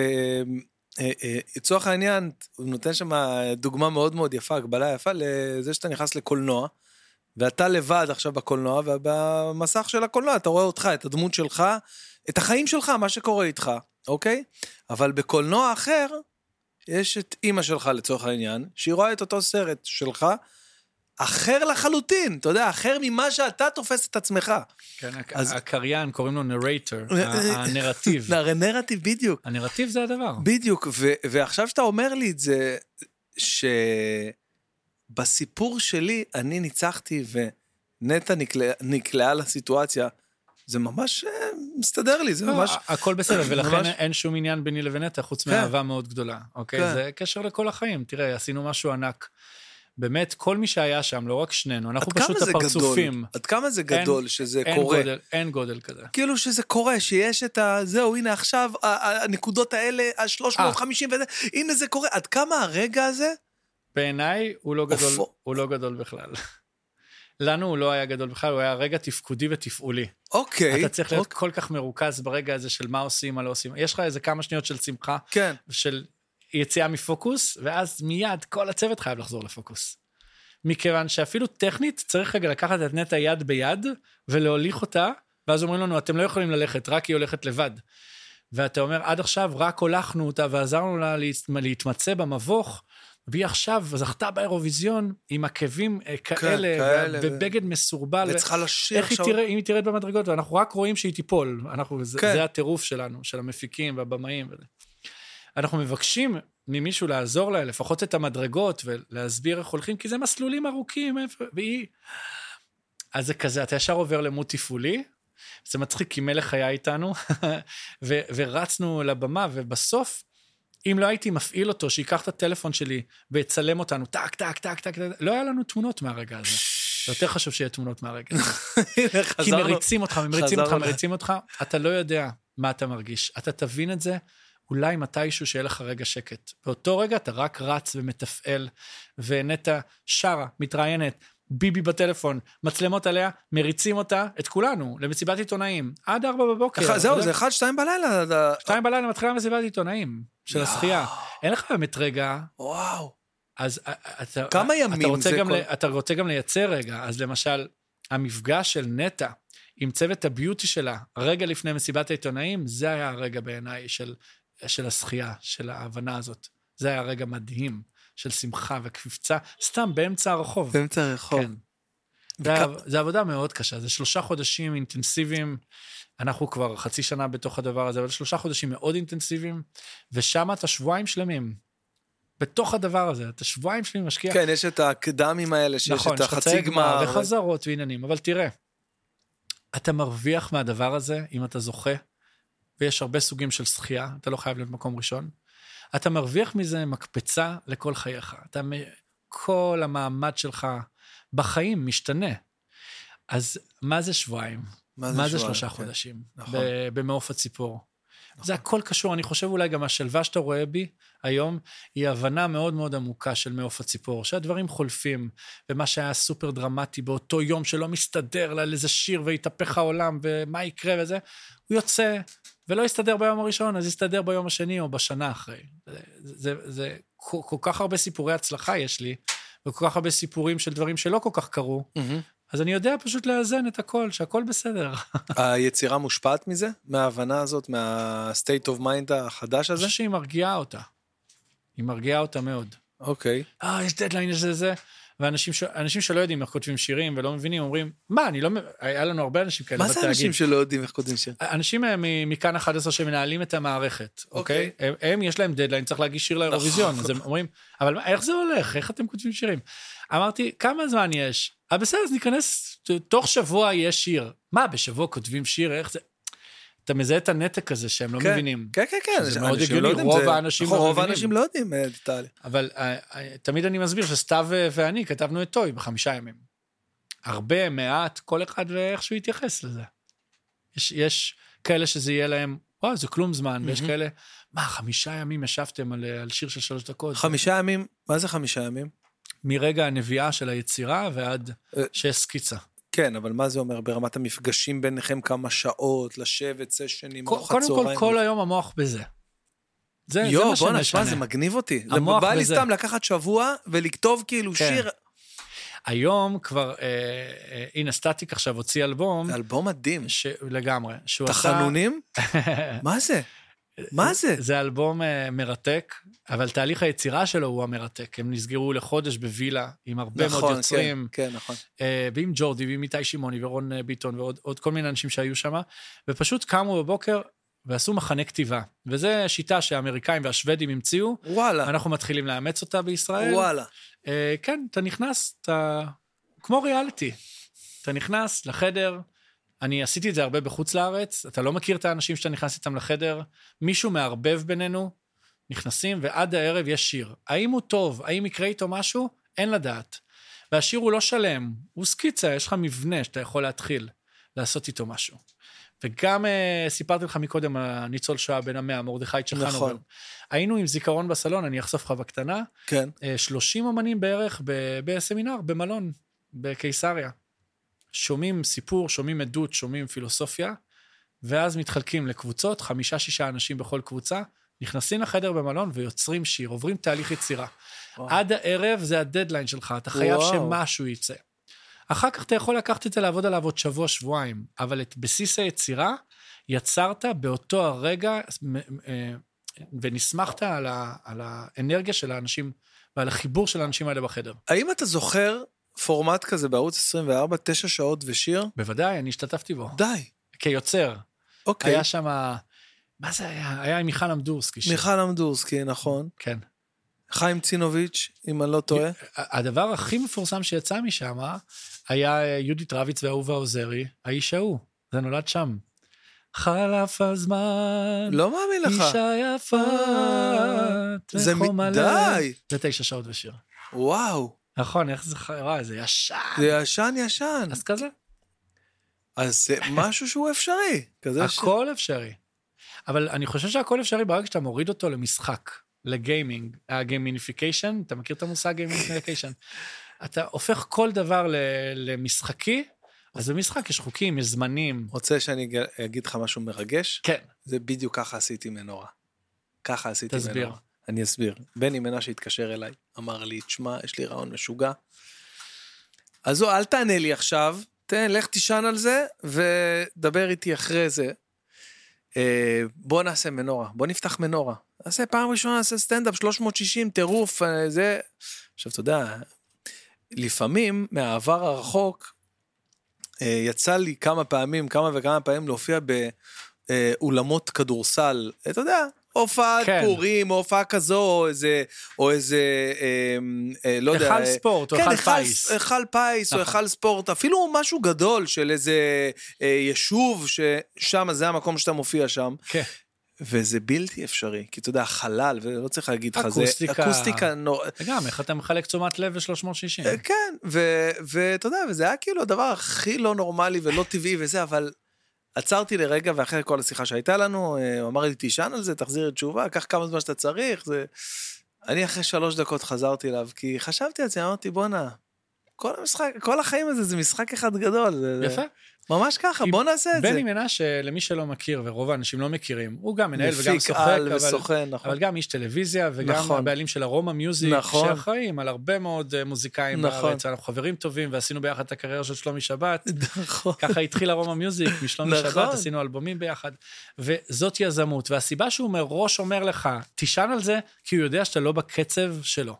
[SPEAKER 1] אה, אה, לצורך העניין, הוא נותן שם דוגמה מאוד מאוד יפה, הגבלה יפה, לזה שאתה נכנס לקולנוע, ואתה לבד עכשיו בקולנוע, ובמסך של הקולנוע אתה רואה אותך, את הדמות שלך, את החיים שלך, מה שקורה איתך, אוקיי? אבל בקולנוע אחר, יש את אימא שלך לצורך העניין, שהיא רואה את אותו סרט שלך, אחר לחלוטין, אתה יודע, אחר ממה שאתה תופס את עצמך.
[SPEAKER 2] כן, הק-
[SPEAKER 1] אז- אה,
[SPEAKER 2] הקריין, קוראים לו נרייטר, הנרטיב.
[SPEAKER 1] הרי נרטיב בדיוק.
[SPEAKER 2] הנרטיב זה הדבר.
[SPEAKER 1] בדיוק, ו- ועכשיו שאתה אומר לי את זה, שבסיפור שלי אני ניצחתי ונטע נקלע, נקלעה לסיטואציה, זה ממש אה, מסתדר לי, זה
[SPEAKER 2] לא,
[SPEAKER 1] ממש...
[SPEAKER 2] הכל בסדר, ולכן
[SPEAKER 1] ממש-
[SPEAKER 2] אין שום עניין ביני לבין נטע, חוץ
[SPEAKER 1] כן.
[SPEAKER 2] מאהבה מאוד גדולה, אוקיי?
[SPEAKER 1] כן.
[SPEAKER 2] זה קשר לכל החיים. תראה, עשינו משהו ענק. באמת, כל מי שהיה שם, לא רק שנינו,
[SPEAKER 1] עד
[SPEAKER 2] אנחנו
[SPEAKER 1] כמה
[SPEAKER 2] פשוט
[SPEAKER 1] זה גדול,
[SPEAKER 2] הפרצופים.
[SPEAKER 1] עד כמה זה
[SPEAKER 2] אין-
[SPEAKER 1] גדול שזה
[SPEAKER 2] אין
[SPEAKER 1] קורה.
[SPEAKER 2] גודל- אין גודל כזה.
[SPEAKER 1] כאילו שזה קורה, שיש את ה... זהו, הנה עכשיו, ה- ה- הנקודות האלה, ה-350
[SPEAKER 2] אה.
[SPEAKER 1] וזה, הנה זה קורה. עד כמה הרגע הזה...
[SPEAKER 2] בעיניי הוא לא גדול,
[SPEAKER 1] אופו.
[SPEAKER 2] הוא לא גדול בכלל. לנו הוא לא היה גדול בכלל, הוא היה רגע תפקודי ותפעולי.
[SPEAKER 1] אוקיי.
[SPEAKER 2] אתה צריך להיות
[SPEAKER 1] אוק-
[SPEAKER 2] כל כך מרוכז ברגע הזה של מה עושים, מה לא עושים. יש לך איזה כמה שניות של שמחה,
[SPEAKER 1] כן.
[SPEAKER 2] של יציאה מפוקוס, ואז מיד כל הצוות חייב לחזור לפוקוס. מכיוון שאפילו טכנית צריך רגע לקחת את נטע יד ביד ולהוליך אותה, ואז אומרים לנו, אתם לא יכולים ללכת, רק היא הולכת לבד. ואתה אומר, עד עכשיו רק הולכנו אותה ועזרנו לה להת- להתמצא במבוך, והיא עכשיו זכתה באירוויזיון עם עקבים אה, כאלה,
[SPEAKER 1] כן, כאלה, ו-
[SPEAKER 2] ובגד מסורבל.
[SPEAKER 1] וצריכה לשיר
[SPEAKER 2] איך היא
[SPEAKER 1] עכשיו...
[SPEAKER 2] תראה, אם היא תרד במדרגות, ואנחנו רק רואים שהיא תיפול. אנחנו, זה,
[SPEAKER 1] כן.
[SPEAKER 2] זה הטירוף שלנו, של המפיקים והבמאים. וזה. אנחנו מבקשים ממישהו לעזור לה, לפחות את המדרגות, ולהסביר איך הולכים, כי זה מסלולים ארוכים, איפה- והיא... אז זה כזה, אתה ישר עובר למוד תפעולי, זה מצחיק, כי מלך היה איתנו, ו- ורצנו לבמה, ובסוף, אם לא הייתי מפעיל אותו, שייקח את הטלפון שלי ויצלם אותנו, טק, טק, טק, טק, טק, לא היה לנו תמונות מהרגע הזה. זה יותר חשוב שיהיה תמונות מהרגע הזה.
[SPEAKER 1] הנה,
[SPEAKER 2] כי
[SPEAKER 1] חזרנו.
[SPEAKER 2] מריצים אותך, מריצים אותך,
[SPEAKER 1] חזרנו ל-
[SPEAKER 2] מריצים אותך, אתה לא יודע מה אתה מרגיש. אתה תבין את זה אולי מתישהו שיהיה לך רגע שקט. באותו רגע אתה רק רץ ומתפעל, ונטע שרה, מתראיינת, ביבי בטלפון, מצלמות עליה, מריצים אותה, את כולנו, למסיבת עיתונאים, עד ארבע בבוקר.
[SPEAKER 1] אחד-
[SPEAKER 2] אתה
[SPEAKER 1] זהו,
[SPEAKER 2] יודע?
[SPEAKER 1] זה אחד, שתיים בלילה. אתה-
[SPEAKER 2] כן, שתיים בלילה מתחילה מסיבת עיתונאים של השחייה. אין לך באמת רגע,
[SPEAKER 1] וואו.
[SPEAKER 2] אז א- א- אתה... אה,
[SPEAKER 1] כמה
[SPEAKER 2] אתה
[SPEAKER 1] ימים
[SPEAKER 2] רוצה
[SPEAKER 1] זה
[SPEAKER 2] גם
[SPEAKER 1] כל-
[SPEAKER 2] ל- אתה רוצה גם לייצר רגע, אז למשל, המפגש של נטע עם צוות הביוטי שלה, רגע לפני מסיבת העיתונאים, זה היה הרגע בעיניי של, של השחייה, של ההבנה הזאת. זה היה רגע מדהים של שמחה וקפיצה, סתם באמצע הרחוב.
[SPEAKER 1] באמצע הרחוב.
[SPEAKER 2] כן. זה, היה- זה עבודה מאוד קשה, זה שלושה חודשים אינטנסיביים, אנחנו כבר חצי שנה בתוך הדבר הזה, אבל שלושה חודשים מאוד אינטנסיביים, ושם אתה שבועיים שלמים, בתוך הדבר הזה, אתה שבועיים שלמים משקיע.
[SPEAKER 1] כן, יש את הקדמים האלה, שיש
[SPEAKER 2] נכון,
[SPEAKER 1] את
[SPEAKER 2] יש חצאי
[SPEAKER 1] החצי גמר.
[SPEAKER 2] וחזרות ועניינים, אבל תראה, אתה מרוויח מהדבר הזה, אם אתה זוכה, ויש הרבה סוגים של שחייה, אתה לא חייב להיות מקום ראשון. אתה מרוויח מזה מקפצה לכל חייך. אתה, מ- כל המעמד שלך בחיים משתנה. אז מה זה שבועיים? מה זה
[SPEAKER 1] שבועיים?
[SPEAKER 2] שלושה
[SPEAKER 1] כן.
[SPEAKER 2] חודשים?
[SPEAKER 1] נכון.
[SPEAKER 2] ב- במעוף הציפור. זה הכל קשור, אני חושב אולי גם השלווה שאתה רואה בי היום, היא הבנה מאוד מאוד עמוקה של מעוף הציפור, שהדברים חולפים, ומה שהיה סופר דרמטי באותו יום שלא מסתדר לה על איזה שיר והתהפך העולם, ומה יקרה וזה, הוא יוצא, ולא יסתדר ביום הראשון, אז יסתדר ביום השני או בשנה אחרי. זה, זה, זה כל, כל כך הרבה סיפורי הצלחה יש לי, וכל כך הרבה סיפורים של דברים שלא כל כך קרו,
[SPEAKER 1] מהמם.
[SPEAKER 2] אז אני יודע פשוט לאזן את הכל, שהכל בסדר.
[SPEAKER 1] היצירה מושפעת מזה? מההבנה הזאת, מה-state of mind החדש
[SPEAKER 2] זה
[SPEAKER 1] הזה?
[SPEAKER 2] שהיא מרגיעה אותה. היא מרגיעה אותה מאוד.
[SPEAKER 1] אוקיי.
[SPEAKER 2] אה, יש דדליין, יש זה זה. ואנשים ש... אנשים שלא יודעים איך כותבים שירים ולא מבינים, אומרים, מה, אני לא... מ- היה לנו הרבה אנשים כאלה
[SPEAKER 1] מה זה אנשים שלא יודעים איך כותבים שיר?
[SPEAKER 2] אנשים אה, מ- מכאן 11 שמנהלים את המערכת,
[SPEAKER 1] אוקיי. נכון.
[SPEAKER 2] אוקיי? הם, הם, יש להם דדליין, צריך להגיש שיר לאירוויזיון, אז הם אומרים, אבל מה, איך זה הולך? איך אתם כותבים שירים? אמרתי, כמה זמן יש? "אה, בסדר, אז ניכנס, ת- תוך שבוע יש שיר. מה, בשבוע כותבים שיר, איך זה... אתה מזהה את הנתק הזה שהם לא
[SPEAKER 1] כן.
[SPEAKER 2] מבינים.
[SPEAKER 1] כן, כן, כן.
[SPEAKER 2] שזה
[SPEAKER 1] אנשים
[SPEAKER 2] מאוד
[SPEAKER 1] לא
[SPEAKER 2] הגיוני,
[SPEAKER 1] יודעים,
[SPEAKER 2] רוב
[SPEAKER 1] זה-
[SPEAKER 2] האנשים
[SPEAKER 1] נכון,
[SPEAKER 2] לא
[SPEAKER 1] רוב
[SPEAKER 2] מבינים.
[SPEAKER 1] האנשים לא יודעים אה, את התהליך.
[SPEAKER 2] אבל אה, אה, תמיד אני מסביר שסתיו אה, ואני כתבנו את טוי בחמישה ימים. הרבה, מעט, כל אחד ואיך שהוא יתייחס לזה. יש, יש כאלה שזה יהיה להם, וואו, זה כלום זמן, ויש כאלה, מה, חמישה ימים ישבתם על, אה, על שיר של שלוש דקות?
[SPEAKER 1] חמישה ימים, מה זה חמישה ימים?
[SPEAKER 2] מרגע הנביאה של היצירה ועד
[SPEAKER 1] אה.
[SPEAKER 2] שיש סקיצה.
[SPEAKER 1] כן, אבל מה זה אומר ברמת המפגשים ביניכם, כמה שעות, לשבת, סשנים,
[SPEAKER 2] קו-
[SPEAKER 1] ארוחת
[SPEAKER 2] קודם כל,
[SPEAKER 1] צהריים?
[SPEAKER 2] כל היום המוח בזה. זה, זה
[SPEAKER 1] יואו,
[SPEAKER 2] מה
[SPEAKER 1] בואנה,
[SPEAKER 2] שמשנה.
[SPEAKER 1] שמע, זה מגניב אותי. זה
[SPEAKER 2] המוח
[SPEAKER 1] בא לי
[SPEAKER 2] וזה.
[SPEAKER 1] סתם לקחת שבוע ולכתוב כאילו
[SPEAKER 2] כן.
[SPEAKER 1] שיר
[SPEAKER 2] היום כבר, אה, אה, הנה סטטיק עכשיו הוציא אלבום,
[SPEAKER 1] זה אלבום מדהים.
[SPEAKER 2] ש... לגמרי, שהוא
[SPEAKER 1] תחנונים?
[SPEAKER 2] עשה...
[SPEAKER 1] מה זה? מה זה?
[SPEAKER 2] זה אלבום אה, מרתק, אבל תהליך היצירה שלו הוא המרתק. הם נסגרו לחודש בווילה עם הרבה מאוד
[SPEAKER 1] נכון, כן,
[SPEAKER 2] יוצרים,
[SPEAKER 1] כן, נכון.
[SPEAKER 2] אה, ועם ג'ורדי ועם איתי שמעוני ורון אה, ביטון ועוד עוד כל מיני אנשים שהיו שם, ופשוט קמו בבוקר ועשו מחנה כתיבה. וזו שיטה שהאמריקאים והשוודים המציאו,
[SPEAKER 1] וואלה,
[SPEAKER 2] אנחנו מתחילים לאמץ אותה בישראל.
[SPEAKER 1] וואלה.
[SPEAKER 2] אה, כן, אתה נכנס, אתה... כמו ריאליטי. אתה נכנס לחדר, אני עשיתי את זה הרבה בחוץ לארץ, אתה לא מכיר את האנשים שאתה נכנס איתם לחדר, מישהו מערבב בינינו, נכנסים, ועד הערב יש שיר. האם הוא טוב, האם יקרה איתו משהו? אין לדעת. והשיר הוא לא שלם, הוא סקיצה, יש לך מבנה שאתה יכול להתחיל לעשות איתו משהו. וגם אה, סיפרתי לך מקודם, הניצול שואה בן המאה, מרדכי צ'חנובר.
[SPEAKER 1] נכון.
[SPEAKER 2] נכון. היינו עם זיכרון בסלון, אני אחשוף לך בקטנה,
[SPEAKER 1] כן.
[SPEAKER 2] אה, 30 אמנים בערך ב- בסמינר, במלון, בקיסריה. שומעים סיפור, שומעים עדות, שומעים פילוסופיה, ואז מתחלקים לקבוצות, חמישה-שישה אנשים בכל קבוצה, נכנסים לחדר במלון ויוצרים שיר, עוברים תהליך יצירה.
[SPEAKER 1] וואו.
[SPEAKER 2] עד הערב זה הדדליין שלך, אתה חייב
[SPEAKER 1] וואו.
[SPEAKER 2] שמשהו יצא. אחר כך אתה יכול לקחת את זה לעבוד עליו עוד שבוע, שבועיים, אבל את בסיס היצירה יצרת באותו הרגע, מ- מ- אה, ונסמכת על, ה, על האנרגיה של האנשים ועל החיבור של האנשים האלה בחדר.
[SPEAKER 1] האם אתה זוכר פורמט כזה בערוץ 24, תשע שעות ושיר?
[SPEAKER 2] בוודאי, אני השתתפתי בו.
[SPEAKER 1] די.
[SPEAKER 2] כיוצר.
[SPEAKER 1] אוקיי.
[SPEAKER 2] היה שם... מה זה היה? היה עם מיכל אמדורסקי. ש-
[SPEAKER 1] מיכל עמדורסקי, נכון.
[SPEAKER 2] כן.
[SPEAKER 1] חיים צינוביץ', אם אני לא טועה.
[SPEAKER 2] ה- הדבר הכי מפורסם שיצא משם היה אה, יהודית רביץ ואהובה עוזרי, האיש ההוא, זה נולד שם. חלף הזמן,
[SPEAKER 1] לא מאמין לך. אה,
[SPEAKER 2] אישה יפה,
[SPEAKER 1] זה מ-
[SPEAKER 2] תחום הלב.
[SPEAKER 1] די.
[SPEAKER 2] זה תשע שעות בשיר.
[SPEAKER 1] וואו.
[SPEAKER 2] נכון, איך זה חרה? זה ישר.
[SPEAKER 1] זה ישן ישן.
[SPEAKER 2] אז כזה,
[SPEAKER 1] אז זה משהו שהוא אפשרי. כזה ש...
[SPEAKER 2] הכל אפשרי. אבל אני חושב שהכל אפשרי ברגע שאתה מוריד אותו למשחק, לגיימינג, הגיימיניפיקיישן, אתה מכיר את המושג גיימיניפיקיישן? אתה הופך כל דבר ל- למשחקי, אז במשחק יש חוקים, יש זמנים.
[SPEAKER 1] רוצה שאני אג- אגיד לך משהו מרגש?
[SPEAKER 2] כן,
[SPEAKER 1] זה בדיוק ככה עשיתי עם מנורה. ככה עשיתי עם
[SPEAKER 2] תסביר.
[SPEAKER 1] מנורה. אני אסביר. בני מנשה התקשר אליי, אמר לי, תשמע, יש לי רעיון משוגע. אז לא, אל תענה לי עכשיו, תן, לך תישן על זה, ודבר איתי אחרי זה. אה, בוא נעשה מנורה, בוא נפתח מנורה. נעשה פעם ראשונה, נעשה סטנדאפ 360, טירוף, אה, זה... עכשיו, אתה יודע, לפעמים מהעבר הרחוק, אה, יצא לי כמה פעמים, כמה וכמה פעמים להופיע באולמות כדורסל, אתה יודע, הופעת
[SPEAKER 2] כן.
[SPEAKER 1] כן. פורים, או הופעה כזו, או איזה, או איזה, אה, אה, לא יודע...
[SPEAKER 2] היכל
[SPEAKER 1] אה,
[SPEAKER 2] ספורט או
[SPEAKER 1] כן,
[SPEAKER 2] היכל אה, פיס.
[SPEAKER 1] היכל פיס או
[SPEAKER 2] נכון.
[SPEAKER 1] היכל ספורט, אפילו משהו גדול של איזה אה, יישוב, ששם זה המקום שאתה מופיע שם.
[SPEAKER 2] כן.
[SPEAKER 1] וזה בלתי אפשרי, כי אתה יודע, חלל, ולא צריך להגיד לך, זה
[SPEAKER 2] אקוסטיקה.
[SPEAKER 1] אקוסטיקה נורא...
[SPEAKER 2] וגם, איך אתה מחלק תשומת לב ב-360?
[SPEAKER 1] אה, כן, ו- ואתה יודע, וזה היה כאילו הדבר הכי לא נורמלי ולא טבעי וזה, אבל עצרתי לרגע, ואחרי כל השיחה שהייתה לנו, אה, הוא אמר לי, תישן על זה, תחזיר לי תשובה, קח כמה זמן שאתה צריך. זה... אני אחרי שלוש דקות חזרתי אליו, כי חשבתי על זה, אמרתי, בואנה, כל המשחק, כל החיים הזה זה משחק אחד גדול. זה-
[SPEAKER 2] יפה.
[SPEAKER 1] זה... ממש ככה,
[SPEAKER 2] כי
[SPEAKER 1] בוא נעשה את זה.
[SPEAKER 2] בני מנשה, למי שלא מכיר, ורוב האנשים לא מכירים, הוא גם מנהל וגם
[SPEAKER 1] מפיק
[SPEAKER 2] שוחק,
[SPEAKER 1] על
[SPEAKER 2] אבל-
[SPEAKER 1] וסוכן, נכון.
[SPEAKER 2] אבל גם איש טלוויזיה, וגם
[SPEAKER 1] נכון.
[SPEAKER 2] הבעלים של ארומה מיוזיק,
[SPEAKER 1] נכון.
[SPEAKER 2] שאחראים על הרבה מאוד אה, מוזיקאים
[SPEAKER 1] נכון.
[SPEAKER 2] בארץ, אנחנו חברים טובים, ועשינו ביחד את הקריירה של שלומי שבת.
[SPEAKER 1] נכון.
[SPEAKER 2] ככה התחיל ארומה מיוזיק, משלומי
[SPEAKER 1] נכון.
[SPEAKER 2] שבת, עשינו אלבומים ביחד. וזאת יזמות, והסיבה שהוא מראש אומר לך, תישן על זה, כי הוא יודע שאתה לא בקצב שלו.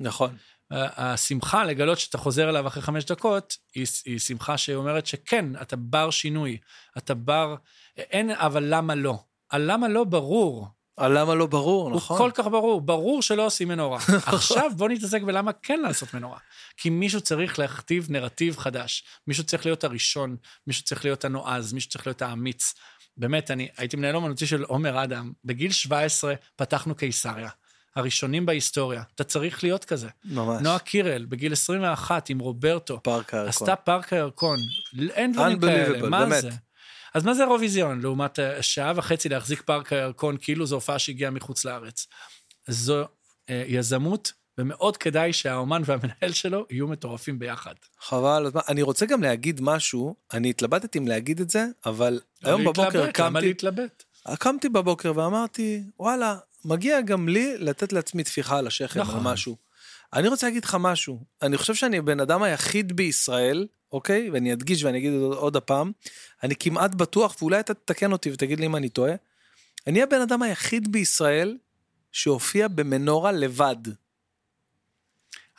[SPEAKER 1] נכון.
[SPEAKER 2] ה- השמחה לגלות שאתה חוזר אליו אחרי חמש דקות, היא, ס- היא שמחה שאומרת שכן, אתה בר שינוי, אתה בר... אין אבל למה לא. הלמה לא ברור.
[SPEAKER 1] על למה לא ברור,
[SPEAKER 2] נכון.
[SPEAKER 1] נכון.
[SPEAKER 2] הוא כל כך ברור, ברור שלא עושים מנורה. עכשיו בוא נתעסק בלמה כן לעשות מנורה. כי מישהו צריך להכתיב נרטיב חדש. מישהו צריך להיות הראשון, מישהו צריך להיות הנועז, מישהו צריך להיות האמיץ. באמת, אני הייתי מנהל אומנותי של עומר אדם. בגיל 17 פתחנו קיסריה. הראשונים בהיסטוריה. אתה צריך להיות כזה.
[SPEAKER 1] ממש.
[SPEAKER 2] נועה קירל, בגיל 21, עם רוברטו,
[SPEAKER 1] פארק הירקון.
[SPEAKER 2] עשתה פארק הירקון. אין דברים
[SPEAKER 1] Unbelievable,
[SPEAKER 2] כאלה, מה
[SPEAKER 1] באמת.
[SPEAKER 2] זה? אז מה זה אירוויזיון, לעומת אה, שעה וחצי להחזיק פארק הירקון, כאילו זו הופעה שהגיעה מחוץ לארץ? זו אה, יזמות, ומאוד כדאי שהאומן והמנהל שלו יהו מטורפים ביחד.
[SPEAKER 1] חבל, אז מה, אני רוצה גם להגיד משהו, אני התלבטתי אם להגיד את זה, אבל היום
[SPEAKER 2] למה
[SPEAKER 1] בבוקר
[SPEAKER 2] להתלבט? למה
[SPEAKER 1] קמתי,
[SPEAKER 2] להתלבט?
[SPEAKER 1] קמתי בבוקר ואמרתי, וואלה, מגיע גם לי לתת לעצמי טפיחה על השכם
[SPEAKER 2] נכון.
[SPEAKER 1] או משהו. אני רוצה להגיד לך משהו. אני חושב שאני הבן אדם היחיד בישראל, אוקיי? ואני אדגיש ואני אגיד עוד- עוד הפעם, אני כמעט בטוח, ואולי אתה תתקן אותי ותגיד לי אם אני טועה, אני הבן אדם היחיד בישראל שהופיע במנורה לבד.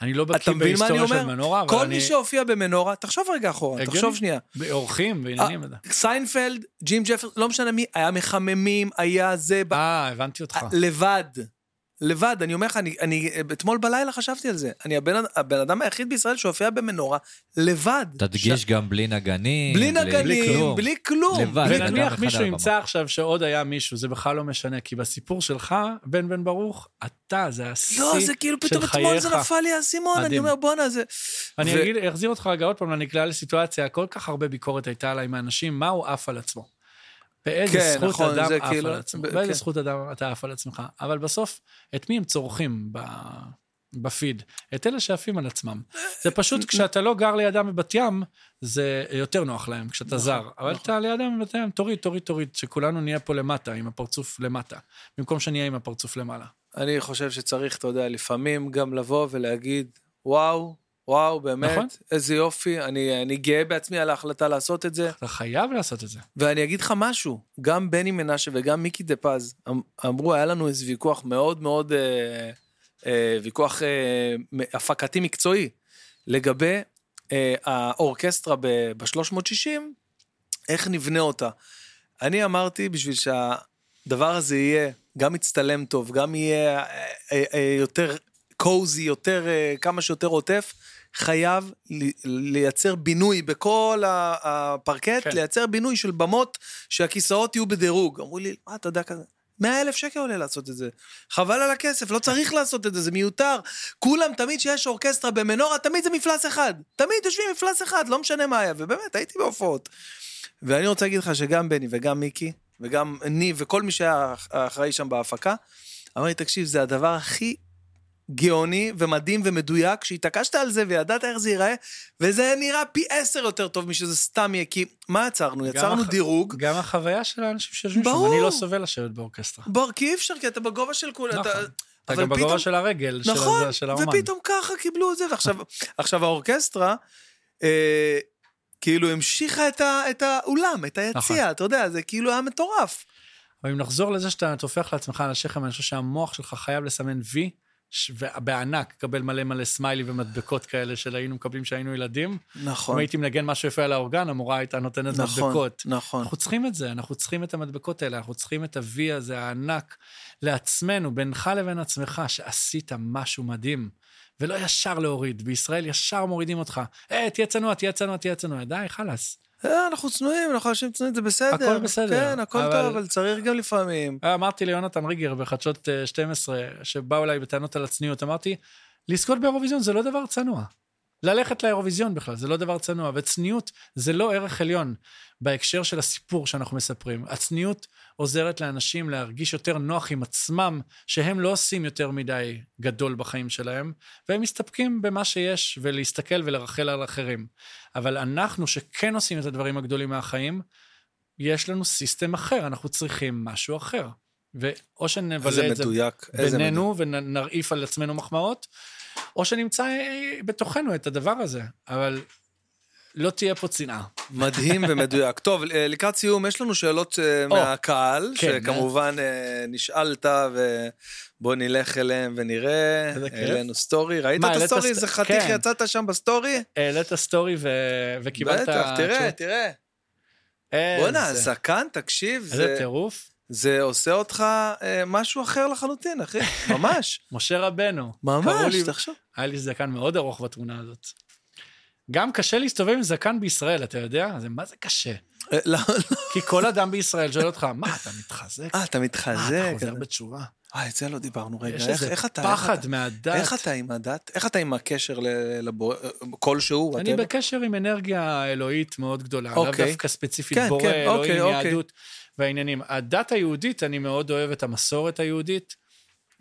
[SPEAKER 2] אני לא
[SPEAKER 1] אתה
[SPEAKER 2] בקיא
[SPEAKER 1] מבין מה אני
[SPEAKER 2] בהיסטוריה של
[SPEAKER 1] אומר?
[SPEAKER 2] מנורה, אבל
[SPEAKER 1] כל
[SPEAKER 2] אני...
[SPEAKER 1] מי שהופיע במנורה, תחשוב רגע אחורה,
[SPEAKER 2] הגיוני.
[SPEAKER 1] תחשוב שנייה.
[SPEAKER 2] באורחים, בעניינים. אתה-
[SPEAKER 1] סיינפלד, ג'ים ג'פר, לא משנה מי, היה מחממים, היה זה, ב-
[SPEAKER 2] אה, הבנתי אותך.
[SPEAKER 1] לבד. לבד, אני אומר לך, אני, אני אתמול בלילה חשבתי על זה. אני הבן, הבן אדם היחיד בישראל שהופיע במנורה, לבד.
[SPEAKER 3] תדגיש גם בלי נגנים.
[SPEAKER 1] בלי נגנים,
[SPEAKER 3] כלום.
[SPEAKER 1] בלי כלום.
[SPEAKER 3] לבד.
[SPEAKER 1] בלי
[SPEAKER 3] בן אדם
[SPEAKER 2] ונניח
[SPEAKER 3] אחד
[SPEAKER 2] מישהו
[SPEAKER 3] על הבמה.
[SPEAKER 2] ימצא עכשיו שעוד היה מישהו, זה בכלל לא משנה, כי בסיפור שלך, בן בן ברוך, אתה, זה השיא של
[SPEAKER 1] לא,
[SPEAKER 2] חייך.
[SPEAKER 1] זה כאילו פתאום אתמול זה נפל לי האסימון, אני
[SPEAKER 2] מדהים.
[SPEAKER 1] אומר, בואנה, זה...
[SPEAKER 2] אני
[SPEAKER 1] ו-
[SPEAKER 2] אגיד, אחזיר אותך רגע עוד פעם לנקלעה לסיטואציה, כל כך הרבה ביקורת הייתה עליי מאנשים, מה הוא עף על עצמו. באיזה
[SPEAKER 1] כן,
[SPEAKER 2] זכות
[SPEAKER 1] נכון,
[SPEAKER 2] אדם
[SPEAKER 1] זה
[SPEAKER 2] עף
[SPEAKER 1] כאילו-
[SPEAKER 2] על עצמו,
[SPEAKER 1] ב-
[SPEAKER 2] באיזה
[SPEAKER 1] כן.
[SPEAKER 2] זכות אדם אתה עף על עצמך. אבל בסוף, את מי הם צורכים ב... בפיד? את אלה שעפים על עצמם. זה פשוט, כשאתה לא גר לידם בבת ים, זה יותר נוח להם,
[SPEAKER 1] נכון,
[SPEAKER 2] כשאתה זר. אבל אתה לידם בבת ים, תוריד, תוריד, תוריד, שכולנו נהיה פה למטה, עם הפרצוף למטה, במקום שנהיה עם הפרצוף למעלה.
[SPEAKER 1] אני חושב שצריך, אתה יודע, לפעמים גם לבוא ולהגיד, וואו, וואו, באמת,
[SPEAKER 2] נכון.
[SPEAKER 1] איזה יופי, אני, אני גאה בעצמי על ההחלטה לעשות את זה.
[SPEAKER 2] אתה חייב לעשות את זה.
[SPEAKER 1] ואני אגיד לך משהו, גם בני מנשה וגם מיקי דה פז אמ- אמרו, היה לנו איזה ויכוח מאוד מאוד, אה, אה, ויכוח אה, מ- הפקתי מקצועי, לגבי אה, האורקסטרה ב-360, איך נבנה אותה. אני אמרתי, בשביל שהדבר הזה יהיה, גם יצטלם טוב, גם יהיה אה, אה, אה, יותר קוזי, יותר, אה, כמה שיותר עוטף, חייב לי- לייצר בינוי בכל ה- הפרקט,
[SPEAKER 2] כן.
[SPEAKER 1] כן. לייצר בינוי של במות שהכיסאות יהיו בדירוג. אמרו לי, מה, אתה יודע כזה? 100 אלף שקל עולה לעשות את זה. חבל על הכסף, לא צריך לעשות את זה, זה מיותר. כולם, תמיד שיש אורקסטרה במנורה, תמיד זה מפלס אחד. תמיד יושבים מפלס אחד, לא משנה מה היה, ובאמת, הייתי בהופעות. ואני רוצה להגיד לך שגם בני וגם מיקי, וגם ניב וכל מי שהיה אחראי שם בהפקה, אמר לי, תקשיב, זה הדבר הכי גאוני ומדהים ומדויק, שהתעקשת על זה וידעת איך זה ייראה, וזה נראה פי עשר יותר טוב משזה סתם יהיה, כי מה יצרנו? יצרנו
[SPEAKER 2] הח-
[SPEAKER 1] דירוג.
[SPEAKER 2] גם החוויה של האנשים שיושבים שם,
[SPEAKER 1] ברור.
[SPEAKER 2] אני לא סובל לשבת באורקסטרה.
[SPEAKER 1] בור, כי אי אפשר, כי אתה בגובה של כולם.
[SPEAKER 2] נכון.
[SPEAKER 1] אתה-
[SPEAKER 2] אתה
[SPEAKER 1] אבל
[SPEAKER 2] גם בגובה
[SPEAKER 1] פתאום-
[SPEAKER 2] של הרגל, של
[SPEAKER 1] נכון,
[SPEAKER 2] הזה- של האומן.
[SPEAKER 1] ופתאום ככה קיבלו את זה, ועכשיו עכשיו האורקסטרה, אה, כאילו המשיכה את, ה, את האולם, את היציע,
[SPEAKER 2] נכון.
[SPEAKER 1] אתה יודע, זה כאילו היה מטורף.
[SPEAKER 2] אבל אם נחזור לזה שאתה טופח לעצמך על השכם, אני חושב שהמוח שלך חייב לסמן וי, ש- ו- בענק, קבל מלא מלא סמיילי ומדבקות כאלה של היינו מקבלים כשהיינו ילדים. אם
[SPEAKER 1] נכון,
[SPEAKER 2] הייתי מנגן משהו יפה על האורגן, המורה הייתה נותנת
[SPEAKER 1] נכון,
[SPEAKER 2] מדבקות.
[SPEAKER 1] נכון.
[SPEAKER 2] אנחנו צריכים את זה, אנחנו צריכים את המדבקות האלה, אנחנו צריכים את ה-V הזה הענק לעצמנו, בינך לבין עצמך, שעשית משהו מדהים, ולא ישר להוריד. בישראל ישר מורידים אותך. אה, תהיה צנוע, תהיה צנוע, תהיה צנוע. די, חלאס.
[SPEAKER 1] אה, אנחנו צנועים, אנחנו אנשים צנועים, זה בסדר.
[SPEAKER 2] הכל בסדר,
[SPEAKER 1] כן, הכל
[SPEAKER 2] אבל-
[SPEAKER 1] טוב, אבל צריך גם לפעמים.
[SPEAKER 2] אה, אמרתי ליונתן ריגר בחדשות אה, 12, שבאו אליי בטענות על הצניעות, אמרתי, לזכות באירוויזיון זה לא דבר צנוע. ללכת לאירוויזיון בכלל, זה לא דבר צנוע, וצניעות זה לא ערך עליון בהקשר של הסיפור שאנחנו מספרים. הצניעות עוזרת לאנשים להרגיש יותר נוח עם עצמם, שהם לא עושים יותר מדי גדול בחיים שלהם, והם מסתפקים במה שיש, ולהסתכל ולרחל על אחרים. אבל אנחנו, שכן עושים את הדברים הגדולים מהחיים, יש לנו סיסטם אחר, אנחנו צריכים משהו אחר. ואו שנבלה את זה
[SPEAKER 1] מדויק,
[SPEAKER 2] בינינו ונרעיף על עצמנו מחמאות, או שנמצא אה, בתוכנו את הדבר הזה, אבל לא תהיה פה צנעה.
[SPEAKER 1] מדהים ומדויק. טוב, אה, לקראת סיום, יש לנו שאלות אה, מהקהל,
[SPEAKER 2] כן.
[SPEAKER 1] שכמובן אה, נשאלת, ובוא נלך אליהם ונראה.
[SPEAKER 2] איזה כיף.
[SPEAKER 1] העלינו סטורי, ראית
[SPEAKER 2] מה,
[SPEAKER 1] את
[SPEAKER 2] העלית
[SPEAKER 1] הסטורי?
[SPEAKER 2] סט-
[SPEAKER 1] איזה חתיך
[SPEAKER 2] כן.
[SPEAKER 1] יצאת שם בסטורי?
[SPEAKER 2] העלית סטורי ו... וקיבלת...
[SPEAKER 1] בטח, תראה, תראה.
[SPEAKER 2] תראה.
[SPEAKER 1] בואנה, הזקן, תקשיב,
[SPEAKER 2] איזה
[SPEAKER 1] זה-
[SPEAKER 2] טירוף.
[SPEAKER 1] זה עושה אותך אה, משהו אחר לחלוטין, אחי. ממש,
[SPEAKER 2] משה רבנו. קראו
[SPEAKER 1] ממש,
[SPEAKER 2] לי-
[SPEAKER 1] תחשוב.
[SPEAKER 2] היה לי זקן מאוד ארוך בתמונה הזאת. גם קשה להסתובב עם זקן בישראל, אתה יודע? זה מה זה קשה?
[SPEAKER 1] אה, לא, לא.
[SPEAKER 2] כי כל אדם בישראל שואל אותך, מה, אתה מתחזק?
[SPEAKER 1] אה, אתה
[SPEAKER 2] מה,
[SPEAKER 1] מתחזק.
[SPEAKER 2] אתה חוזר בתשובה?
[SPEAKER 1] אה, את זה לא דיברנו רגע.
[SPEAKER 2] יש
[SPEAKER 1] איך,
[SPEAKER 2] איזה
[SPEAKER 1] איך אתה...
[SPEAKER 2] פחד
[SPEAKER 1] איך
[SPEAKER 2] מהדת.
[SPEAKER 1] אתה, איך אתה עם הדת? איך אתה עם הקשר ל- לבורא, כלשהו?
[SPEAKER 2] אני
[SPEAKER 1] whatever?
[SPEAKER 2] בקשר עם אנרגיה אלוהית מאוד גדולה, לאו
[SPEAKER 1] אוקיי.
[SPEAKER 2] דווקא ספציפית
[SPEAKER 1] כן,
[SPEAKER 2] בורא,
[SPEAKER 1] כן,
[SPEAKER 2] אלוהים,
[SPEAKER 1] אוקיי, אוקיי.
[SPEAKER 2] יהדות והעניינים. הדת היהודית, אני מאוד אוהב את המסורת היהודית,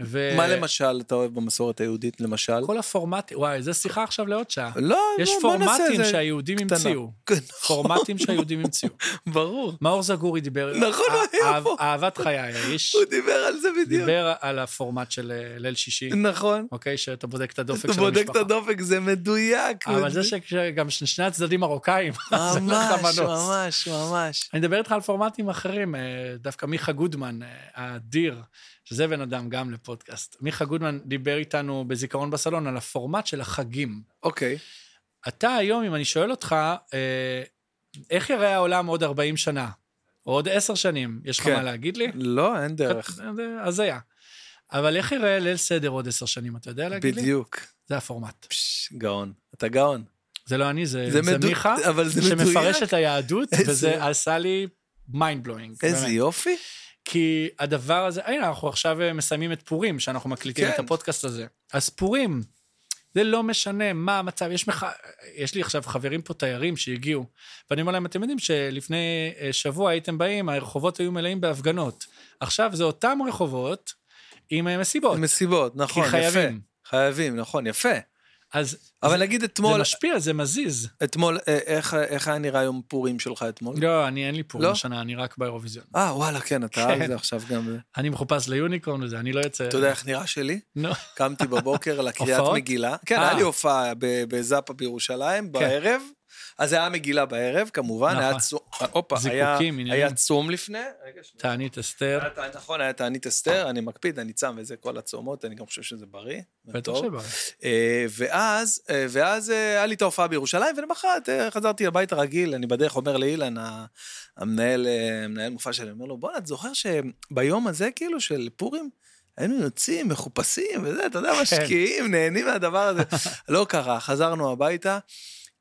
[SPEAKER 2] ו...
[SPEAKER 1] מה למשל אתה אוהב במסורת היהודית, למשל?
[SPEAKER 2] כל הפורמט, וואי, זו שיחה עכשיו לעוד שעה.
[SPEAKER 1] לא,
[SPEAKER 2] יש
[SPEAKER 1] בוא- בוא נעשה
[SPEAKER 2] פורמטים
[SPEAKER 1] את זה
[SPEAKER 2] שהיהודים
[SPEAKER 1] קטנה.
[SPEAKER 2] המציאו.
[SPEAKER 1] כן,
[SPEAKER 2] פורמטים שהיהודים המציאו.
[SPEAKER 1] ברור.
[SPEAKER 2] מאור זגורי דיבר,
[SPEAKER 1] נכון,
[SPEAKER 2] אה-
[SPEAKER 1] הוא היה
[SPEAKER 2] אהב-
[SPEAKER 1] פה.
[SPEAKER 2] אהבת חיי האיש,
[SPEAKER 1] הוא דיבר על זה בדיוק.
[SPEAKER 2] דיבר על הפורמט של אה, ליל שישי,
[SPEAKER 1] נכון.
[SPEAKER 2] אוקיי? שאתה בודק את הדופק
[SPEAKER 1] אתה
[SPEAKER 2] של
[SPEAKER 1] בודק את
[SPEAKER 2] המשפחה.
[SPEAKER 1] הדופק, זה מדויק.
[SPEAKER 2] אבל זה לא
[SPEAKER 1] מדויק.
[SPEAKER 2] שגם שני הצדדים מרוקאים, אז אין לך
[SPEAKER 1] ממש,
[SPEAKER 2] מנוס.
[SPEAKER 1] ממש, ממש.
[SPEAKER 2] אני מדבר איתך על פורמטים אחרים, אה, דווקא מיכה גודמן, אה, האדיר, שזה בן אדם גם לפודקאסט. מיכה גודמן דיבר איתנו בזיכרון בסלון על הפורמט של החגים.
[SPEAKER 1] אוקיי.
[SPEAKER 2] אתה היום, אם אני שואל אותך, אה, איך יראה העולם עוד 40 שנה? או עוד 10 שנים? יש לך
[SPEAKER 1] כן.
[SPEAKER 2] מה להגיד לי? אה,
[SPEAKER 1] לא, אין דרך.
[SPEAKER 2] זה הזיה. אבל איך יראה ליל סדר עוד 10 שנים? אתה יודע להגיד לי?
[SPEAKER 1] בדיוק.
[SPEAKER 2] זה הפורמט.
[SPEAKER 1] פש, גאון. אתה גאון.
[SPEAKER 2] זה לא אני, זה,
[SPEAKER 1] זה
[SPEAKER 2] זה
[SPEAKER 1] מדו-
[SPEAKER 2] מיכה,
[SPEAKER 1] אבל זה
[SPEAKER 2] שמפרש
[SPEAKER 1] מדויק.
[SPEAKER 2] את היהדות,
[SPEAKER 1] איזה-
[SPEAKER 2] וזה עשה לי mind blowing.
[SPEAKER 1] איזה יופי.
[SPEAKER 2] כי הדבר הזה, הנה, אנחנו עכשיו אה, מסיימים את פורים, שאנחנו מקליטים
[SPEAKER 1] כן.
[SPEAKER 2] את הפודקאסט הזה. אז פורים, זה לא משנה מה המצב, יש, מח... יש לי עכשיו חברים פה, תיירים שהגיעו, ואני אומר להם, אתם יודעים שלפני אה, שבוע הייתם באים, הרחובות היו מלאים בהפגנות. עכשיו זה אותם רחובות עם אה, מסיבות,
[SPEAKER 1] מסיבות, נכון,
[SPEAKER 2] כי חייבים.
[SPEAKER 1] יפה. חייבים, נכון, יפה.
[SPEAKER 2] אז
[SPEAKER 1] אבל
[SPEAKER 2] זה,
[SPEAKER 1] נגיד
[SPEAKER 2] זה
[SPEAKER 1] אתמול,
[SPEAKER 2] משפיע, זה מזיז.
[SPEAKER 1] אתמול, אה, איך- איך היה נראה יום פורים שלך אתמול?
[SPEAKER 2] לא, אני אין לי פורים
[SPEAKER 1] לא?
[SPEAKER 2] השנה, אני רק באירוויזיון.
[SPEAKER 1] אה, וואלה, כן, אתה
[SPEAKER 2] כן.
[SPEAKER 1] על זה עכשיו גם.
[SPEAKER 2] אני מחופש ליוניקורן וזה, אני לא יוצא...
[SPEAKER 1] אתה יודע איך נראה שלי?
[SPEAKER 2] נו,
[SPEAKER 1] קמתי בבוקר לקריאת
[SPEAKER 2] הופעות?
[SPEAKER 1] מגילה. כן,
[SPEAKER 2] אה. כן.
[SPEAKER 1] היה לי הופעה ב- בזאפה בירושלים בערב. אז היה מגילה בערב, כמובן, היה
[SPEAKER 2] נכון.
[SPEAKER 1] צום, הופה, היה-
[SPEAKER 2] זיקוקים, עניינים.
[SPEAKER 1] היה צום לפני. רגע, שנייה.
[SPEAKER 2] תענית אסתר.
[SPEAKER 1] היה תע- נכון, היה תענית אסתר, אני מקפיד, אני צם וזה, כל הצומות, אני גם חושב שזה בריא. זה
[SPEAKER 2] בטח
[SPEAKER 1] טוב.
[SPEAKER 2] שבא.
[SPEAKER 1] אה, ואז, אה, ואז אה, היה לי את ההופעה בירושלים, ולמחרת אה, חזרתי הביתה רגיל, אני בדרך אומר לאילן, ה- המנהל, אה, מנהל מופע שלי, אומר לו, בואנה, את זוכר שביום הזה, כאילו, של פורים, היינו יוצאים, מחופשים וזה, אתה
[SPEAKER 2] כן.
[SPEAKER 1] יודע, משקיעים, נהנים מהדבר הזה. לא קרה, חזרנו הביתה.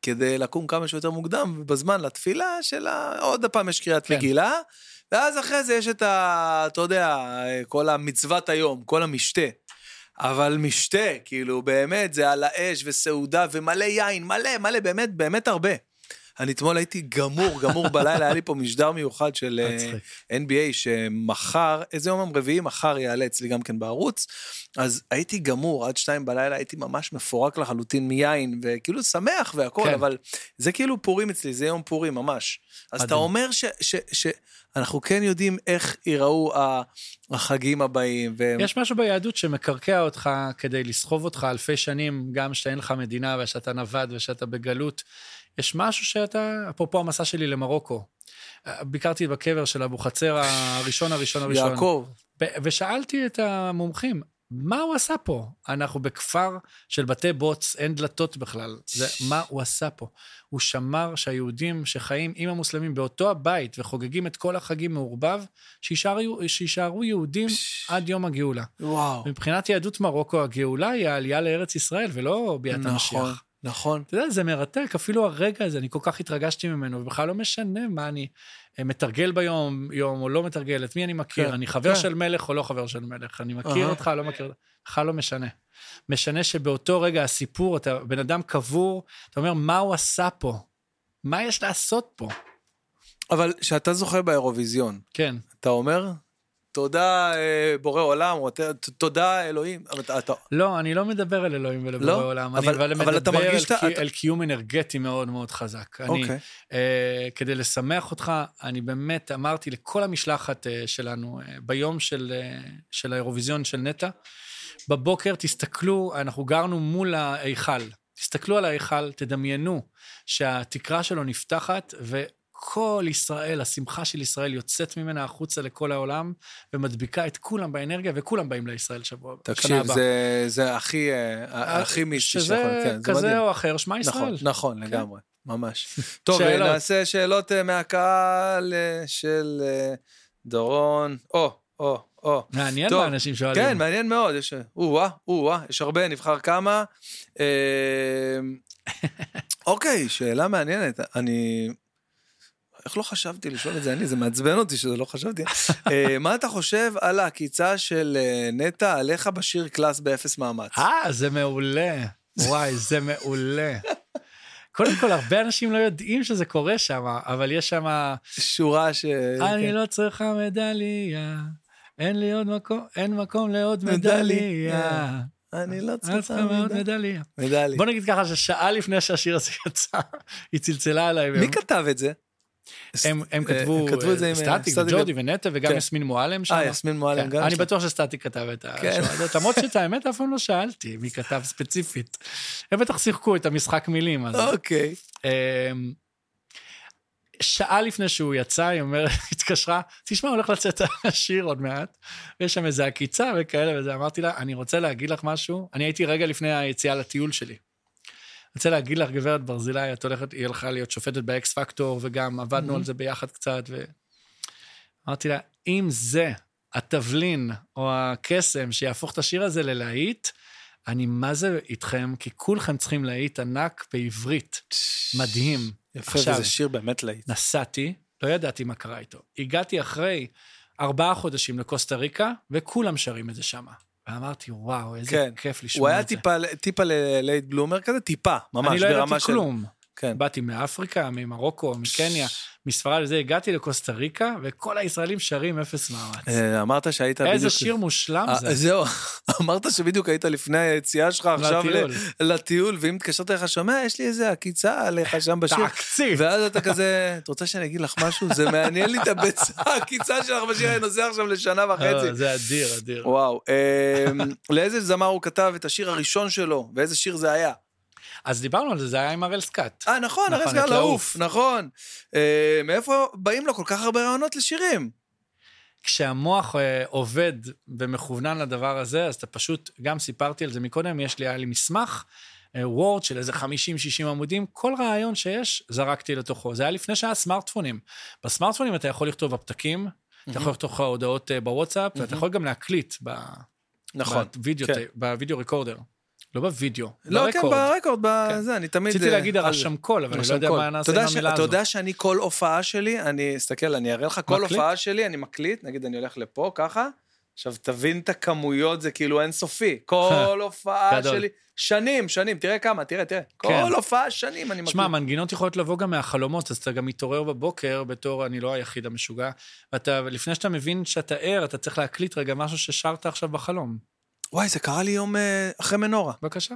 [SPEAKER 1] כדי לקום כמה שיותר מוקדם בזמן לתפילה של ה... עוד פעם יש קריאת
[SPEAKER 2] כן.
[SPEAKER 1] מגילה, ואז אחרי זה יש את ה... אתה יודע, כל המצוות היום, כל המשתה. אבל משתה, כאילו, באמת, זה על האש וסעודה ומלא יין, מלא, מלא, באמת, באמת הרבה. אני אתמול הייתי גמור, גמור בלילה, היה לי פה משדר מיוחד של אה,
[SPEAKER 2] מצחיק.
[SPEAKER 1] NBA, שמחר, איזה יום יום רביעי, מחר יעלה אצלי גם כן בערוץ. אז הייתי גמור, עד שתיים בלילה הייתי ממש מפורק לחלוטין מיין, וכאילו שמח והכול,
[SPEAKER 2] כן.
[SPEAKER 1] כן. אבל זה כאילו פורים אצלי, זה יום פורים ממש. אז אתה
[SPEAKER 2] מדהים.
[SPEAKER 1] אומר שאנחנו כן יודעים איך ייראו ה- החגים הבאים, והם...
[SPEAKER 2] יש משהו ביהדות שמקרקע אותך כדי לסחוב אותך אלפי שנים, גם שאין לך מדינה ושאתה נווד ושאתה בגלות. יש משהו שאתה, אפרופו המסע שלי למרוקו, אה, ביקרתי בקבר של אבוחצירא הראשון הראשון הראשון.
[SPEAKER 1] יעקב,
[SPEAKER 2] ו- ושאלתי את המומחים, מה הוא עשה פה? אנחנו בכפר של בתי בוץ, אין דלתות בכלל. זה מה הוא עשה פה. הוא שמר שהיהודים שחיים עם המוסלמים באותו הבית וחוגגים את כל החגים מעורבב, שיישארו, שיישארו יהודים עד יום הגאולה.
[SPEAKER 1] וואו.
[SPEAKER 2] מבחינת יהדות מרוקו, הגאולה היא העלייה לארץ ישראל ולא ביאת
[SPEAKER 1] נכון,
[SPEAKER 2] המשיח.
[SPEAKER 1] נכון.
[SPEAKER 2] אתה יודע, זה מרתק, אפילו הרגע הזה, אני כל כך התרגשתי ממנו, ובכלל לא משנה מה אני אה, מתרגל ביום יום או לא מתרגל, את מי אני מכיר,
[SPEAKER 1] כן,
[SPEAKER 2] אני חבר
[SPEAKER 1] כן.
[SPEAKER 2] של מלך או לא חבר של מלך, אני מכיר
[SPEAKER 1] אהה.
[SPEAKER 2] אותך, לא מכיר אותך, בכלל לא משנה. משנה שבאותו רגע הסיפור, אתה בן אדם קבור, אתה אומר, מה הוא עשה פה? מה יש לעשות פה?
[SPEAKER 1] אבל כשאתה זוכה באירוויזיון,
[SPEAKER 2] כן.
[SPEAKER 1] אתה אומר, תודה אה, בורא עולם, או ת- ת- תודה אלוהים. אבל אתה- אתה-
[SPEAKER 2] לא, אני לא מדבר אל אלוהים ולבורא
[SPEAKER 1] לא?
[SPEAKER 2] עולם,
[SPEAKER 1] אבל-
[SPEAKER 2] אני אבל
[SPEAKER 1] אבל
[SPEAKER 2] מדבר
[SPEAKER 1] אתה
[SPEAKER 2] אל,
[SPEAKER 1] מרגיש שאתה-
[SPEAKER 2] קי-
[SPEAKER 1] אתה-
[SPEAKER 2] אל קיום אנרגטי מאוד מאוד חזק. אני,
[SPEAKER 1] אוקיי.
[SPEAKER 2] אה, כדי לשמח אותך, אני באמת אמרתי לכל המשלחת אה, שלנו, אה, ביום של, אה, של האירוויזיון של נטע, בבוקר תסתכלו, אנחנו גרנו מול ההיכל. תסתכלו על ההיכל, תדמיינו שהתקרה שלו נפתחת, וכל ישראל, השמחה של ישראל יוצאת ממנה החוצה לכל העולם, ומדביקה את כולם באנרגיה, וכולם באים לישראל שבוע, שנה
[SPEAKER 1] תקשיב,
[SPEAKER 2] הבאה.
[SPEAKER 1] זה- זה הכי אה, הכי מיסטי
[SPEAKER 2] שזה
[SPEAKER 1] שיכול, כן, זה
[SPEAKER 2] כזה
[SPEAKER 1] מדהים.
[SPEAKER 2] או אחר, שמע ישראל. כן.
[SPEAKER 1] נכון, נכון, לגמרי, ממש. טוב, אה,
[SPEAKER 2] שאלות.
[SPEAKER 1] נעשה שאלות אה, מהקהל אה, של אה, דורון. או, או, או.
[SPEAKER 2] מעניין
[SPEAKER 1] טוב.
[SPEAKER 2] מה אנשים שואלים.
[SPEAKER 1] כן, מעניין מאוד, יש... או-אה, או-אה, יש הרבה, נבחר כמה. אה, אוקיי, שאלה מעניינת. אני... איך לא חשבתי לשאול את זה? אני, זה מעצבן אותי שזה לא חשבתי. אה, מה אתה חושב על העקיצה של אה, נטע עליך בשיר קלאס באפס מאמץ?
[SPEAKER 2] אה, זה מעולה. וואי, זה מעולה. קודם כל, הרבה אנשים לא יודעים שזה קורה שם, אבל יש שם,
[SPEAKER 1] שורה ש... כן.
[SPEAKER 2] אני לא צריכה מדליה, אין לי עוד מקום, אין מקום לעוד
[SPEAKER 1] מדליה.
[SPEAKER 2] מדליה.
[SPEAKER 1] אני לא
[SPEAKER 2] אני צריכה
[SPEAKER 1] צריכה
[SPEAKER 2] מאוד
[SPEAKER 1] מדליה.
[SPEAKER 2] מדליה.
[SPEAKER 1] מדליה.
[SPEAKER 2] בוא נגיד ככה ששעה לפני שהשיר הזה יצא, היא צלצלה עליי.
[SPEAKER 1] מי
[SPEAKER 2] והם-
[SPEAKER 1] כתב את זה?
[SPEAKER 2] הם, הם
[SPEAKER 1] אה,
[SPEAKER 2] כתבו,
[SPEAKER 1] כתבו את זה עם, אה,
[SPEAKER 2] סטטיק,
[SPEAKER 1] סטטיק
[SPEAKER 2] ג'ורדי ונטע וגם
[SPEAKER 1] כן.
[SPEAKER 2] יסמין מועלם שם.
[SPEAKER 1] אה, יסמין מועלם
[SPEAKER 2] כן,
[SPEAKER 1] גם.
[SPEAKER 2] אני
[SPEAKER 1] שם.
[SPEAKER 2] בטוח שסטטיק כתב את
[SPEAKER 1] כן.
[SPEAKER 2] השורה הזאת, למרות שאת האמת אף פעם לא שאלתי מי כתב ספציפית. הם בטח שיחקו את המשחק מילים. אז...
[SPEAKER 1] אוקיי.
[SPEAKER 2] אמ, שעה לפני שהוא יצא, היא אומרת, התקשרה, תשמע, הולך לצאת השיר עוד מעט, ויש שם איזה עקיצה וכאלה וזה. אמרתי לה, אני רוצה להגיד לך משהו, אני הייתי רגע לפני היציאה לטיול שלי. רוצה להגיד לך, גברת ברזילי, את הולכת, היא הלכה להיות שופטת באקס פקטור, וגם עבדנו
[SPEAKER 1] Mhm.
[SPEAKER 2] על זה ביחד קצת, ו... אמרתי לה, אם זה התבלין או הקסם שיהפוך את השיר הזה ללהיט, אני מה זה איתכם, כי כולכם צריכים להיט ענק בעברית. מדהים.
[SPEAKER 1] יפה,
[SPEAKER 2] עכשיו.
[SPEAKER 1] וזה שיר באמת להיט.
[SPEAKER 2] נסעתי, לא ידעתי מה קרה איתו. הגעתי אחרי ארבעה חודשים לקוסטה ריקה, וכולם שרים את זה שמה. ואמרתי, וואו, איזה
[SPEAKER 1] כן.
[SPEAKER 2] כיף
[SPEAKER 1] הוא
[SPEAKER 2] לשמוע
[SPEAKER 1] היה
[SPEAKER 2] את זה.
[SPEAKER 1] טיפה- טיפה ללייט בלומר כזה, טיפה, ממש, ברמה
[SPEAKER 2] אני
[SPEAKER 1] של...
[SPEAKER 2] לא ידעתי כלום.
[SPEAKER 1] כן.
[SPEAKER 2] באתי מאפריקה, ממרוקו, מקניה, מספרד וזה, הגעתי לקוסטה ריקה, וכל הישראלים שרים אפס מאמץ.
[SPEAKER 1] אה, אמרת שהיית בדיוק...
[SPEAKER 2] איזה שיר מושלם
[SPEAKER 1] אה,
[SPEAKER 2] זה.
[SPEAKER 1] זהו, אמרת שבדיוק היית לפני היציאה שלך עכשיו ל-
[SPEAKER 2] לטיול.
[SPEAKER 1] לטיול, ואם התקשרת אליך, שומע, יש לי איזה עקיצה עליך שם בשיר.
[SPEAKER 2] תקציב.
[SPEAKER 1] ואז אתה כזה, את רוצה שאני אגיד לך משהו? זה מעניין לי את הביצה, העקיצה שלך בשיר, אני נוסע עכשיו לשנה וחצי.
[SPEAKER 2] אה, זה אדיר, אדיר.
[SPEAKER 1] וואו, אמ, לאיזה זמר הוא כתב את השיר הראשון שלו, ואיזה שיר זה היה?
[SPEAKER 2] אז דיברנו על זה, זה היה עם הראל סקאט.
[SPEAKER 1] אה, נכון,
[SPEAKER 2] נכון,
[SPEAKER 1] הרי זה
[SPEAKER 2] את
[SPEAKER 1] היה לעוף,
[SPEAKER 2] לעוף.
[SPEAKER 1] נכון. אה, מאיפה באים לו כל כך הרבה רעיונות לשירים?
[SPEAKER 2] כשהמוח אה, עובד ומכוונן לדבר הזה, אז אתה פשוט, גם סיפרתי על זה מקודם, יש לי, היה לי מסמך, אה, וורד של איזה 50-60 עמודים, כל רעיון שיש, זרקתי לתוכו. זה היה לפני שהיה סמארטפונים. בסמארטפונים אתה יכול לכתוב בפתקים, אתה יכול לכתוב לך הודעות אה, בוואטסאפ, ואתה יכול גם להקליט ב...
[SPEAKER 1] נכון.
[SPEAKER 2] בווידאו,
[SPEAKER 1] כן.
[SPEAKER 2] טי- בווידאו ריקורדר. לא בווידאו,
[SPEAKER 1] לא, כן,
[SPEAKER 2] ברקורד.
[SPEAKER 1] ברקורד, בזה, אני תמיד...
[SPEAKER 2] רציתי
[SPEAKER 1] אה,
[SPEAKER 2] להגיד
[SPEAKER 1] על זה.
[SPEAKER 2] הרשמקול, אבל אני לא יודע
[SPEAKER 1] רשמקול.
[SPEAKER 2] מה
[SPEAKER 1] אתה
[SPEAKER 2] נעשה
[SPEAKER 1] יודע
[SPEAKER 2] עם
[SPEAKER 1] ש-
[SPEAKER 2] המילה
[SPEAKER 1] אתה
[SPEAKER 2] הזאת.
[SPEAKER 1] יודע שאני כל הופעה שלי, אני, אסתכל, אני אראה לך, כל
[SPEAKER 2] מקליט?
[SPEAKER 1] הופעה שלי, אני מקליט, נגיד אני הולך לפה, ככה, עכשיו תבין את הכמויות, זה כאילו אינסופי. כל הופעה
[SPEAKER 2] גדול.
[SPEAKER 1] שלי, שנים, שנים, תראה כמה, תראה, תראה.
[SPEAKER 2] כן.
[SPEAKER 1] כל הופעה, שנים אני מקליט.
[SPEAKER 2] שמע, מנגינות יכולות לבוא גם מהחלומות, אז אתה גם מתעורר בבוקר בתור אני לא היחיד המשוגע, ואתה, לפני שאתה מבין שאתה ער, אתה צריך להקליט רגע משהו ששרת עכשיו בחלום.
[SPEAKER 1] וואי, זה קרה לי יום אה, אחרי מנורה.
[SPEAKER 2] בבקשה.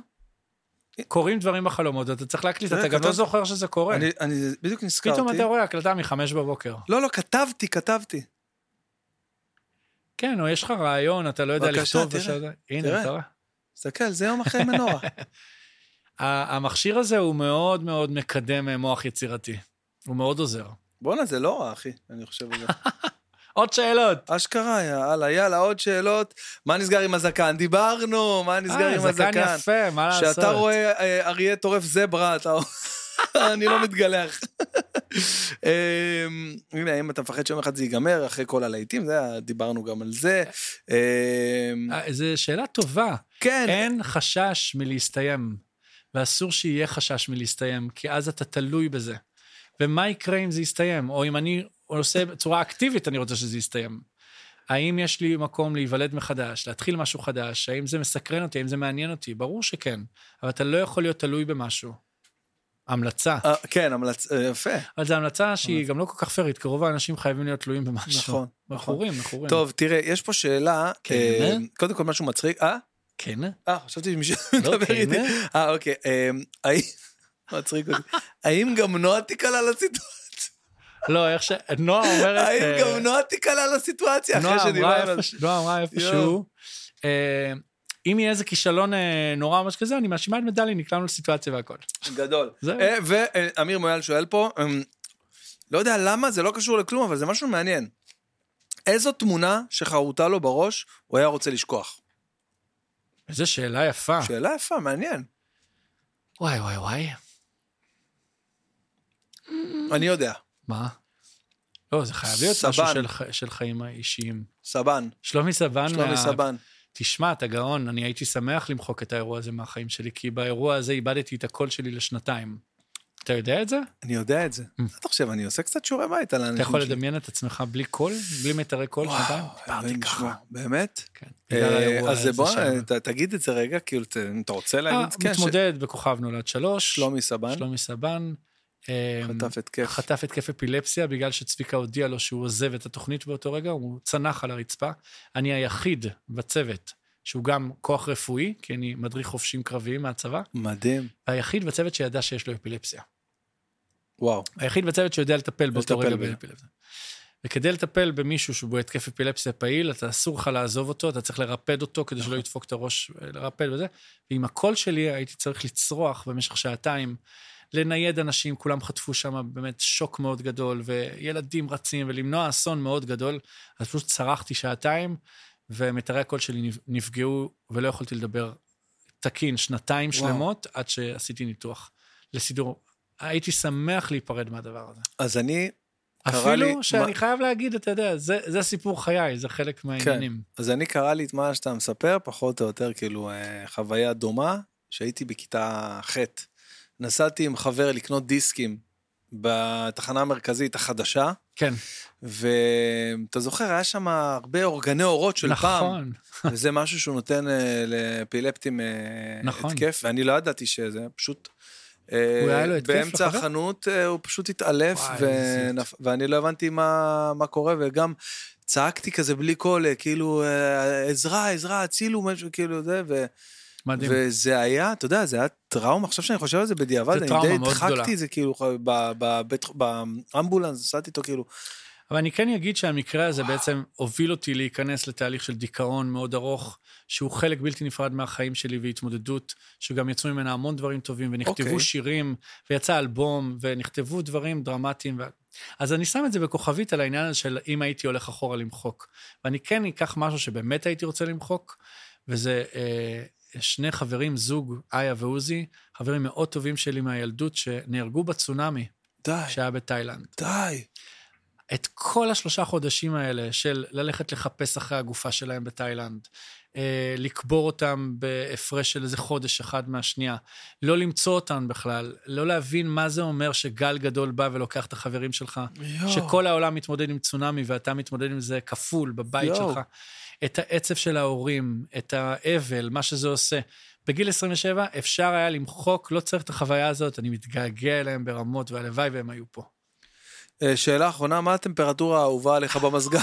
[SPEAKER 2] קורים דברים בחלומות, אתה צריך להקליט,
[SPEAKER 1] תראה,
[SPEAKER 2] אתה גם
[SPEAKER 1] כתב-
[SPEAKER 2] לא זוכר שזה קורה.
[SPEAKER 1] אני- אני בדיוק נזכרתי.
[SPEAKER 2] פתאום אתה רואה הקלטה מחמש בבוקר.
[SPEAKER 1] לא, לא, כתבתי, כתבתי.
[SPEAKER 2] כן, או יש לך רעיון, אתה לא יודע
[SPEAKER 1] בבקשה,
[SPEAKER 2] לכתוב.
[SPEAKER 1] תראה,
[SPEAKER 2] ושאתה-
[SPEAKER 1] תראה.
[SPEAKER 2] הנה, אתה רואה.
[SPEAKER 1] תסתכל, זה יום אחרי מנורה.
[SPEAKER 2] ה- המכשיר הזה הוא מאוד מאוד מקדם אה, מוח יצירתי. הוא מאוד עוזר.
[SPEAKER 1] בואנה, זה לא רע, אחי, אני חושב על זה.
[SPEAKER 2] עוד שאלות.
[SPEAKER 1] אשכרה, יאללה, יאללה, עוד שאלות. מה נסגר עם הזקן? דיברנו, מה נסגר עם
[SPEAKER 2] אה, זקן
[SPEAKER 1] הזקן?
[SPEAKER 2] יפה, מה לעשות?
[SPEAKER 1] כשאתה רואה אה, אריה טורף זברה, אתה... אני לא מתגלח. אמ, הנה, אם אתה מפחד שיום אחד זה ייגמר, אחרי כל הלהיטים, זה היה- דיברנו גם על זה. אמ,
[SPEAKER 2] אה, זו שאלה טובה.
[SPEAKER 1] כן,
[SPEAKER 2] אין חשש מלהסתיים, ואסור שיהיה חשש מלהסתיים, כי אז אתה תלוי בזה. ומה יקרה אם זה יסתיים? או אם אני עושה בצורה אקטיבית, אני רוצה שזה יסתיים. האם יש לי מקום להיוולד מחדש, להתחיל משהו חדש? האם זה מסקרן אותי? האם זה מעניין אותי? ברור שכן, אבל אתה לא יכול להיות תלוי במשהו. המלצה.
[SPEAKER 1] אה, כן, המלצ... אה, יפה,
[SPEAKER 2] אבל זו המלצה שהיא גם לא כל כך פיירית, כי רוב האנשים חייבים להיות תלויים במשהו.
[SPEAKER 1] נכון.
[SPEAKER 2] מכורים, מכורים.
[SPEAKER 1] טוב, תראה, יש פה שאלה,
[SPEAKER 2] כן.
[SPEAKER 1] אמ, קודם כל משהו מצחיק, אה?
[SPEAKER 2] כן?
[SPEAKER 1] אה, חשבתי שמישהו
[SPEAKER 2] לא,
[SPEAKER 1] מדבר איתי.
[SPEAKER 2] כן?
[SPEAKER 1] אה, אוקיי. אמ, האם... מצחיק אותי. האם גם נועה תיקלע לסיטואציה?
[SPEAKER 2] לא, איך ש... נועה אומרת...
[SPEAKER 1] האם
[SPEAKER 2] אה,
[SPEAKER 1] גם נועה תיקלע לסיטואציה אחרי
[SPEAKER 2] נועה אמרה
[SPEAKER 1] שדיברנו על זה?
[SPEAKER 2] איפוש- נועה אמרה איפשהו, אה, אם יהיה איזה כישלון אה, נורא או משהו כזה, אני מאשימה את מדלי, נקלענו לסיטואציה והכל.
[SPEAKER 1] גדול.
[SPEAKER 2] זהו.
[SPEAKER 1] ואמיר אה, מויאל שואל פה, אמ, לא יודע למה, זה לא קשור לכלום, אבל זה משהו מעניין. איזו תמונה שחרוטה לו בראש הוא היה רוצה לשכוח?
[SPEAKER 2] איזו שאלה יפה.
[SPEAKER 1] שאלה יפה, מעניין.
[SPEAKER 2] וואי, וואי, וואי.
[SPEAKER 1] אני יודע.
[SPEAKER 2] מה? לא, זה חייב להיות משהו
[SPEAKER 1] סבן.
[SPEAKER 2] של ח- של חיים האישיים.
[SPEAKER 1] סבן,
[SPEAKER 2] שלומי סבן,
[SPEAKER 1] שלומי
[SPEAKER 2] מה-
[SPEAKER 1] סבן.
[SPEAKER 2] תשמע, אתה גאון, אני הייתי שמח למחוק את האירוע הזה מהחיים שלי, כי באירוע הזה איבדתי את הקול שלי לשנתיים. אתה יודע את זה?
[SPEAKER 1] אני יודע את זה. אתה חושב, אני עושה קצת שיעורי בית על האנשים
[SPEAKER 2] אה. אתה יכול
[SPEAKER 1] שלי.
[SPEAKER 2] לדמיין את עצמך בלי קול? בלי מיתרי קול
[SPEAKER 1] וואו,
[SPEAKER 2] שנתיים?
[SPEAKER 1] אלוהים ישמור. באמת?
[SPEAKER 2] כן. בגלל
[SPEAKER 1] אה,
[SPEAKER 2] האירוע
[SPEAKER 1] אז זה
[SPEAKER 2] הזה
[SPEAKER 1] בוא,
[SPEAKER 2] שם.
[SPEAKER 1] ת- תגיד את זה רגע, כאילו, ת- אם אתה רוצה
[SPEAKER 2] אה,
[SPEAKER 1] להגיד, כן, ש-
[SPEAKER 2] מתמודד בכוכב נולד שלוש.
[SPEAKER 1] שלומי סבן.
[SPEAKER 2] שלומי סבן. אה,
[SPEAKER 1] חטף התקף.
[SPEAKER 2] חטף התקף אפילפסיה בגלל שצביקה הודיע לו שהוא עוזב את התוכנית באותו רגע, הוא צנח על הרצפה. אני היחיד בצוות שהוא גם כוח רפואי, כי אני מדריך חובשים קרביים מהצבא,
[SPEAKER 1] מדהים.
[SPEAKER 2] והיחיד בצוות שידע שיש לו אפילפסיה.
[SPEAKER 1] וואו.
[SPEAKER 2] היחיד בצוות שיודע לטפל באותו
[SPEAKER 1] לטפל
[SPEAKER 2] רגע
[SPEAKER 1] בזה.
[SPEAKER 2] באפילפסיה. וכדי לטפל במישהו שהוא בהתקף אפילפסיה פעיל, אתה אסור לך לעזוב אותו, אתה צריך לרפד אותו כדי
[SPEAKER 1] נכון.
[SPEAKER 2] שלא ידפוק את הראש, אה, לרפד וזה. ועם הקול שלי הייתי צריך לצרוח במשך שעתיים, לנייד אנשים, כולם חטפו שם באמת שוק מאוד גדול, וילדים רצים, ולמנוע אסון מאוד גדול. אז פשוט צרחתי שעתיים, ומיתרי הקול שלי נפ- נפגעו, ולא יכולתי לדבר תקין שנתיים
[SPEAKER 1] וואו.
[SPEAKER 2] שלמות, עד שעשיתי ניתוח לסידור. הייתי שמח להיפרד מהדבר הזה.
[SPEAKER 1] אז אני, קרה לי-
[SPEAKER 2] אפילו שאני
[SPEAKER 1] מה- כן.
[SPEAKER 2] חייב להגיד, אתה יודע, זה, זה סיפור חיי, זה חלק מהעניינים.
[SPEAKER 1] אז אני קרא לי את מה שאתה מספר, פחות או יותר כאילו אה, חוויה דומה, שהייתי בכיתה ח'. נסעתי עם חבר לקנות דיסקים בתחנה המרכזית החדשה,
[SPEAKER 2] כן,
[SPEAKER 1] ואתה זוכר, היה שם הרבה אורגני אורות של פעם.
[SPEAKER 2] נכון.
[SPEAKER 1] וזה משהו שהוא נותן אה, לאפילפטים אה,
[SPEAKER 2] נכון.
[SPEAKER 1] התקף, ואני לא ידעתי שזה, פשוט... אה,
[SPEAKER 2] הוא היה לו התקף,
[SPEAKER 1] באמצע
[SPEAKER 2] לחבר?
[SPEAKER 1] החנות אה, הוא פשוט התעלף,
[SPEAKER 2] וואי, איזה
[SPEAKER 1] ונפ... ואני לא הבנתי מה, מה קורה, וגם צעקתי כזה בלי קול, אה, כאילו, אה, עזרה, עזרה, הצילו, משהו כאילו זה, ו...
[SPEAKER 2] מדהים.
[SPEAKER 1] וזה היה, אתה יודע, זה היה טראומה, עכשיו שאני חושב על זה בדיעבד,
[SPEAKER 2] זה
[SPEAKER 1] אני
[SPEAKER 2] טראומה
[SPEAKER 1] די
[SPEAKER 2] מאוד גדולה.
[SPEAKER 1] הדחקתי את זה, כאילו, ב- בבית- באמבולנס, נסעתי איתו, כאילו,
[SPEAKER 2] אבל אני כן אגיד שהמקרה הזה בעצם הוביל אותי להיכנס לתהליך של דיכאון מאוד ארוך, שהוא חלק בלתי נפרד מהחיים שלי והתמודדות, שגם יצאו ממנה המון דברים טובים, ונכתבו
[SPEAKER 1] אוקיי.
[SPEAKER 2] okay. שירים, ויצא אלבום, ונכתבו דברים דרמטיים. ו... אז אני שם את זה בכוכבית על העניין הזה של אם הייתי הולך אחורה למחוק. ואני כן אקח משהו שבאמת הייתי רוצה למחוק, וזה אה, שני חברים, זוג, איה ועוזי, חברים מאוד טובים שלי מהילדות, שנהרגו בצונאמי
[SPEAKER 1] די,
[SPEAKER 2] שהיה בתאילנד.
[SPEAKER 1] די.
[SPEAKER 2] את כל השלושה חודשים האלה של ללכת לחפש אחרי הגופה שלהם בתאילנד, אה, לקבור אותם בהפרש של איזה חודש אחד מהשנייה, לא למצוא אותם בכלל, לא להבין מה זה אומר שגל גדול בא ולוקח את החברים שלך,
[SPEAKER 1] יואו.
[SPEAKER 2] שכל העולם מתמודד עם צונאמי ואתה מתמודד עם זה כפול בבית
[SPEAKER 1] יואו.
[SPEAKER 2] שלך, את העצב של ההורים, את האבל, מה שזה עושה. בגיל 27 אפשר היה למחוק, לא צריך את החוויה הזאת, אני מתגעגע אליהם ברמות, והלוואי והם היו פה.
[SPEAKER 1] אה, שאלה אחרונה, מה הטמפרטורה האהובה עליך במזגן?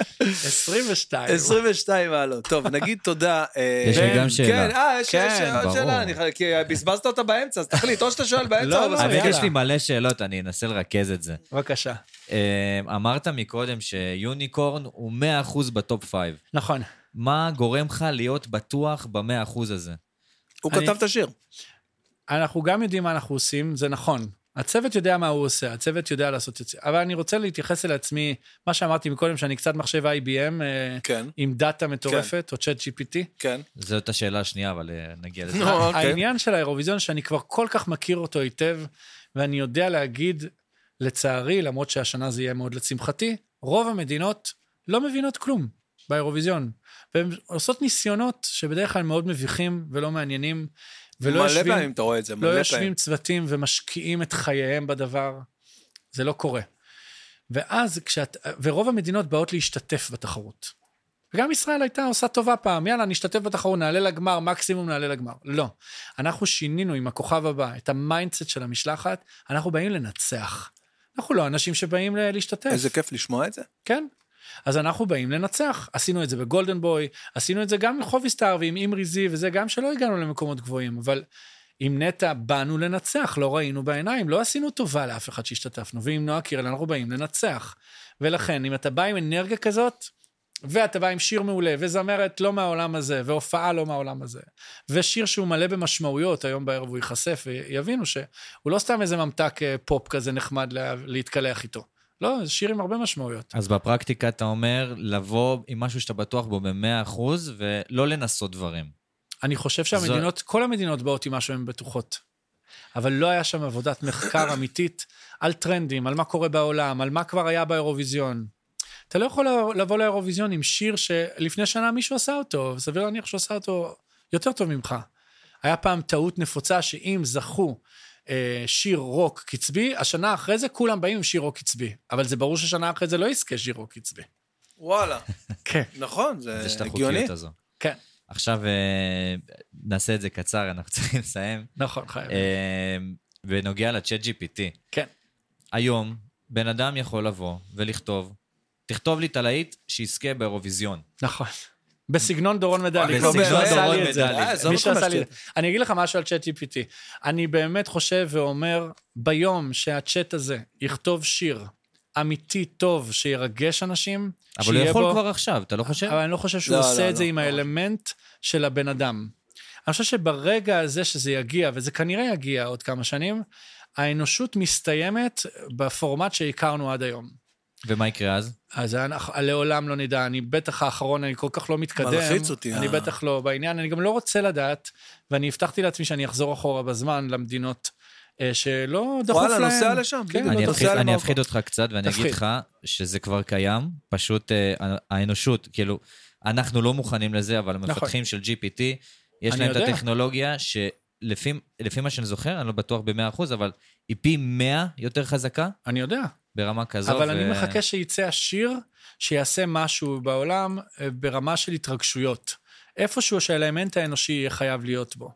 [SPEAKER 2] 22.
[SPEAKER 1] 22 מעלות. טוב, נגיד תודה. אה,
[SPEAKER 3] יש לי
[SPEAKER 1] כן,
[SPEAKER 3] גם שאלה.
[SPEAKER 1] כן, אה, יש
[SPEAKER 2] כן,
[SPEAKER 1] יש עוד
[SPEAKER 3] ברור.
[SPEAKER 1] שאלה, אני חי- כי בזבזת אותה באמצע, אז תחליט, או שאתה שואל באמצע
[SPEAKER 2] לא,
[SPEAKER 1] או כן.
[SPEAKER 2] לא,
[SPEAKER 1] בסוף.
[SPEAKER 3] האמת,
[SPEAKER 2] יאללה.
[SPEAKER 3] יש לי מלא שאלות, אני אנסה לרכז את זה.
[SPEAKER 2] בבקשה.
[SPEAKER 3] אה, אמרת מקודם שיוניקורן הוא 100% בטופ 5.
[SPEAKER 2] נכון.
[SPEAKER 3] מה גורם לך להיות בטוח ב-100% הזה?
[SPEAKER 1] הוא
[SPEAKER 2] אני-
[SPEAKER 1] כתב את השיר.
[SPEAKER 2] אנחנו גם יודעים מה אנחנו עושים, זה נכון. הצוות יודע מה הוא עושה, הצוות יודע לעשות את זה. אבל אני רוצה להתייחס אל עצמי, מה שאמרתי מקודם, שאני קצת מחשב IBM, אה,
[SPEAKER 1] כן,
[SPEAKER 2] עם דאטה מטורפת, או צ'אט GPT.
[SPEAKER 1] כן.
[SPEAKER 3] זאת השאלה השנייה, אבל אה, נגיע לזה.
[SPEAKER 1] נו. אוקיי.
[SPEAKER 2] העניין של האירוויזיון, שאני כבר כל כך מכיר אותו היטב, ואני יודע להגיד, לצערי, למרות שהשנה זה יהיה מאוד לשמחתי, רוב המדינות לא מבינות כלום באירוויזיון. והן עושות ניסיונות שבדרך כלל מאוד מביכים ולא מעניינים, ולא
[SPEAKER 1] מלא
[SPEAKER 2] יושבים...
[SPEAKER 1] פעמים אתה רואה את זה,
[SPEAKER 2] לא
[SPEAKER 1] מלא
[SPEAKER 2] יושבים
[SPEAKER 1] פעמים.
[SPEAKER 2] צוותים ומשקיעים את חייהם בדבר. זה לא קורה. ואז כשאת... ורוב המדינות באות להשתתף בתחרות. וגם ישראל הייתה עושה טובה פעם, יאללה, נשתתף בתחרות, נעלה לגמר, מקסימום נעלה לגמר. לא. אנחנו שינינו עם הכוכב הבא את המיינדסט של המשלחת, אנחנו באים לנצח. אנחנו לא אנשים שבאים ל- להשתתף.
[SPEAKER 1] איזה כיף לשמוע את זה.
[SPEAKER 2] כן. אז אנחנו באים לנצח. עשינו את זה בגולדן בוי, עשינו את זה גם עם חובי סטאר ועם אימרי זיו וזה, גם שלא הגענו למקומות גבוהים, אבל עם נטע באנו לנצח, לא ראינו בעיניים, לא עשינו טובה לאף אחד שהשתתפנו, ועם נועה קירל אנחנו באים לנצח. ולכן, אם אתה בא עם אנרגיה כזאת, ואתה בא עם שיר מעולה, וזמרת לא מהעולם הזה, והופעה לא מהעולם הזה, ושיר שהוא מלא במשמעויות, היום בערב הוא ייחשף ויבינו שהוא לא סתם איזה ממתק אה, פופ כזה נחמד לה- להתקלח איתו. לא, זה שיר עם הרבה משמעויות.
[SPEAKER 3] אז בפרקטיקה אתה אומר לבוא עם משהו שאתה בטוח בו ב-100% ולא לנסות דברים.
[SPEAKER 2] אני חושב שהמדינות, כל המדינות באות עם משהו הן בטוחות. אבל לא היה שם עבודת מחקר אמיתית על טרנדים, על מה קורה בעולם, על מה כבר היה באירוויזיון. אתה לא יכול לבוא לאירוויזיון עם שיר שלפני שנה מישהו עשה אותו, סביר להניח שהוא עשה אותו יותר טוב ממך. היה פעם טעות נפוצה שאם זכו אה, שיר רוק קצבי, השנה אחרי זה כולם באים עם שיר רוק קצבי. אבל זה ברור ששנה אחרי זה לא יזכה שיר רוק קצבי.
[SPEAKER 1] וואלה,
[SPEAKER 2] כן.
[SPEAKER 1] נכון, זה
[SPEAKER 3] זה שאת
[SPEAKER 1] הגיוני.
[SPEAKER 3] החוקיות הזו.
[SPEAKER 2] כן,
[SPEAKER 3] עכשיו אה, נעשה את זה קצר, אנחנו צריכים לסיים.
[SPEAKER 2] נכון, חייב.
[SPEAKER 3] אה, בנוגע לצ'אט GPT.
[SPEAKER 2] כן.
[SPEAKER 3] היום, בן אדם יכול לבוא ולכתוב, תכתוב לי את הלהיט שיזכה באירוויזיון.
[SPEAKER 2] נכון. בסגנון דורון מדלי.
[SPEAKER 3] בסגנון
[SPEAKER 2] מישהו עשה לי
[SPEAKER 3] דורון
[SPEAKER 2] את זה.
[SPEAKER 3] מדלי. אה,
[SPEAKER 1] עזוב
[SPEAKER 2] מישהו
[SPEAKER 1] אותך
[SPEAKER 2] עשה לי את זה.
[SPEAKER 1] מהשטויות.
[SPEAKER 2] אני אגיד לך משהו על צ'אט GPT. אני באמת חושב ואומר, ביום שהצ'אט הזה יכתוב שיר אמיתי, טוב, שירגש אנשים,
[SPEAKER 3] אבל הוא
[SPEAKER 2] שיהיה
[SPEAKER 3] יכול
[SPEAKER 2] בו-
[SPEAKER 3] כבר עכשיו, אתה לא חושב?
[SPEAKER 2] אבל אני לא חושב שהוא
[SPEAKER 1] לא,
[SPEAKER 2] עושה
[SPEAKER 1] לא,
[SPEAKER 2] את זה
[SPEAKER 1] לא,
[SPEAKER 2] עם
[SPEAKER 1] לא.
[SPEAKER 2] האלמנט של הבן אדם. אני חושב שברגע הזה שזה יגיע, וזה כנראה יגיע עוד כמה שנים, האנושות מסתיימת בפורמט שהכרנו עד היום.
[SPEAKER 3] ומה יקרה אז?
[SPEAKER 2] אז אנחנו- לעולם לא נדע, אני בטח האחרון, אני כל כך לא מתקדם.
[SPEAKER 1] מלחיץ אותי,
[SPEAKER 2] אני
[SPEAKER 1] אה.
[SPEAKER 2] בטח לא בעניין, אני גם לא רוצה לדעת, ואני הבטחתי לעצמי שאני אחזור אחורה בזמן למדינות אה, שלא דחוף להם.
[SPEAKER 1] וואלה, נוסע לשם,
[SPEAKER 2] כן,
[SPEAKER 1] בדיוק.
[SPEAKER 2] לא
[SPEAKER 3] אני
[SPEAKER 1] אתה
[SPEAKER 2] דחוף.
[SPEAKER 1] עושה
[SPEAKER 3] אפחיד-
[SPEAKER 1] על
[SPEAKER 3] אני
[SPEAKER 1] מרוקו.
[SPEAKER 3] אפחיד אותך קצת, ואני אגיד
[SPEAKER 2] תפחיד.
[SPEAKER 3] לך שזה כבר קיים, פשוט אה, האנושות, כאילו, אנחנו לא מוכנים לזה, אבל המפתחים של GPT, יש
[SPEAKER 2] נכון. אני
[SPEAKER 3] להם את
[SPEAKER 2] יודע.
[SPEAKER 3] הטכנולוגיה שלפי לפי מה שאני זוכר, אני לא בטוח ב-100%, אבל היא פי 100 יותר חזקה
[SPEAKER 2] אני יודע,
[SPEAKER 3] ברמה כזו.
[SPEAKER 2] אבל
[SPEAKER 3] ו-
[SPEAKER 2] אני מחכה שיצא השיר שיעשה משהו בעולם אה, ברמה של התרגשויות. איפשהו שהאלמנט האנושי יהיה חייב להיות בו.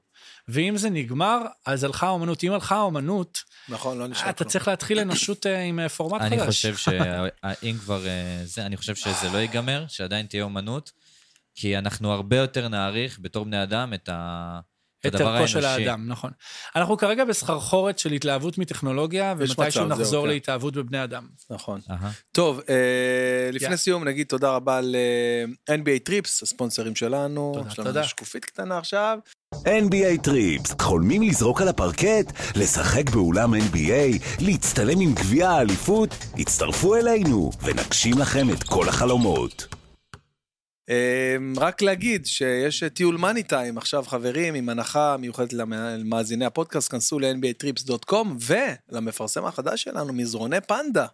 [SPEAKER 2] ואם זה נגמר, אז הלכה האומנות. אם הלכה האומנות,
[SPEAKER 1] נכון, לא נשאר
[SPEAKER 2] אה, אתה
[SPEAKER 1] כלום.
[SPEAKER 2] צריך להתחיל אנושות אה, עם אה, פורמט חדש.
[SPEAKER 3] אני חושב שאם כבר אה, זה, אני חושב שזה לא ייגמר, שעדיין תהיה אומנות, כי אנחנו הרבה יותר נעריך בתור בני אדם את ה-
[SPEAKER 2] את
[SPEAKER 3] את הדבר
[SPEAKER 2] ערכו של
[SPEAKER 3] האנושי.
[SPEAKER 2] האדם, נכון. אנחנו כרגע בסחרחורת של התלהבות מטכנולוגיה,
[SPEAKER 1] יש
[SPEAKER 2] ומתישהו
[SPEAKER 1] מצב, זהו,
[SPEAKER 2] נחזור
[SPEAKER 1] כן.
[SPEAKER 2] להתאהבות בבני אדם.
[SPEAKER 1] נכון.
[SPEAKER 3] אהה.
[SPEAKER 1] טוב, אה, לפני
[SPEAKER 2] יא.
[SPEAKER 1] סיום נגיד תודה רבה ל-NBA טריפס, הספונסרים שלנו.
[SPEAKER 2] תודה,
[SPEAKER 1] יש לנו
[SPEAKER 2] תודה.
[SPEAKER 1] שקופית קטנה עכשיו.
[SPEAKER 5] NBA טריפס, חולמים לזרוק על הפרקט? לשחק באולם NBA? להצטלם עם גביע האליפות? הצטרפו אלינו ונגשים לכם את כל החלומות.
[SPEAKER 1] אה, רק להגיד שיש אה, טיול מאני טיים עכשיו, חברים, עם הנחה מיוחדת למא- למאזיני הפודקאסט, כנסו ל-nbatrips.com ולמפרסם החדש שלנו, מזרוני פנדה.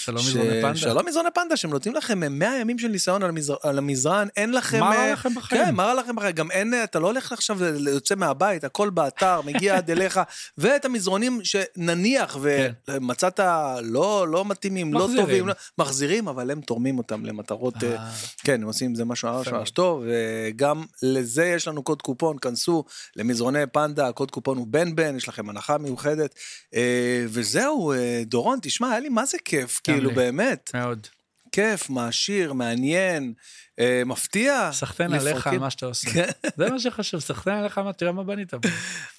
[SPEAKER 2] שלום
[SPEAKER 1] ש-
[SPEAKER 2] לא מזרוני פנדה.
[SPEAKER 1] שלום מזרוני פנדה, שהם נותנים לכם אה, 100 ימים של ניסיון על, המזר... על המזרן, אין לכם... אה,
[SPEAKER 2] מה רע לכם בחיים?
[SPEAKER 1] כן, מה רע לכם בחיים? גם אין, אה, אתה לא הולך עכשיו, ל- ל- יוצא מהבית, הכל באתר, מגיע עד אליך, ואת המזרונים שנניח ומצאת לא, לא מתאימים,
[SPEAKER 2] כן. מחזירים.
[SPEAKER 1] לא טובים, לא... מחזירים, אבל הם תורמים אותם למטרות... אה,
[SPEAKER 2] אה,
[SPEAKER 1] כן, הם עושים עם זה משהו ממש
[SPEAKER 2] יפה מאוד.
[SPEAKER 1] ממש טוב, וגם לזה יש לנו קוד קופון, כנסו למזרוני פנדה, הקוד קופון הוא בן בן, יש לכם הנחה מיוחדת. אה, וזהו, אה, דורון, תשמע, היה לי מה זה כיף,
[SPEAKER 2] גם
[SPEAKER 1] כאילו
[SPEAKER 2] לי.
[SPEAKER 1] באמת,
[SPEAKER 2] מאוד.
[SPEAKER 1] כיף, מעשיר, מעניין, אה, מפתיע.
[SPEAKER 2] סחטיין עליך על
[SPEAKER 1] לפרקים.
[SPEAKER 2] מה שאתה עושה.
[SPEAKER 1] כן.
[SPEAKER 2] זה מה שחשוב, סחטיין עליך, מה- תראה מה בנית. פה.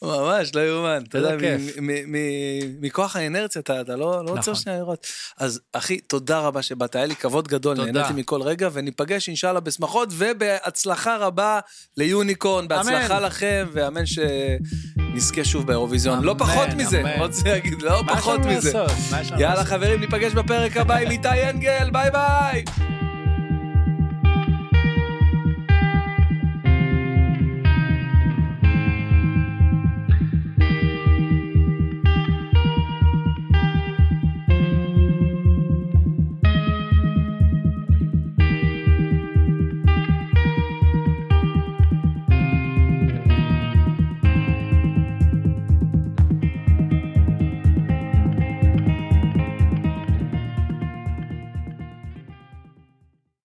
[SPEAKER 1] ממש, לא יאומן, אתה יודע,
[SPEAKER 2] כיף.
[SPEAKER 1] מ- מ- מ- מכוח האינרציה אתה אתה לא לא
[SPEAKER 2] נכון.
[SPEAKER 1] עוצר שנייה לראות. אז אחי, תודה רבה שבאת, היה לי כבוד גדול,
[SPEAKER 2] תודה.
[SPEAKER 1] נהניתי מכל רגע, וניפגש אינשאללה בשמחות, ובהצלחה רבה ליוניקורן, בהצלחה
[SPEAKER 2] אמן.
[SPEAKER 1] לכם, ואמן שנזכה שוב באירוויזיון. לא
[SPEAKER 2] אמן,
[SPEAKER 1] פחות מזה,
[SPEAKER 2] אמן.
[SPEAKER 1] רוצה להגיד, לא
[SPEAKER 2] מה יש
[SPEAKER 1] פחות
[SPEAKER 2] לנו
[SPEAKER 1] מזה.
[SPEAKER 2] לעשות? מה יש לנו
[SPEAKER 1] יאללה
[SPEAKER 2] לעשות?
[SPEAKER 1] חברים, ניפגש בפרק הבא עם איתי אנגל, ביי ביי!